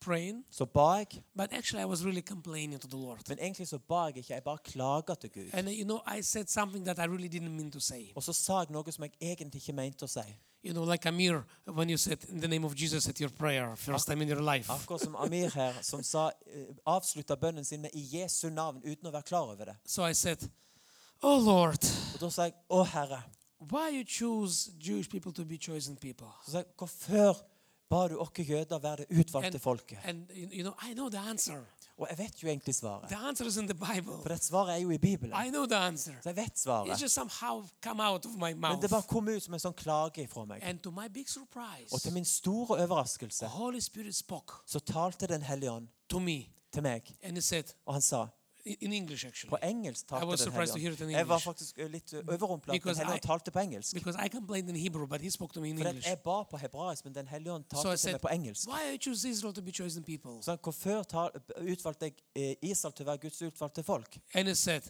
[SPEAKER 1] praying.
[SPEAKER 2] så ba jeg.
[SPEAKER 1] But actually, I was really complaining to the Lord.
[SPEAKER 2] Men egentlig så ba jeg ikke, jeg bare klaga til Gud.
[SPEAKER 1] And uh, you know, I said something that I really didn't mean to say.
[SPEAKER 2] Og så sa jeg noe som jeg egentlig ikke mente å si.
[SPEAKER 1] You know, like Amir, when you said in the name of Jesus at your prayer first time in your life.
[SPEAKER 2] Akkurat som Amir her, som sa, eh, avslutta bønnen sin med 'i Jesu navn' uten å være klar over det.
[SPEAKER 1] So I said, "Oh Lord,
[SPEAKER 2] Og da sa jeg 'Å, Herre'.
[SPEAKER 1] why you choose Jewish people to be chosen people?"
[SPEAKER 2] Så sa jeg, hvorfor ba du oss jøder være det utvalgte
[SPEAKER 1] And-
[SPEAKER 2] folket?
[SPEAKER 1] And you you know, I know the answer.
[SPEAKER 2] Og jeg vet jo egentlig svaret.
[SPEAKER 1] The answer is in the Bible.
[SPEAKER 2] For det svaret er jo i Bibelen.
[SPEAKER 1] I know the answer.
[SPEAKER 2] Så jeg vet
[SPEAKER 1] It
[SPEAKER 2] svaret.
[SPEAKER 1] just somehow come out of my
[SPEAKER 2] Men
[SPEAKER 1] mouth.
[SPEAKER 2] det bare kom ut som en sånn klage ifra meg.
[SPEAKER 1] And to my big surprise,
[SPEAKER 2] Og til min store
[SPEAKER 1] the
[SPEAKER 2] overraskelse
[SPEAKER 1] Holy Spirit spoke
[SPEAKER 2] så talte Den hellige ånd
[SPEAKER 1] to me
[SPEAKER 2] til meg,
[SPEAKER 1] and he said,
[SPEAKER 2] og han sa
[SPEAKER 1] in- in English actually,
[SPEAKER 2] På engelsk
[SPEAKER 1] I
[SPEAKER 2] talte
[SPEAKER 1] was
[SPEAKER 2] Den
[SPEAKER 1] surprised to hear it in English.
[SPEAKER 2] hellige ånd. Jeg var faktisk eh, litt overrumpla at
[SPEAKER 1] Because
[SPEAKER 2] Den hellige
[SPEAKER 1] I-
[SPEAKER 2] ånd talte på engelsk.
[SPEAKER 1] because I complained in Hebrew, but he spoke to me in
[SPEAKER 2] For at
[SPEAKER 1] English.
[SPEAKER 2] jeg ba på hebraisk, men Den hellige ånd
[SPEAKER 1] So I
[SPEAKER 2] talte til
[SPEAKER 1] said,
[SPEAKER 2] meg på engelsk.
[SPEAKER 1] Why I choose Israel to be chosen people?
[SPEAKER 2] Så han, hvorfor ta- utvalgte jeg eh, Israel til å være Guds utvalgte folk?
[SPEAKER 1] And he said,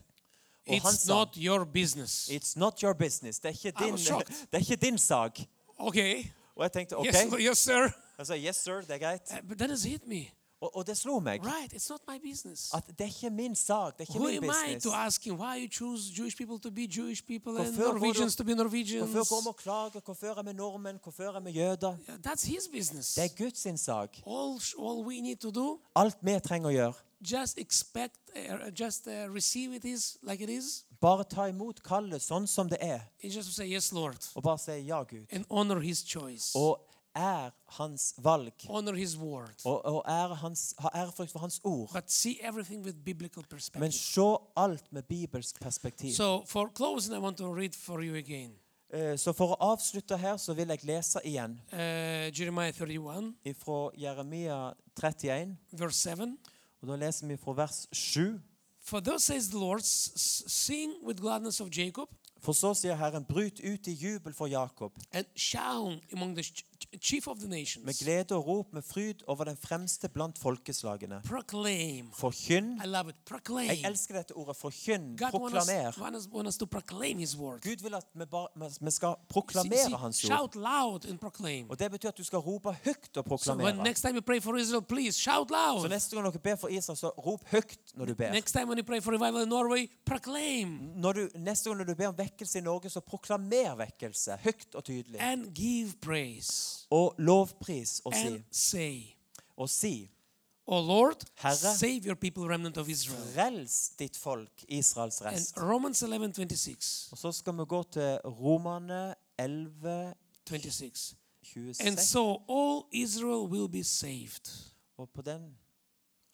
[SPEAKER 2] Og han
[SPEAKER 1] It's
[SPEAKER 2] sa-
[SPEAKER 1] not your business.
[SPEAKER 2] It's not your business. Det er ikke
[SPEAKER 1] I
[SPEAKER 2] din,
[SPEAKER 1] was shocked.
[SPEAKER 2] det er ikke din sak.
[SPEAKER 1] Okay.
[SPEAKER 2] Og jeg tenkte OK.
[SPEAKER 1] Yes, yes, sir.
[SPEAKER 2] Jeg sa yes, sir, det er greit.
[SPEAKER 1] Uh, But that has hit me.
[SPEAKER 2] Og, og det slo meg
[SPEAKER 1] Right. It's not my business.
[SPEAKER 2] at det er ikke min sak, det er ikke
[SPEAKER 1] Who
[SPEAKER 2] min
[SPEAKER 1] am I to
[SPEAKER 2] business.
[SPEAKER 1] ask him why you choose Jewish people to be Jewish people
[SPEAKER 2] Hvorfor
[SPEAKER 1] and
[SPEAKER 2] går du-
[SPEAKER 1] Norwegians to be Norwegians?
[SPEAKER 2] Hvorfor går vi og klager? Hvorfor er vi nordmenn? Hvorfor er vi jøder?
[SPEAKER 1] Yeah, That's his business.
[SPEAKER 2] Det er Guds sin sak.
[SPEAKER 1] All, sh- all we need to do,
[SPEAKER 2] Alt vi trenger å gjøre,
[SPEAKER 1] just expect, uh, just uh, receive it is like it is,
[SPEAKER 2] bare ta imot kallet sånn som det er,
[SPEAKER 1] and just to say yes, Lord,
[SPEAKER 2] og bare si ja, Gud.
[SPEAKER 1] and honor His choice,
[SPEAKER 2] Og er hans valg,
[SPEAKER 1] honor His word,
[SPEAKER 2] og, og er hans, ha ærefrykt for hans ord.
[SPEAKER 1] but see everything with biblical
[SPEAKER 2] Men
[SPEAKER 1] perspective.
[SPEAKER 2] se alt med bibelsk perspektiv.
[SPEAKER 1] So for closing, I want to read for you again
[SPEAKER 2] Eh, Så for å avslutte her, så vil jeg lese igjen
[SPEAKER 1] uh, Jeremiah 31,
[SPEAKER 2] fra Jeremia 31.
[SPEAKER 1] verse 7.
[SPEAKER 2] Og Da leser vi fra vers 7.
[SPEAKER 1] For thus says the Lord, "S- s- sing with gladness of Jacob
[SPEAKER 2] For så sier Herren, bryt ut i jubel for Jakob,
[SPEAKER 1] and shout among the ch- ch- chief of the
[SPEAKER 2] Med
[SPEAKER 1] nations.
[SPEAKER 2] glede og rop, med fryd over den fremste blant folkeslagene.
[SPEAKER 1] Proclaim.
[SPEAKER 2] Forkynn.
[SPEAKER 1] I love it.
[SPEAKER 2] Jeg
[SPEAKER 1] Proclaim.
[SPEAKER 2] elsker dette ordet. Forkynn.
[SPEAKER 1] God wants us,
[SPEAKER 2] Proklamer.
[SPEAKER 1] want us, want us to proclaim His word.
[SPEAKER 2] Gud vil at vi, bar,
[SPEAKER 1] See-
[SPEAKER 2] vi skal
[SPEAKER 1] see,
[SPEAKER 2] proklamere Hans ord.
[SPEAKER 1] shout loud and proclaim.
[SPEAKER 2] Og Det betyr at du skal rope høyt og
[SPEAKER 1] So when
[SPEAKER 2] proklamere.
[SPEAKER 1] next time you pray for Israel, please shout
[SPEAKER 2] Så
[SPEAKER 1] loud.
[SPEAKER 2] neste gang dere ber for Israel, så rop høyt når du ber.
[SPEAKER 1] Next time when you pray for revival in Norway, proclaim
[SPEAKER 2] Når du, neste gang når du ber om vekkelse i Norge, så proklamer vekkelse høyt og tydelig.
[SPEAKER 1] and give praise
[SPEAKER 2] Og lovpris og si.
[SPEAKER 1] and say,
[SPEAKER 2] Og si
[SPEAKER 1] "O Lord,
[SPEAKER 2] Herre,
[SPEAKER 1] save your people, remnant of Israel."
[SPEAKER 2] Frels ditt folk, Israels
[SPEAKER 1] And
[SPEAKER 2] rest.
[SPEAKER 1] Romans 11:26,
[SPEAKER 2] Og så skal vi gå til Romane 11,
[SPEAKER 1] 26. And
[SPEAKER 2] 26.
[SPEAKER 1] so all Israel will be saved.
[SPEAKER 2] Og på den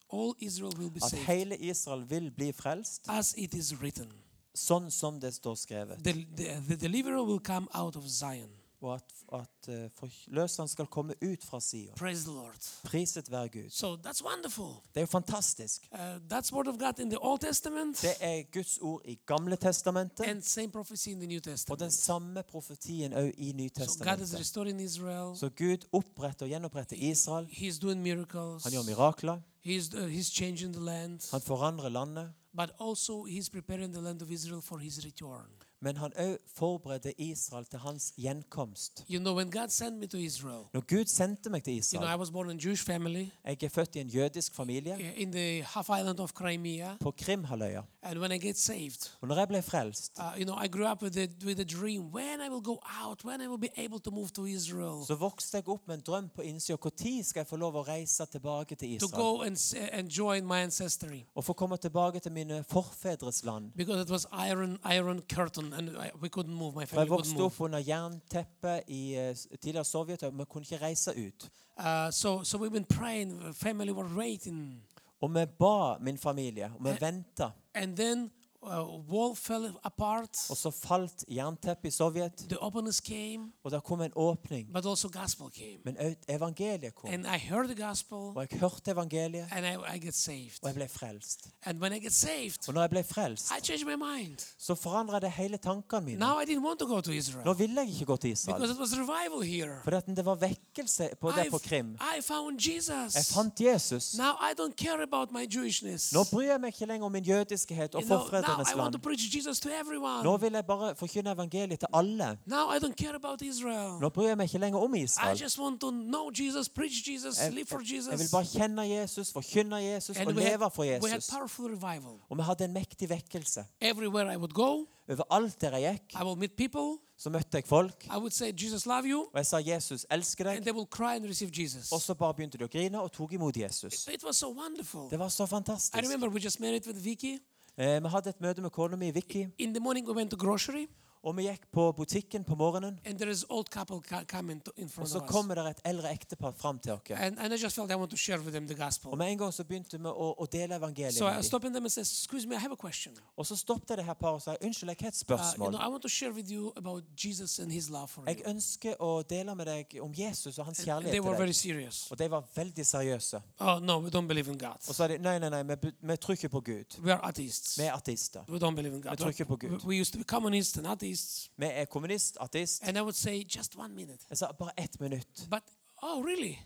[SPEAKER 1] All Israel will be
[SPEAKER 2] at
[SPEAKER 1] saved,
[SPEAKER 2] hele Israel vil bli frelst,
[SPEAKER 1] as it is written.
[SPEAKER 2] sånn som det står skrevet.
[SPEAKER 1] The, the, the deliverer will come out of Zion.
[SPEAKER 2] Og at, at eh, forløseren skal komme ut fra Sion.
[SPEAKER 1] Praise the Lord.
[SPEAKER 2] Priset være Gud.
[SPEAKER 1] So that's wonderful.
[SPEAKER 2] Det er jo fantastisk.
[SPEAKER 1] Uh, that's word of God in the Old Testament
[SPEAKER 2] Det er Guds ord i Gamle Testamentet,
[SPEAKER 1] and same prophecy in the New
[SPEAKER 2] og den
[SPEAKER 1] Testament.
[SPEAKER 2] samme profetien òg i
[SPEAKER 1] So God is
[SPEAKER 2] Nytestamentet.
[SPEAKER 1] restoring Israel.
[SPEAKER 2] Så Gud oppretter og gjenoppretter Israel.
[SPEAKER 1] He's doing miracles.
[SPEAKER 2] Han gjør mirakler.
[SPEAKER 1] He's, uh, he's changing the land,
[SPEAKER 2] Han forandrer landet.
[SPEAKER 1] but also he's preparing the land of Israel for his return.
[SPEAKER 2] Men han òg forbereder Israel til hans gjenkomst.
[SPEAKER 1] You know, when God sent me to Israel,
[SPEAKER 2] Når Gud sendte meg til
[SPEAKER 1] you know, I
[SPEAKER 2] Israel
[SPEAKER 1] was born in Jewish family
[SPEAKER 2] Jeg er født i en jødisk familie
[SPEAKER 1] uh, in the half island of Crimea,
[SPEAKER 2] på Krimhalvøya.
[SPEAKER 1] and when I get saved,
[SPEAKER 2] Og når jeg ble frelst,
[SPEAKER 1] uh, you know, I grew up with the with the dream when I will go out, when I will be able to move to Israel,
[SPEAKER 2] så vokste jeg opp med en drøm på innsida. Når skal jeg få lov å reise tilbake til
[SPEAKER 1] to
[SPEAKER 2] Israel?
[SPEAKER 1] go and s- eh, and join my ancestry.
[SPEAKER 2] Og få komme tilbake til mine forfedres land.
[SPEAKER 1] because it was iron iron curtain and I, we couldn't move my
[SPEAKER 2] For
[SPEAKER 1] family couldn't
[SPEAKER 2] jeg vokste
[SPEAKER 1] move
[SPEAKER 2] opp under jernteppet i eh, s- tidligere Sovjet, og vi kunne ikke reise ut.
[SPEAKER 1] uh, so so we've been praying the family were waiting
[SPEAKER 2] Og vi ba min familie, og
[SPEAKER 1] Eh.
[SPEAKER 2] vi venta.
[SPEAKER 1] and then uh, wall fell apart
[SPEAKER 2] Og så falt jernteppet i Sovjet,
[SPEAKER 1] the openness came
[SPEAKER 2] og der kom en åpning.
[SPEAKER 1] but also gospel came
[SPEAKER 2] Men òg evangeliet kom.
[SPEAKER 1] and I heard the gospel
[SPEAKER 2] Og jeg hørte evangeliet,
[SPEAKER 1] and I, I get saved
[SPEAKER 2] og jeg ble frelst.
[SPEAKER 1] and when I get saved
[SPEAKER 2] Og når jeg ble frelst,
[SPEAKER 1] I changed my mind
[SPEAKER 2] så forandra det hele tankene mine.
[SPEAKER 1] now I didn't want to go to
[SPEAKER 2] Nå
[SPEAKER 1] Israel
[SPEAKER 2] ville jeg ikke gå til
[SPEAKER 1] because
[SPEAKER 2] Israel,
[SPEAKER 1] it was revival here
[SPEAKER 2] for det var vekkelse på
[SPEAKER 1] I
[SPEAKER 2] der på
[SPEAKER 1] f-
[SPEAKER 2] Krim.
[SPEAKER 1] I found
[SPEAKER 2] Jeg
[SPEAKER 1] Jesus
[SPEAKER 2] fant Jesus.
[SPEAKER 1] now I don't care about my Jewishness
[SPEAKER 2] Nå bryr jeg meg ikke lenger om min jødiskhet og
[SPEAKER 1] You know, now
[SPEAKER 2] forfedrenes
[SPEAKER 1] I want
[SPEAKER 2] land.
[SPEAKER 1] to preach Jesus to everyone
[SPEAKER 2] Nå vil jeg bare forkynne evangeliet til alle.
[SPEAKER 1] Now I don't care about Israel.
[SPEAKER 2] Nå bryr jeg meg ikke lenger om
[SPEAKER 1] I
[SPEAKER 2] Israel.
[SPEAKER 1] just want to know Jesus, preach Jesus,
[SPEAKER 2] Jeg,
[SPEAKER 1] live for
[SPEAKER 2] jeg, jeg vil
[SPEAKER 1] Jesus.
[SPEAKER 2] bare kjenne Jesus, forkynne Jesus og
[SPEAKER 1] we had,
[SPEAKER 2] leve for
[SPEAKER 1] we had
[SPEAKER 2] Jesus.
[SPEAKER 1] powerful revival.
[SPEAKER 2] Og vi hadde en mektig vekkelse.
[SPEAKER 1] Everywhere I would go,
[SPEAKER 2] Overalt der jeg gikk,
[SPEAKER 1] I will meet people.
[SPEAKER 2] så møtte jeg folk,
[SPEAKER 1] I would say, Jesus, love you.
[SPEAKER 2] og jeg sa 'Jesus elsker
[SPEAKER 1] And
[SPEAKER 2] deg',
[SPEAKER 1] they will cry and receive Jesus.
[SPEAKER 2] og så bare begynte de å grine og tok imot Jesus.
[SPEAKER 1] It was so wonderful.
[SPEAKER 2] Det var så
[SPEAKER 1] I
[SPEAKER 2] fantastisk.
[SPEAKER 1] remember we just married with Vicky.
[SPEAKER 2] Eh, vi hadde et møte med kona mi, Vicky,
[SPEAKER 1] In the morning, we went to grocery,
[SPEAKER 2] og vi gikk på butikken på morgenen.
[SPEAKER 1] and there is old couple ca- coming to, in
[SPEAKER 2] Og
[SPEAKER 1] front
[SPEAKER 2] så
[SPEAKER 1] of us.
[SPEAKER 2] kommer der et eldre ektepar fram til oss.
[SPEAKER 1] And, and I just felt I want to share with them the
[SPEAKER 2] Og
[SPEAKER 1] gospel.
[SPEAKER 2] med en gang så begynte vi å, å dele evangeliet.
[SPEAKER 1] So I
[SPEAKER 2] Med dem.
[SPEAKER 1] stopped them and said, excuse me, I have a question.
[SPEAKER 2] Og så stoppet jeg det her paret og sa 'Unnskyld, jeg har et
[SPEAKER 1] Uh, you know,
[SPEAKER 2] spørsmål'.
[SPEAKER 1] I want to share with you about Jesus and his love for you.
[SPEAKER 2] Jeg ønsker å dele med deg om Jesus og hans
[SPEAKER 1] And they
[SPEAKER 2] kjærlighet
[SPEAKER 1] were
[SPEAKER 2] til deg.
[SPEAKER 1] very serious.
[SPEAKER 2] Og de var veldig seriøse.
[SPEAKER 1] Oh no, we don't believe in God.
[SPEAKER 2] Og sa de 'Nei, nei, nei, vi, bu- vi tror ikke på Gud.
[SPEAKER 1] We are atheists.
[SPEAKER 2] Vi er ateister.
[SPEAKER 1] We don't believe in God.
[SPEAKER 2] tror ikke på Gud.
[SPEAKER 1] We- We used to be communists and atheists.
[SPEAKER 2] Vi er kommunist, ateist.
[SPEAKER 1] And I would say just one minute.
[SPEAKER 2] Jeg sa 'Bare ett minutt'.
[SPEAKER 1] But oh really?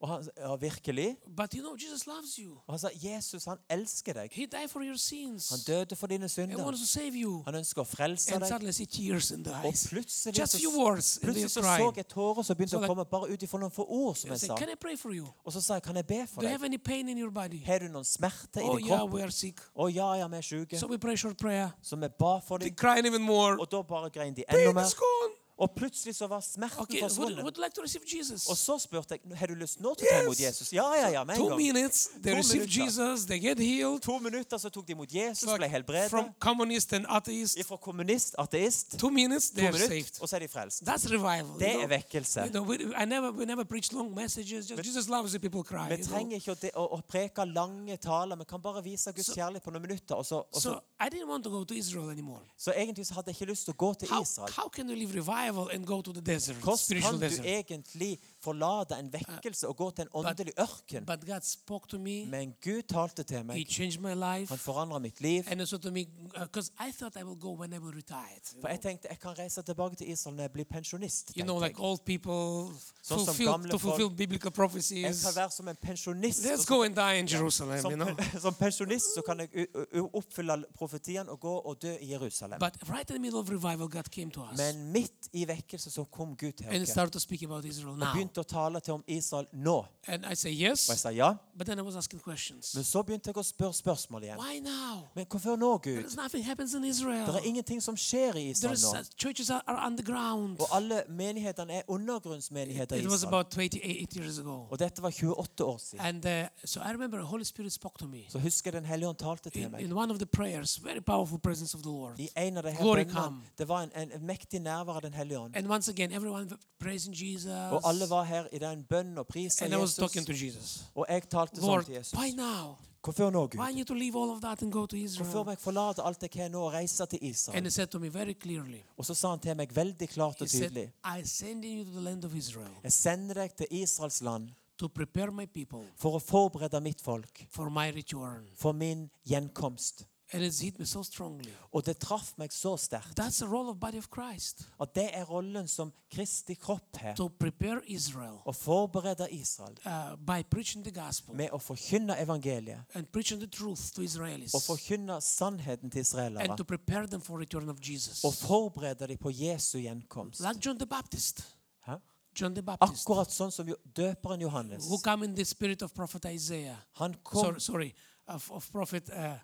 [SPEAKER 2] Og han sa ja, 'Virkelig?'
[SPEAKER 1] But you know Jesus loves you.
[SPEAKER 2] Og han sa 'Jesus, han elsker deg'.
[SPEAKER 1] He died for your sins.
[SPEAKER 2] Han døde for dine
[SPEAKER 1] And
[SPEAKER 2] synder.
[SPEAKER 1] wants to save you.
[SPEAKER 2] Han ønsker å frelse
[SPEAKER 1] And
[SPEAKER 2] deg.
[SPEAKER 1] suddenly I Oh, see tears in the
[SPEAKER 2] Og
[SPEAKER 1] eyes.
[SPEAKER 2] plutselig
[SPEAKER 1] sånn Just
[SPEAKER 2] så,
[SPEAKER 1] few words and
[SPEAKER 2] plutselig
[SPEAKER 1] they're
[SPEAKER 2] så så
[SPEAKER 1] crying.
[SPEAKER 2] jeg tårer som begynte
[SPEAKER 1] So
[SPEAKER 2] å
[SPEAKER 1] like-
[SPEAKER 2] komme bare ut ifra noen få ord, som
[SPEAKER 1] I
[SPEAKER 2] jeg
[SPEAKER 1] say,
[SPEAKER 2] sa.
[SPEAKER 1] can I pray for you?
[SPEAKER 2] Og så sa jeg, kan jeg be
[SPEAKER 1] Do
[SPEAKER 2] for
[SPEAKER 1] you
[SPEAKER 2] deg?
[SPEAKER 1] have any pain in your body?
[SPEAKER 2] Har du noen smerter i
[SPEAKER 1] Oh
[SPEAKER 2] din
[SPEAKER 1] yeah,
[SPEAKER 2] kropp?
[SPEAKER 1] we are sick.
[SPEAKER 2] Å ja, ja, vi er syke.
[SPEAKER 1] So we pray short prayer.
[SPEAKER 2] Så vi ba for
[SPEAKER 1] They're
[SPEAKER 2] dem,
[SPEAKER 1] crying even more.
[SPEAKER 2] og da bare grein de enda
[SPEAKER 1] Pain is
[SPEAKER 2] mer.
[SPEAKER 1] gone.
[SPEAKER 2] Og plutselig så var smerten
[SPEAKER 1] Okay, would,
[SPEAKER 2] forsvunnet.
[SPEAKER 1] would like to receive Jesus.
[SPEAKER 2] Og så spurte jeg, har du lyst nå til å ta imot
[SPEAKER 1] Yes.
[SPEAKER 2] Jesus? Ja, ja, ja, med
[SPEAKER 1] Two
[SPEAKER 2] en gang.
[SPEAKER 1] minutes, they
[SPEAKER 2] Two
[SPEAKER 1] receive
[SPEAKER 2] minutes,
[SPEAKER 1] Jesus, they get healed.
[SPEAKER 2] To minutter så tok de imot Jesus,
[SPEAKER 1] Like,
[SPEAKER 2] ble helbredet.
[SPEAKER 1] from communist and atheist.
[SPEAKER 2] Fra kommunist, ateist,
[SPEAKER 1] Two minutes, oh.
[SPEAKER 2] to
[SPEAKER 1] they are
[SPEAKER 2] minutter,
[SPEAKER 1] saved.
[SPEAKER 2] og så er de frelst.
[SPEAKER 1] That's revival. you
[SPEAKER 2] Det
[SPEAKER 1] know.
[SPEAKER 2] er vekkelse.
[SPEAKER 1] You know, we, I never, we never preach long messages. Just Jesus loves you. People cry.
[SPEAKER 2] Vi
[SPEAKER 1] you know.
[SPEAKER 2] trenger ikke å, de, å, å preke lange taler, vi kan bare vise Guds kjærlighet på noen minutter. Og så, og så,
[SPEAKER 1] So I didn't want to go to Israel anymore.
[SPEAKER 2] så egentlig så hadde jeg ikke lyst til å gå til
[SPEAKER 1] How,
[SPEAKER 2] Israel.
[SPEAKER 1] how can you live revival and go to the desert,
[SPEAKER 2] Hvordan
[SPEAKER 1] spiritual
[SPEAKER 2] kan du
[SPEAKER 1] desert?
[SPEAKER 2] egentlig forlate en vekkelse og gå til en åndelig ørken.
[SPEAKER 1] But God spoke to me.
[SPEAKER 2] Men Gud talte til
[SPEAKER 1] He
[SPEAKER 2] meg.
[SPEAKER 1] changed my
[SPEAKER 2] Han
[SPEAKER 1] life.
[SPEAKER 2] forandra mitt liv.
[SPEAKER 1] And he said to me, because I thought I will go when I will retire.
[SPEAKER 2] For jeg tenkte jeg kan reise tilbake til Israel når jeg blir pensjonist.
[SPEAKER 1] You know,
[SPEAKER 2] tenkte jeg.
[SPEAKER 1] like old people
[SPEAKER 2] Zoals dan
[SPEAKER 1] fulfill,
[SPEAKER 2] gamle
[SPEAKER 1] to fulfill
[SPEAKER 2] volk.
[SPEAKER 1] biblical
[SPEAKER 2] Jeg kan
[SPEAKER 1] prophecies.
[SPEAKER 2] være som en pensjonist. og
[SPEAKER 1] Let's
[SPEAKER 2] så-
[SPEAKER 1] go and die in Jerusalem, you
[SPEAKER 2] Som,
[SPEAKER 1] know.
[SPEAKER 2] som pensjonist så kan jeg u- u- oppfylle profetien og gå og dø i Jerusalem.
[SPEAKER 1] But right in the middle of revival, God came to us
[SPEAKER 2] Men midt i vekkelse så kom Gud til
[SPEAKER 1] and
[SPEAKER 2] oss og
[SPEAKER 1] started to speak about Israel now.
[SPEAKER 2] begynte å tale til om Israel nå.
[SPEAKER 1] And I say
[SPEAKER 2] Og jeg
[SPEAKER 1] yes,
[SPEAKER 2] sa ja,
[SPEAKER 1] but then I was asking questions.
[SPEAKER 2] men så begynte jeg å spørre spørsmål igjen.
[SPEAKER 1] Why now?
[SPEAKER 2] Men hvorfor nå, Gud?
[SPEAKER 1] There's nothing happens in
[SPEAKER 2] Det
[SPEAKER 1] Israel.
[SPEAKER 2] er ingenting som skjer i
[SPEAKER 1] There
[SPEAKER 2] Israel
[SPEAKER 1] is,
[SPEAKER 2] nå.
[SPEAKER 1] uh, churches are, are underground.
[SPEAKER 2] Og alle menighetene er undergrunnsmenigheter i
[SPEAKER 1] It was
[SPEAKER 2] Israel.
[SPEAKER 1] about 28 years ago.
[SPEAKER 2] Og dette var 28 år siden.
[SPEAKER 1] And uh, so I remember the Holy Spirit spoke to me
[SPEAKER 2] Så husker jeg Den hellige ånd talte til
[SPEAKER 1] in,
[SPEAKER 2] meg.
[SPEAKER 1] in one of the prayers, very powerful presence of the Lord.
[SPEAKER 2] I en av de her
[SPEAKER 1] Glory
[SPEAKER 2] bønnene,
[SPEAKER 1] come.
[SPEAKER 2] det var en, en, en mektig nærvær av Den hellige ånd.
[SPEAKER 1] And once again, everyone praising Jesus.
[SPEAKER 2] Og alle var her i den bønnen og prisen
[SPEAKER 1] And I
[SPEAKER 2] av
[SPEAKER 1] was talking
[SPEAKER 2] Jesus.
[SPEAKER 1] to Jesus.
[SPEAKER 2] Og jeg talte sånn
[SPEAKER 1] Lord,
[SPEAKER 2] til Jesus.
[SPEAKER 1] why now?
[SPEAKER 2] Hvorfor nå,
[SPEAKER 1] Why I
[SPEAKER 2] Gud?
[SPEAKER 1] need to leave all of that and go to
[SPEAKER 2] Hvorfor
[SPEAKER 1] Israel?
[SPEAKER 2] må jeg forlate alt jeg har nå og reise til
[SPEAKER 1] And
[SPEAKER 2] Israel?
[SPEAKER 1] he said to me very clearly,
[SPEAKER 2] Og så sa han til meg veldig klart
[SPEAKER 1] He
[SPEAKER 2] og tydelig
[SPEAKER 1] said, I send you to the land of Israel
[SPEAKER 2] Jeg sender deg til Israels land
[SPEAKER 1] to prepare my people
[SPEAKER 2] for å forberede mitt folk
[SPEAKER 1] for my return.
[SPEAKER 2] for min gjenkomst.
[SPEAKER 1] And it's hit me so strongly.
[SPEAKER 2] Og det traff meg så sterkt
[SPEAKER 1] That's the role of body of Christ
[SPEAKER 2] at det er rollen som Kristi kropp her.
[SPEAKER 1] to prepare Israel
[SPEAKER 2] Å forberede Israel
[SPEAKER 1] uh, by preaching the gospel
[SPEAKER 2] med å forkynne evangeliet
[SPEAKER 1] and preaching the truth to Israelis
[SPEAKER 2] og forkynne sannheten
[SPEAKER 1] and to
[SPEAKER 2] til israelere.
[SPEAKER 1] prepare them for return of Jesus.
[SPEAKER 2] Og forberede dem på Jesu gjenkomst.
[SPEAKER 1] Like John the Baptist.
[SPEAKER 2] Hæ?
[SPEAKER 1] John the Baptist
[SPEAKER 2] Akkurat sånn som jo- døperen Johannes.
[SPEAKER 1] who come in the spirit of prophet Isaiah.
[SPEAKER 2] Han kom
[SPEAKER 1] Sorry, sorry of, of prophet uh,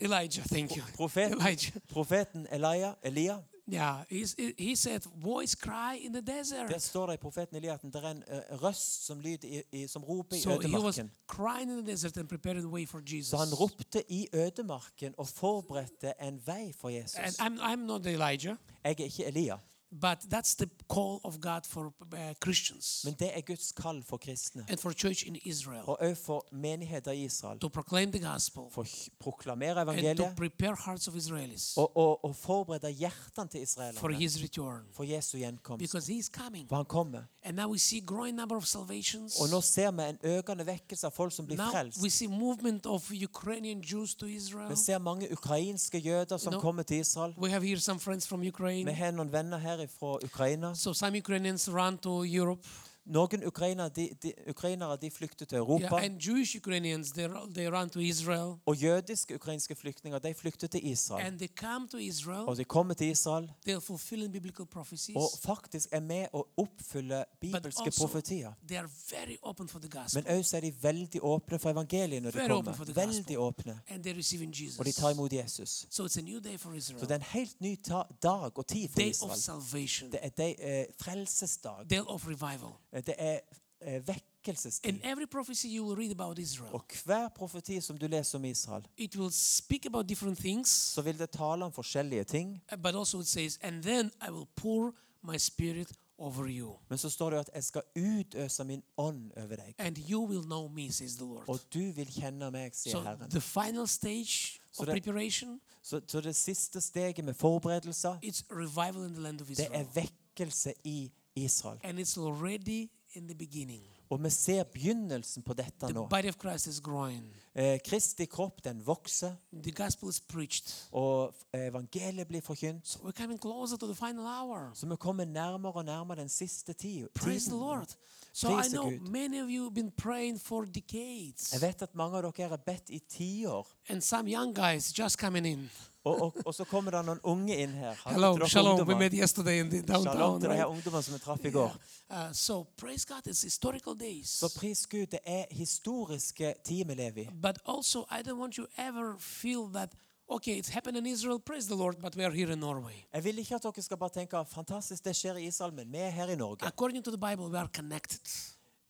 [SPEAKER 1] Elijah, thank you.
[SPEAKER 2] Profeten,
[SPEAKER 1] Elijah.
[SPEAKER 2] profeten Elia, Elia
[SPEAKER 1] Yeah, he's, he- he said, voice cry in the
[SPEAKER 2] Der
[SPEAKER 1] desert.
[SPEAKER 2] står det i profeten Elia at det er en eh, røst som, lyder i, i, som roper i
[SPEAKER 1] So he was
[SPEAKER 2] ødemarken.
[SPEAKER 1] crying in the desert and preparing the way for Jesus.
[SPEAKER 2] Så han ropte i ødemarken og forberedte en vei for
[SPEAKER 1] And
[SPEAKER 2] Jesus.
[SPEAKER 1] I'm, I'm not Elijah,
[SPEAKER 2] Jeg er ikke Elia,
[SPEAKER 1] but that's the call of God for uh, Christians
[SPEAKER 2] men det er Guds kall for kristne.
[SPEAKER 1] and for church in Israel
[SPEAKER 2] Og òg for menigheter i Israel.
[SPEAKER 1] to proclaim the gospel
[SPEAKER 2] For å proklamere
[SPEAKER 1] and to
[SPEAKER 2] evangeliet
[SPEAKER 1] prepare hearts of Israelis
[SPEAKER 2] og, og, og forberede hjertene til
[SPEAKER 1] for
[SPEAKER 2] israelerne
[SPEAKER 1] his return
[SPEAKER 2] for Jesu gjenkomst.
[SPEAKER 1] because he's coming.
[SPEAKER 2] For han kommer.
[SPEAKER 1] And now we see growing number of salvations.
[SPEAKER 2] Og nå ser vi en økende vekkelse av folk som blir
[SPEAKER 1] Now
[SPEAKER 2] frelst.
[SPEAKER 1] we see movement of Ukrainian Jews to Israel.
[SPEAKER 2] Vi ser mange ukrainske jøder som
[SPEAKER 1] No.
[SPEAKER 2] kommer til Israel.
[SPEAKER 1] We have here some friends from Ukraine.
[SPEAKER 2] Vi har noen venner her fra Ukraina.
[SPEAKER 1] So some Ukrainians ran to Europe.
[SPEAKER 2] Noen ukrainere de, de, ukrainere, de flyktet til
[SPEAKER 1] Yeah,
[SPEAKER 2] Europa.
[SPEAKER 1] and Jewish Ukrainians, they, they ran to Israel.
[SPEAKER 2] Og jødiske ukrainske flyktninger de flyktet til Israel.
[SPEAKER 1] And they come to Israel.
[SPEAKER 2] Og de kommer til Israel
[SPEAKER 1] They're fulfilling biblical prophecies.
[SPEAKER 2] og faktisk er med å oppfylle bibelske
[SPEAKER 1] also-
[SPEAKER 2] profetier.
[SPEAKER 1] They are very open for the gospel.
[SPEAKER 2] Men også er de veldig åpne for evangeliet når de
[SPEAKER 1] Very open
[SPEAKER 2] kommer.
[SPEAKER 1] for the gospel.
[SPEAKER 2] Veldig åpne.
[SPEAKER 1] And they're receiving
[SPEAKER 2] Og de tar
[SPEAKER 1] Jesus.
[SPEAKER 2] imot Jesus.
[SPEAKER 1] So it's a new day for Israel.
[SPEAKER 2] Så det er en helt ny ta dag og tid for
[SPEAKER 1] Day of
[SPEAKER 2] Israel.
[SPEAKER 1] salvation.
[SPEAKER 2] Det er de, eh, frelsesdag.
[SPEAKER 1] Day of revival.
[SPEAKER 2] Det er eh,
[SPEAKER 1] In
[SPEAKER 2] vekkelsestid.
[SPEAKER 1] every prophecy you will read about Israel,
[SPEAKER 2] Og hver profeti som du leser om Israel,
[SPEAKER 1] it will speak about different things.
[SPEAKER 2] så vil det tale om forskjellige ting.
[SPEAKER 1] Uh, but also it says, and then I will pour my spirit over you,
[SPEAKER 2] Men så står det jo at 'jeg skal utøse min ånd over deg',
[SPEAKER 1] and you will know me, says the Lord.
[SPEAKER 2] og du vil kjenne meg, sier
[SPEAKER 1] So
[SPEAKER 2] Herren.
[SPEAKER 1] the final stage
[SPEAKER 2] So
[SPEAKER 1] of
[SPEAKER 2] that-
[SPEAKER 1] preparation,
[SPEAKER 2] Så, så det siste steget med forberedelser,
[SPEAKER 1] it's revival in the land of
[SPEAKER 2] det er
[SPEAKER 1] Israel.
[SPEAKER 2] vekkelse i Israel.
[SPEAKER 1] And it's already in the beginning.
[SPEAKER 2] Og vi ser begynnelsen på dette
[SPEAKER 1] The
[SPEAKER 2] nå.
[SPEAKER 1] body of Christ is growing.
[SPEAKER 2] Eh, Kristi kropp, den vokser,
[SPEAKER 1] The gospel is preached.
[SPEAKER 2] og eh, evangeliet blir forkynt.
[SPEAKER 1] We're coming closer to the final hour.
[SPEAKER 2] Så vi kommer nærmere og nærmere den siste ti-
[SPEAKER 1] Praise the
[SPEAKER 2] tiden.
[SPEAKER 1] Lord. So I
[SPEAKER 2] Praise the
[SPEAKER 1] know
[SPEAKER 2] good.
[SPEAKER 1] many of you have been praying for
[SPEAKER 2] Jeg
[SPEAKER 1] decades.
[SPEAKER 2] vet at mange av dere har bedt i tiår.
[SPEAKER 1] And some young guys just coming in.
[SPEAKER 2] Og, og, og så kommer det noen unge inn her. Hallo
[SPEAKER 1] Hello,
[SPEAKER 2] til dere
[SPEAKER 1] shalom. We
[SPEAKER 2] ungdommer.
[SPEAKER 1] met yesterday in the downtown.
[SPEAKER 2] Shalom til de
[SPEAKER 1] right?
[SPEAKER 2] her ungdommene som vi traff i går.
[SPEAKER 1] Uh, so praise God, it's historical days.
[SPEAKER 2] Så pris Gud, det er historiske tider vi lever i.
[SPEAKER 1] But also, I don't want you ever feel that okay, it's happened in Israel. Praise the Lord, but we are here in Norway.
[SPEAKER 2] Jeg vil ikke at dere skal bare tenke fantastisk, det skjer i Israel, men vi er her i Norge.
[SPEAKER 1] According to the Bible, we are connected.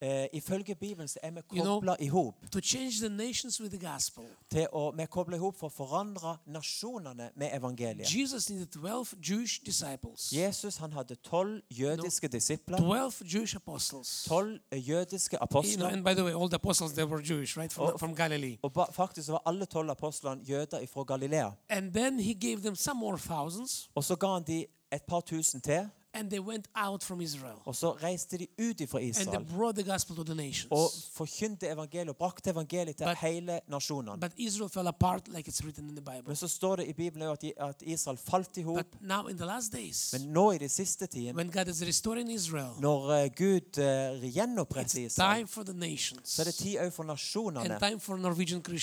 [SPEAKER 2] Eh, ifølge Bibelen så er vi
[SPEAKER 1] You know-
[SPEAKER 2] kobla i hop.
[SPEAKER 1] To change the nations with the gospel,
[SPEAKER 2] Vi er kobla i hop for å forandre nasjonene med evangeliet.
[SPEAKER 1] Jesus needed 12 Jewish disciples,
[SPEAKER 2] Jesus han hadde tolv jødiske disipler.
[SPEAKER 1] 12 Jewish apostles.
[SPEAKER 2] Tolv eh, jødiske
[SPEAKER 1] You know,
[SPEAKER 2] apostler.
[SPEAKER 1] and by the way, all the apostles they were Jewish, right,
[SPEAKER 2] Oh.
[SPEAKER 1] from, from Galilee.
[SPEAKER 2] Og ba, faktisk så var alle tolv apostlene jøder fra Galilea.
[SPEAKER 1] And then he gave them some more thousands,
[SPEAKER 2] Og så ga han de et par tusen til.
[SPEAKER 1] and they went out from Israel
[SPEAKER 2] Og så reiste de ut ifra
[SPEAKER 1] and they
[SPEAKER 2] Israel
[SPEAKER 1] brought the gospel to the
[SPEAKER 2] og
[SPEAKER 1] nations.
[SPEAKER 2] forkynte evangeliet og brakte evangeliet til
[SPEAKER 1] But-
[SPEAKER 2] hele nasjonene.
[SPEAKER 1] But Israel fell apart, like it's written in the Bible.
[SPEAKER 2] Men så står det i Bibelen jo at, at Israel falt i
[SPEAKER 1] But
[SPEAKER 2] hop.
[SPEAKER 1] now, in the last days,
[SPEAKER 2] Men nå i de siste tiden,
[SPEAKER 1] when God is restoring Israel,
[SPEAKER 2] når eh, Gud eh, gjenoppretter
[SPEAKER 1] it's
[SPEAKER 2] Israel,
[SPEAKER 1] time for the
[SPEAKER 2] så er det
[SPEAKER 1] nations
[SPEAKER 2] tid òg for
[SPEAKER 1] and
[SPEAKER 2] nasjonene.
[SPEAKER 1] time for Norwegian
[SPEAKER 2] Og det er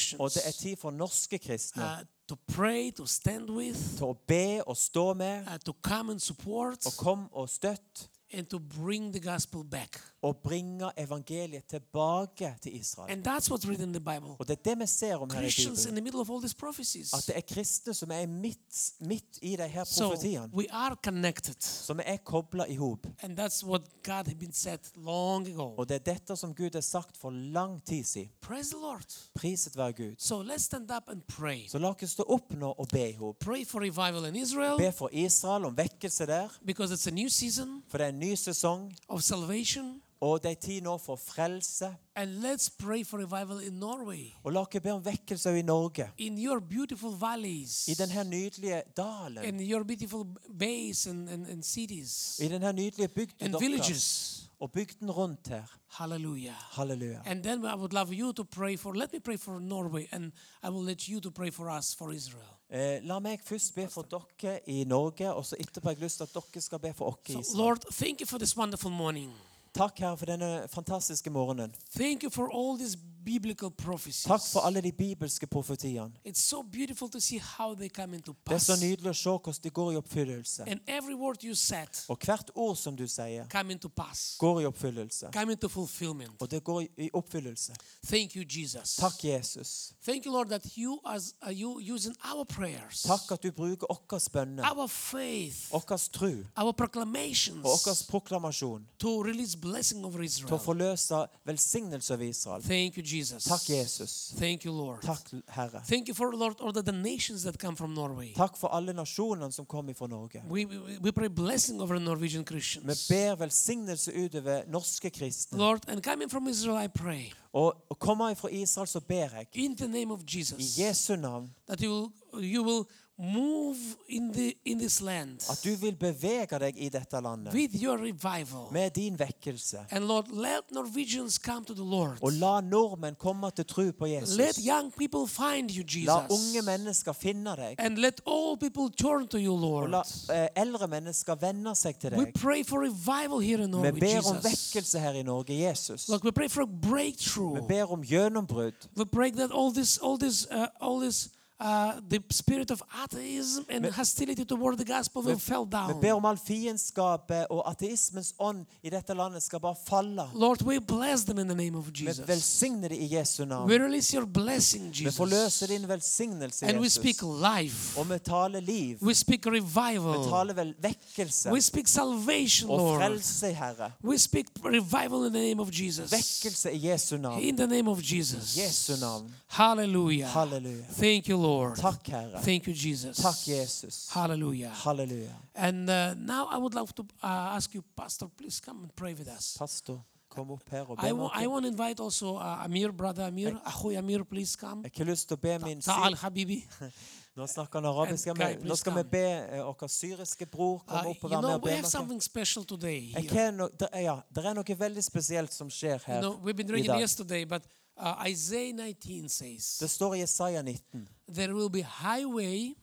[SPEAKER 1] Christians
[SPEAKER 2] tid for norske kristne
[SPEAKER 1] uh, to pray, to stand with,
[SPEAKER 2] til å be og stå med
[SPEAKER 1] uh, to come and support,
[SPEAKER 2] og kom og støtt
[SPEAKER 1] and to bring the gospel back.
[SPEAKER 2] og bringe evangeliet tilbake til Israel.
[SPEAKER 1] And that's what's written in the Bible.
[SPEAKER 2] Og det er det vi ser om her i
[SPEAKER 1] Christians in
[SPEAKER 2] Bibelen.
[SPEAKER 1] the middle of all these prophecies.
[SPEAKER 2] At det er kristne som er midt, midt i de her
[SPEAKER 1] So
[SPEAKER 2] profetiene.
[SPEAKER 1] we are connected.
[SPEAKER 2] Som er kobla i hop.
[SPEAKER 1] And that's what God had been said long ago.
[SPEAKER 2] Og det er dette som Gud har sagt for lang tid siden.
[SPEAKER 1] Praise the Lord.
[SPEAKER 2] Priset være Gud.
[SPEAKER 1] So let's stand up and pray.
[SPEAKER 2] Så la oss stå opp nå og be i hop.
[SPEAKER 1] Pray for revival in
[SPEAKER 2] Be
[SPEAKER 1] Israel
[SPEAKER 2] for Israel om vekkelse der,
[SPEAKER 1] because it's a new season
[SPEAKER 2] for det er en ny sesong,
[SPEAKER 1] of salvation.
[SPEAKER 2] og det er tid nå for frelse.
[SPEAKER 1] And let's pray for revival in Norway,
[SPEAKER 2] Og la oss be om vekkelse også i Norge.
[SPEAKER 1] in your beautiful valleys,
[SPEAKER 2] I denne nydelige dalen,
[SPEAKER 1] in your beautiful b- bays and, and, and cities,
[SPEAKER 2] i denne nydelige bygden
[SPEAKER 1] and
[SPEAKER 2] deres,
[SPEAKER 1] villages.
[SPEAKER 2] og bygden rundt her.
[SPEAKER 1] Hallelujah.
[SPEAKER 2] Halleluja.
[SPEAKER 1] And then I would love you to pray for, let me pray for Norway, and I will let you to pray for us, for Israel.
[SPEAKER 2] Eh, la meg først be for dere i Norge, og så etterpå har jeg lyst til at dere skal be for oss i
[SPEAKER 1] So,
[SPEAKER 2] Israel.
[SPEAKER 1] Lord, thank you for this wonderful morning.
[SPEAKER 2] Takk, Herre, for denne fantastiske morgenen.
[SPEAKER 1] Thank you for all these biblical prophecies.
[SPEAKER 2] Takk for alle de bibelske profetiene.
[SPEAKER 1] It's so beautiful to see how they come into
[SPEAKER 2] Det er
[SPEAKER 1] pass.
[SPEAKER 2] så nydelig å se hvordan de går i oppfyllelse.
[SPEAKER 1] And every word you said
[SPEAKER 2] Og hvert ord som du sier,
[SPEAKER 1] come into pass,
[SPEAKER 2] går i oppfyllelse.
[SPEAKER 1] come into fulfillment.
[SPEAKER 2] Og det går i oppfyllelse.
[SPEAKER 1] Thank you, Jesus.
[SPEAKER 2] Takk, Jesus.
[SPEAKER 1] Thank you, Lord, that you as are you using our prayers,
[SPEAKER 2] Takk at du bruker vår bønner,
[SPEAKER 1] our faith,
[SPEAKER 2] vår tro
[SPEAKER 1] our
[SPEAKER 2] og vår
[SPEAKER 1] proclamations
[SPEAKER 2] proklamasjon
[SPEAKER 1] to release blessing over
[SPEAKER 2] til å
[SPEAKER 1] Israel.
[SPEAKER 2] forløse velsignelse over Israel.
[SPEAKER 1] Thank you, Jesus.
[SPEAKER 2] Takk, Jesus.
[SPEAKER 1] Thank you, Lord.
[SPEAKER 2] Takk, Herre.
[SPEAKER 1] Thank you for Lord, all the donations that come from Norway.
[SPEAKER 2] Takk for alle nasjonene som kom ifra Norge.
[SPEAKER 1] We, we we pray blessing over Norwegian
[SPEAKER 2] Vi
[SPEAKER 1] Christians.
[SPEAKER 2] ber velsignelse utover norske kristne.
[SPEAKER 1] Lord, and coming from Israel, I pray
[SPEAKER 2] Og og kommer jeg fra Israel, så ber jeg
[SPEAKER 1] in the name of
[SPEAKER 2] i
[SPEAKER 1] Jesus
[SPEAKER 2] Jesu navn
[SPEAKER 1] that you will you will move in the in this land
[SPEAKER 2] at du vil bevege deg i dette landet
[SPEAKER 1] with your revival.
[SPEAKER 2] med din vekkelse.
[SPEAKER 1] And Lord, let Norwegians come to the Lord.
[SPEAKER 2] Og la nordmenn komme til tro på
[SPEAKER 1] Let
[SPEAKER 2] Oh, Jesus.
[SPEAKER 1] young people find you,
[SPEAKER 2] La unge
[SPEAKER 1] Jesus.
[SPEAKER 2] mennesker finne deg.
[SPEAKER 1] And let all people turn to you,
[SPEAKER 2] Og
[SPEAKER 1] Lord.
[SPEAKER 2] la eh, eldre mennesker venne seg til
[SPEAKER 1] We
[SPEAKER 2] deg.
[SPEAKER 1] pray for revival here in
[SPEAKER 2] Vi
[SPEAKER 1] Norway,
[SPEAKER 2] ber om
[SPEAKER 1] Jesus.
[SPEAKER 2] vekkelse her i Norge, Jesus.
[SPEAKER 1] Lord, we pray for
[SPEAKER 2] Vi
[SPEAKER 1] breakthrough.
[SPEAKER 2] ber om gjennombrudd.
[SPEAKER 1] We pray that all this, all this, uh, all this, uh, the spirit of atheism and hostility toward the gospel will fall
[SPEAKER 2] Vi
[SPEAKER 1] down.
[SPEAKER 2] ber om all fiendskapet og ateismens ånd i dette landet skal bare falle.
[SPEAKER 1] Lord, we bless them in the name of
[SPEAKER 2] Vi
[SPEAKER 1] Jesus.
[SPEAKER 2] velsigner det i Jesu navn.
[SPEAKER 1] We release your blessing,
[SPEAKER 2] Vi forløser
[SPEAKER 1] Jesus.
[SPEAKER 2] din velsignelse,
[SPEAKER 1] And we speak
[SPEAKER 2] Jesus.
[SPEAKER 1] life.
[SPEAKER 2] Og vi taler liv.
[SPEAKER 1] We speak
[SPEAKER 2] Vi
[SPEAKER 1] revival.
[SPEAKER 2] taler vel vekkelse
[SPEAKER 1] We speak salvation,
[SPEAKER 2] og
[SPEAKER 1] Lord.
[SPEAKER 2] frelse, Herre.
[SPEAKER 1] We speak revival in the name of Jesus.
[SPEAKER 2] Vekkelse i Jesu navn.
[SPEAKER 1] In the name of Jesus.
[SPEAKER 2] Jesu navn.
[SPEAKER 1] Hallelujah.
[SPEAKER 2] Halleluja.
[SPEAKER 1] Thank you, Lord.
[SPEAKER 2] Takk, Herre.
[SPEAKER 1] Thank you, Jesus.
[SPEAKER 2] Takk, Jesus.
[SPEAKER 1] Hallelujah.
[SPEAKER 2] Halleluja.
[SPEAKER 1] And uh, now I would love to uh, ask you, Pastor, please come and pray with us.
[SPEAKER 2] Pastor, kom opp her og be
[SPEAKER 1] I wa- I
[SPEAKER 2] noe.
[SPEAKER 1] want to invite also uh, Amir, brother Amir, Ahoy Amir, please come.
[SPEAKER 2] Jeg har ikke lyst til å be min
[SPEAKER 1] Ta'al
[SPEAKER 2] syr...
[SPEAKER 1] Habibi. Uh,
[SPEAKER 2] Nå snakker han arabisk.
[SPEAKER 1] And
[SPEAKER 2] men
[SPEAKER 1] Kai,
[SPEAKER 2] Nå skal vi
[SPEAKER 1] please come.
[SPEAKER 2] be eh, vår syriske bror
[SPEAKER 1] Uh,
[SPEAKER 2] komme opp
[SPEAKER 1] you
[SPEAKER 2] og være med
[SPEAKER 1] know,
[SPEAKER 2] og
[SPEAKER 1] we
[SPEAKER 2] be
[SPEAKER 1] have
[SPEAKER 2] noe.
[SPEAKER 1] something special today
[SPEAKER 2] Jeg
[SPEAKER 1] here.
[SPEAKER 2] har no... det er- Ja, det er noe veldig spesielt som skjer
[SPEAKER 1] You
[SPEAKER 2] her
[SPEAKER 1] know, we've been
[SPEAKER 2] i
[SPEAKER 1] reading
[SPEAKER 2] dag.
[SPEAKER 1] yesterday, but uh, Isaiah 19
[SPEAKER 2] Det
[SPEAKER 1] says,
[SPEAKER 2] står i Jesaja 19
[SPEAKER 1] There will be highway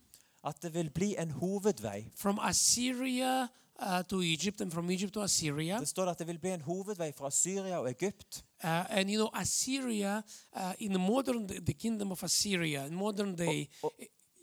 [SPEAKER 2] at det vil bli en hovedvei.
[SPEAKER 1] from Assyria uh, to Egypt and from Egypt to Assyria.
[SPEAKER 2] Det står at det vil bli en hovedvei fra Syria og Egypt.
[SPEAKER 1] Uh, and you know, Assyria, uh, in the modern, the kingdom of Assyria, in modern day,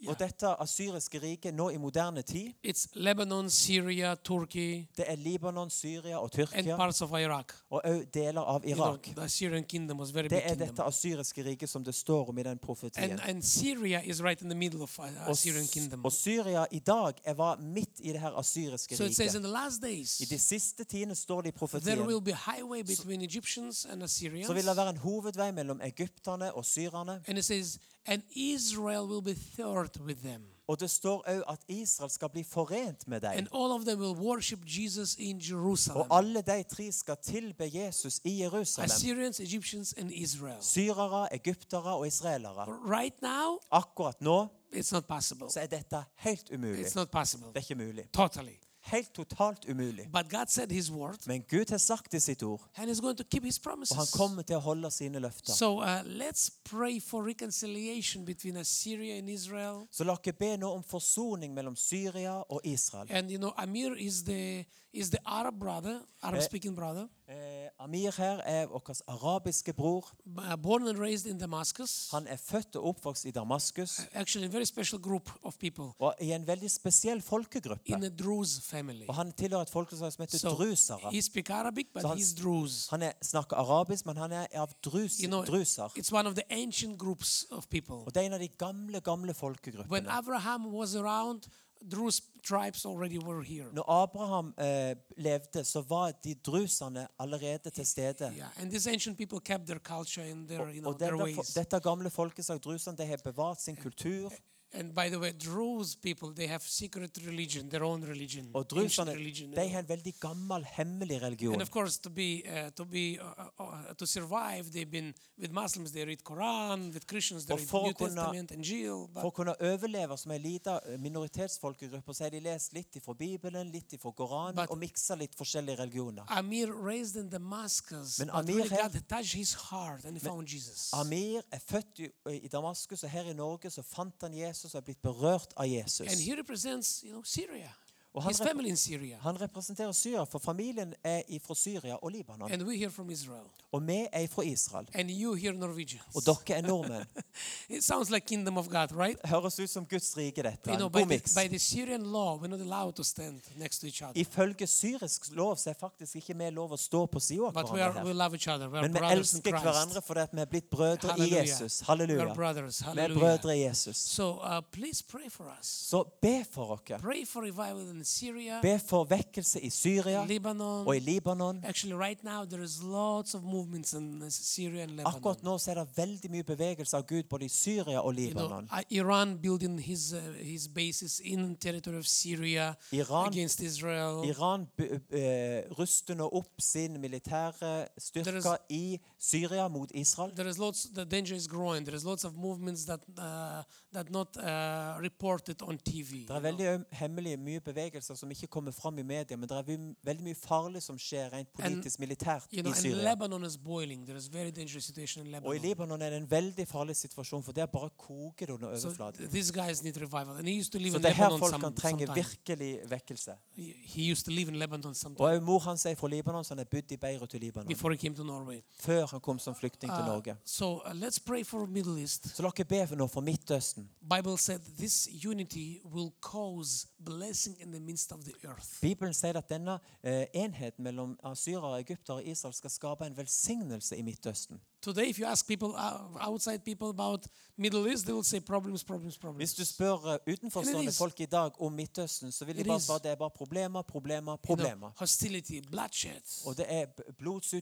[SPEAKER 2] Og dette asyriske riket nå i moderne tid,
[SPEAKER 1] it's Lebanon, Syria, Turkey,
[SPEAKER 2] det er Libanon, Syria og
[SPEAKER 1] and
[SPEAKER 2] Tyrkia,
[SPEAKER 1] parts of Iraq.
[SPEAKER 2] og òg deler av
[SPEAKER 1] You know,
[SPEAKER 2] Irak.
[SPEAKER 1] the Assyrian kingdom was very big
[SPEAKER 2] Det er
[SPEAKER 1] kingdom.
[SPEAKER 2] dette asyriske riket som det står om i den profetien.
[SPEAKER 1] And, and Syria is right in the middle of uh,
[SPEAKER 2] Og,
[SPEAKER 1] Assyrian kingdom.
[SPEAKER 2] og Syria i dag er var midt i det her asyriske
[SPEAKER 1] So it says in
[SPEAKER 2] riket.
[SPEAKER 1] the last
[SPEAKER 2] I de
[SPEAKER 1] days,
[SPEAKER 2] siste tidene står det i
[SPEAKER 1] sånn there
[SPEAKER 2] profetien
[SPEAKER 1] will be highway between Egyptians and Assyrians.
[SPEAKER 2] så vil det være en hovedvei mellom egypterne og syrerne.
[SPEAKER 1] And it says, and Israel will be third with them.
[SPEAKER 2] Og det står òg at Israel skal bli forent med dem.
[SPEAKER 1] And all of them will worship Jesus in
[SPEAKER 2] Og
[SPEAKER 1] Jerusalem.
[SPEAKER 2] alle de tre skal tilbe Jesus i Jerusalem.
[SPEAKER 1] Assyrians, Egyptians, and Israel.
[SPEAKER 2] Syrere, egyptere og israelere.
[SPEAKER 1] Right now,
[SPEAKER 2] Akkurat nå
[SPEAKER 1] it's not possible.
[SPEAKER 2] så er dette helt umulig.
[SPEAKER 1] It's not possible.
[SPEAKER 2] Det er ikke mulig.
[SPEAKER 1] Totally.
[SPEAKER 2] Helt totalt umulig.
[SPEAKER 1] But God said His word,
[SPEAKER 2] Men Gud har sagt i sitt ord,
[SPEAKER 1] and He's going to keep His
[SPEAKER 2] og han
[SPEAKER 1] promises.
[SPEAKER 2] kommer til å holde sine løfter.
[SPEAKER 1] So uh, let's pray for reconciliation between Assyria and Israel.
[SPEAKER 2] Så la oss be nå om forsoning mellom Syria og Israel.
[SPEAKER 1] And you know, Amir is the is the Arab brother, Arab-speaking brother,
[SPEAKER 2] Eh, Amir her er vår arabiske bror.
[SPEAKER 1] b- uh, born and raised in Damascus.
[SPEAKER 2] Han er født og oppvokst i Damaskus
[SPEAKER 1] Actually, a very special group of people
[SPEAKER 2] og i en veldig spesiell folkegruppe.
[SPEAKER 1] in the Druze family.
[SPEAKER 2] Og han tilhører et folkeslag som heter drusere.
[SPEAKER 1] he speak Arabic, but
[SPEAKER 2] So han-
[SPEAKER 1] he's Druze.
[SPEAKER 2] Han er, snakker arabisk, men han er av drus,
[SPEAKER 1] You know,
[SPEAKER 2] druser.
[SPEAKER 1] it's one of the ancient groups of people.
[SPEAKER 2] Og det er en av de gamle, gamle
[SPEAKER 1] When
[SPEAKER 2] folkegruppene.
[SPEAKER 1] Abraham was around, Druze tribes already were here.
[SPEAKER 2] Når Abraham eh, levde, så var de druserne allerede til stede.
[SPEAKER 1] Yeah, and these ancient people kept their culture and their, you know,
[SPEAKER 2] Og
[SPEAKER 1] their
[SPEAKER 2] dette, oh, fo-
[SPEAKER 1] ways.
[SPEAKER 2] dette gamle folkeslag, druserne, de har bevart sin kultur.
[SPEAKER 1] And by the way, Druze people, they have secret religion, their own religion,
[SPEAKER 2] Og
[SPEAKER 1] ancient
[SPEAKER 2] druserne
[SPEAKER 1] religion. you
[SPEAKER 2] de
[SPEAKER 1] know.
[SPEAKER 2] har en veldig gammel, hemmelig
[SPEAKER 1] And
[SPEAKER 2] religion.
[SPEAKER 1] of course, to be uh, to be uh, uh, uh, to survive, they've been with Muslims. They read Quran. With Christians, they
[SPEAKER 2] Og
[SPEAKER 1] read
[SPEAKER 2] for å
[SPEAKER 1] New
[SPEAKER 2] kunne-
[SPEAKER 1] Testament and Jill. But
[SPEAKER 2] For å kunne overleve som en liten minoritetsfolkegruppe, så har de lest litt fra Bibelen, litt fra Koranen,
[SPEAKER 1] But-
[SPEAKER 2] og miksa litt forskjellige religioner.
[SPEAKER 1] Amir raised in Damascus,
[SPEAKER 2] Men
[SPEAKER 1] but
[SPEAKER 2] Amir
[SPEAKER 1] really
[SPEAKER 2] her-
[SPEAKER 1] God touched his heart and he found Jesus.
[SPEAKER 2] Amir er født i, eh, i Damaskus, og her i Norge så fant han Jesus og er blitt berørt av Jesus.
[SPEAKER 1] And he represents, you know, Syria.
[SPEAKER 2] Og han,
[SPEAKER 1] His
[SPEAKER 2] rep
[SPEAKER 1] family in Syria.
[SPEAKER 2] han representerer Syria, for familien er fra Syria og Libanon.
[SPEAKER 1] And we here from Israel.
[SPEAKER 2] Og vi er fra Israel.
[SPEAKER 1] And you here Norwegians.
[SPEAKER 2] Og dere er nordmenn.
[SPEAKER 1] It sounds like kingdom of God, right?
[SPEAKER 2] Høres ut som Guds rike, dette.
[SPEAKER 1] You know,
[SPEAKER 2] En
[SPEAKER 1] by
[SPEAKER 2] god
[SPEAKER 1] the,
[SPEAKER 2] miks.
[SPEAKER 1] by the Syrian law, we're not allowed to stand next to each other.
[SPEAKER 2] Ifølge syrisk lov så er faktisk ikke vi lov å stå på sida av
[SPEAKER 1] But we,
[SPEAKER 2] hverandre
[SPEAKER 1] are, we
[SPEAKER 2] her.
[SPEAKER 1] love each other. We are
[SPEAKER 2] Men vi
[SPEAKER 1] brothers in
[SPEAKER 2] elsker
[SPEAKER 1] Christ.
[SPEAKER 2] hverandre fordi at vi er blitt brødre i
[SPEAKER 1] Halleluja.
[SPEAKER 2] Jesus.
[SPEAKER 1] We
[SPEAKER 2] Halleluja.
[SPEAKER 1] are brothers.
[SPEAKER 2] Vi er
[SPEAKER 1] Hallelujah.
[SPEAKER 2] brødre i Jesus.
[SPEAKER 1] So uh, please pray for us.
[SPEAKER 2] Så be for dere.
[SPEAKER 1] Pray for revival in Syria,
[SPEAKER 2] Be for vekkelse i Syria
[SPEAKER 1] Lebanon.
[SPEAKER 2] og i Libanon.
[SPEAKER 1] Actually, right now there is lots of movements in uh, Syria and Lebanon.
[SPEAKER 2] Akkurat nå så er det veldig mye bevegelse av Gud både i Syria og
[SPEAKER 1] You know,
[SPEAKER 2] Libanon.
[SPEAKER 1] uh, Iran building his uh, his bases in territory of Syria
[SPEAKER 2] Iran,
[SPEAKER 1] against Israel.
[SPEAKER 2] Iran bu- eh, ruster nå opp sin militære styrke
[SPEAKER 1] Deres-
[SPEAKER 2] i Syria mot Israel.
[SPEAKER 1] There is lots. The danger is growing. There is lots of movements that uh, that not uh, reported on TV.
[SPEAKER 2] Det er
[SPEAKER 1] you know.
[SPEAKER 2] veldig øm- hemmelige mye bevegelser som ikke kommer fram i media, men det er vim- veldig mye farlig som skjer rent
[SPEAKER 1] And,
[SPEAKER 2] politisk militært
[SPEAKER 1] You know,
[SPEAKER 2] i
[SPEAKER 1] and
[SPEAKER 2] Syria.
[SPEAKER 1] Lebanon is boiling. There is very dangerous situation in
[SPEAKER 2] Og i
[SPEAKER 1] Lebanon.
[SPEAKER 2] Libanon er det en veldig farlig situasjon, for der bare koker det under
[SPEAKER 1] So
[SPEAKER 2] overflaten.
[SPEAKER 1] th- these guys need revival. And he used to live
[SPEAKER 2] Så
[SPEAKER 1] in
[SPEAKER 2] det er her
[SPEAKER 1] Lebanon some,
[SPEAKER 2] folkene trenger
[SPEAKER 1] sometime.
[SPEAKER 2] virkelig vekkelse.
[SPEAKER 1] He he used to live in Lebanon
[SPEAKER 2] Og
[SPEAKER 1] sometime
[SPEAKER 2] også mor hans er fra Libanon, så han har bodd i Beirut i Libanon
[SPEAKER 1] before he came to Norway.
[SPEAKER 2] før han kom som flyktning til
[SPEAKER 1] Uh,
[SPEAKER 2] Norge.
[SPEAKER 1] so uh, let's pray for Middle East.
[SPEAKER 2] Så la dere be nå for Midtøsten.
[SPEAKER 1] Bible said this unity will cause blessing in the midst of the earth.
[SPEAKER 2] Bibelen sier at denne eh, enheten mellom asyrere, egyptere og Israel skal skape en velsignelse i Midtøsten.
[SPEAKER 1] Today, if you ask people, uh, outside people about Middle East, they will say problems, problems,
[SPEAKER 2] Hvis
[SPEAKER 1] problems.
[SPEAKER 2] du spør eh, utenforstående
[SPEAKER 1] is-
[SPEAKER 2] folk i dag om Midtøsten, så vil de
[SPEAKER 1] It
[SPEAKER 2] bare
[SPEAKER 1] is-
[SPEAKER 2] svare det er bare problemer, problemer,
[SPEAKER 1] You know,
[SPEAKER 2] problemer.
[SPEAKER 1] hostility, bloodshed.
[SPEAKER 2] Og det er b-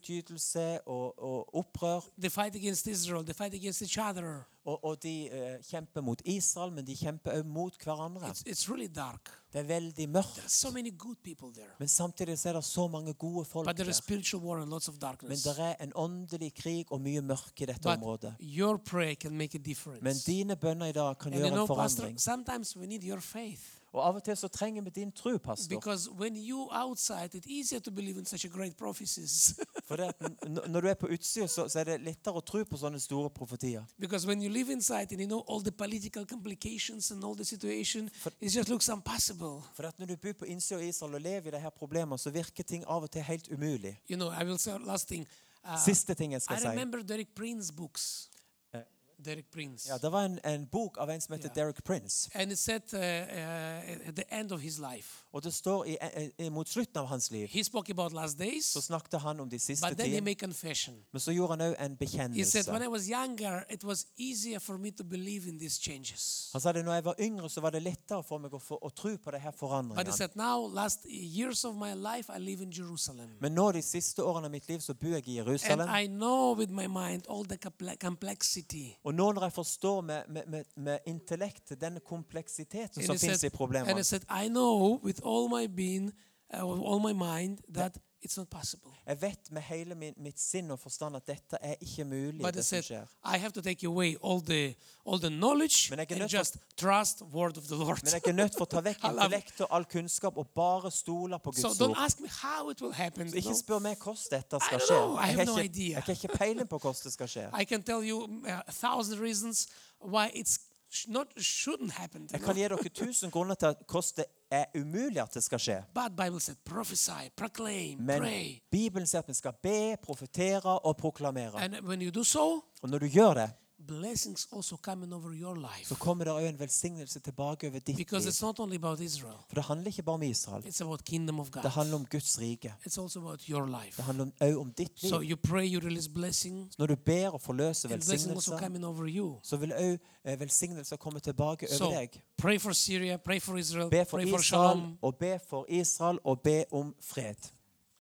[SPEAKER 2] blodsutytelse og, og opprør.
[SPEAKER 1] They fight against Israel. They fight against each other.
[SPEAKER 2] Og, og de eh, kjemper mot Israel, men de kjemper også mot hverandre.
[SPEAKER 1] It's, it's really dark.
[SPEAKER 2] Det er veldig
[SPEAKER 1] There are
[SPEAKER 2] mørkt.
[SPEAKER 1] so many good people there.
[SPEAKER 2] Men samtidig så er det så mange gode folk
[SPEAKER 1] But there is
[SPEAKER 2] der.
[SPEAKER 1] spiritual war and lots of
[SPEAKER 2] Men
[SPEAKER 1] darkness.
[SPEAKER 2] det er en åndelig krig og mye mørke i dette
[SPEAKER 1] But
[SPEAKER 2] området.
[SPEAKER 1] your prayer can make a difference.
[SPEAKER 2] Men dine bønner i dag kan
[SPEAKER 1] and you
[SPEAKER 2] gjøre
[SPEAKER 1] know,
[SPEAKER 2] en
[SPEAKER 1] Pastor,
[SPEAKER 2] forandring.
[SPEAKER 1] sometimes we need your faith.
[SPEAKER 2] Og av og til så trenger vi din tro, pastor.
[SPEAKER 1] Because when you outside, it's easier to believe in such great prophecies.
[SPEAKER 2] For det at n- når du er på utsida, så, så er det lettere å tro på sånne store profetier.
[SPEAKER 1] because when you live inside and you know all the political complications and all the situation, it just looks impossible.
[SPEAKER 2] For det at når du bor på innsida av Israel og lever i de her problemene, så virker ting av og til helt umulig.
[SPEAKER 1] You know, I will say last thing. Uh,
[SPEAKER 2] Siste ting jeg
[SPEAKER 1] I
[SPEAKER 2] skal si.
[SPEAKER 1] remember Derek Prince's books.
[SPEAKER 2] Eh.
[SPEAKER 1] Derek Prince.
[SPEAKER 2] Ja, Det var en, en bok av en som heter
[SPEAKER 1] Ja.
[SPEAKER 2] Derek Prince.
[SPEAKER 1] and it said uh, uh, at the end of his life,
[SPEAKER 2] Og det står i, eh, eh, mot slutten av hans liv
[SPEAKER 1] he spoke about last
[SPEAKER 2] så
[SPEAKER 1] days,
[SPEAKER 2] snakket han om de siste
[SPEAKER 1] but then he
[SPEAKER 2] tidene.
[SPEAKER 1] made confession.
[SPEAKER 2] Men så gjorde han òg en
[SPEAKER 1] He said,
[SPEAKER 2] bekjennelse.
[SPEAKER 1] when I was younger, it was easier for me to believe in these changes.
[SPEAKER 2] Han sa det når jeg var yngre, så var det lettere for meg å, få, å tro på de her
[SPEAKER 1] But he
[SPEAKER 2] forandringene.
[SPEAKER 1] said, now, last years of my life, I live in Jerusalem.
[SPEAKER 2] Men nå de siste årene av mitt liv så bor jeg i
[SPEAKER 1] And
[SPEAKER 2] Jerusalem.
[SPEAKER 1] I know with my mind all the comple- complexity.
[SPEAKER 2] Og nå når jeg forstår med, med, med, med intellekt den kompleksiteten som
[SPEAKER 1] he
[SPEAKER 2] fins
[SPEAKER 1] said,
[SPEAKER 2] i
[SPEAKER 1] and
[SPEAKER 2] problemene,
[SPEAKER 1] he said, I know with all my being, uh, with all my mind, that It's not possible.
[SPEAKER 2] Jeg vet med hele min, mitt sinn og forstand at dette er ikke mulig,
[SPEAKER 1] But I
[SPEAKER 2] det
[SPEAKER 1] said,
[SPEAKER 2] som skjer.
[SPEAKER 1] I have to take away all the all the knowledge
[SPEAKER 2] Men jeg er
[SPEAKER 1] and
[SPEAKER 2] nødt til-
[SPEAKER 1] just trust word of the Lord.
[SPEAKER 2] Men jeg er ikke nødt for å ta vekk
[SPEAKER 1] I love it.
[SPEAKER 2] intellekt og all kunnskap og bare stole på
[SPEAKER 1] So
[SPEAKER 2] Guds
[SPEAKER 1] don't
[SPEAKER 2] ord.
[SPEAKER 1] ask me how it will happen.
[SPEAKER 2] Så ikke
[SPEAKER 1] no.
[SPEAKER 2] spør meg hvordan dette
[SPEAKER 1] I
[SPEAKER 2] skal
[SPEAKER 1] don't
[SPEAKER 2] skje.
[SPEAKER 1] know. I
[SPEAKER 2] Jeg
[SPEAKER 1] have
[SPEAKER 2] har
[SPEAKER 1] no
[SPEAKER 2] ikke,
[SPEAKER 1] idea.
[SPEAKER 2] jeg har ikke peiling på hvordan det skal skje.
[SPEAKER 1] I can tell you mm, a thousand reasons why it's sh- not shouldn't happen. you
[SPEAKER 2] Jeg
[SPEAKER 1] know.
[SPEAKER 2] kan gi dere tusen grunner til at hvordan det er umulig at det skal skje.
[SPEAKER 1] But Bible said, prophesy, proclaim,
[SPEAKER 2] Men
[SPEAKER 1] pray.
[SPEAKER 2] Bibelen sier at vi skal be, profetere og proklamere.
[SPEAKER 1] And when you do so,
[SPEAKER 2] Og når du gjør det,
[SPEAKER 1] blessings also coming over your life.
[SPEAKER 2] så kommer det òg en velsignelse tilbake over ditt
[SPEAKER 1] Because
[SPEAKER 2] liv.
[SPEAKER 1] it's not only about Israel.
[SPEAKER 2] For det handler ikke bare om Israel.
[SPEAKER 1] It's about kingdom of
[SPEAKER 2] Det
[SPEAKER 1] God.
[SPEAKER 2] handler om Guds rike.
[SPEAKER 1] It's also about your life.
[SPEAKER 2] Det handler òg om ditt
[SPEAKER 1] So
[SPEAKER 2] liv.
[SPEAKER 1] you pray, you release blessing,
[SPEAKER 2] Når du ber og forløser
[SPEAKER 1] and blessing also
[SPEAKER 2] velsignelser,
[SPEAKER 1] coming over you.
[SPEAKER 2] så vil òg velsignelser komme tilbake
[SPEAKER 1] So,
[SPEAKER 2] over deg.
[SPEAKER 1] Pray for Syria, pray for Israel,
[SPEAKER 2] Be for
[SPEAKER 1] pray for
[SPEAKER 2] Israel
[SPEAKER 1] Shalom.
[SPEAKER 2] og be for Israel og be om fred.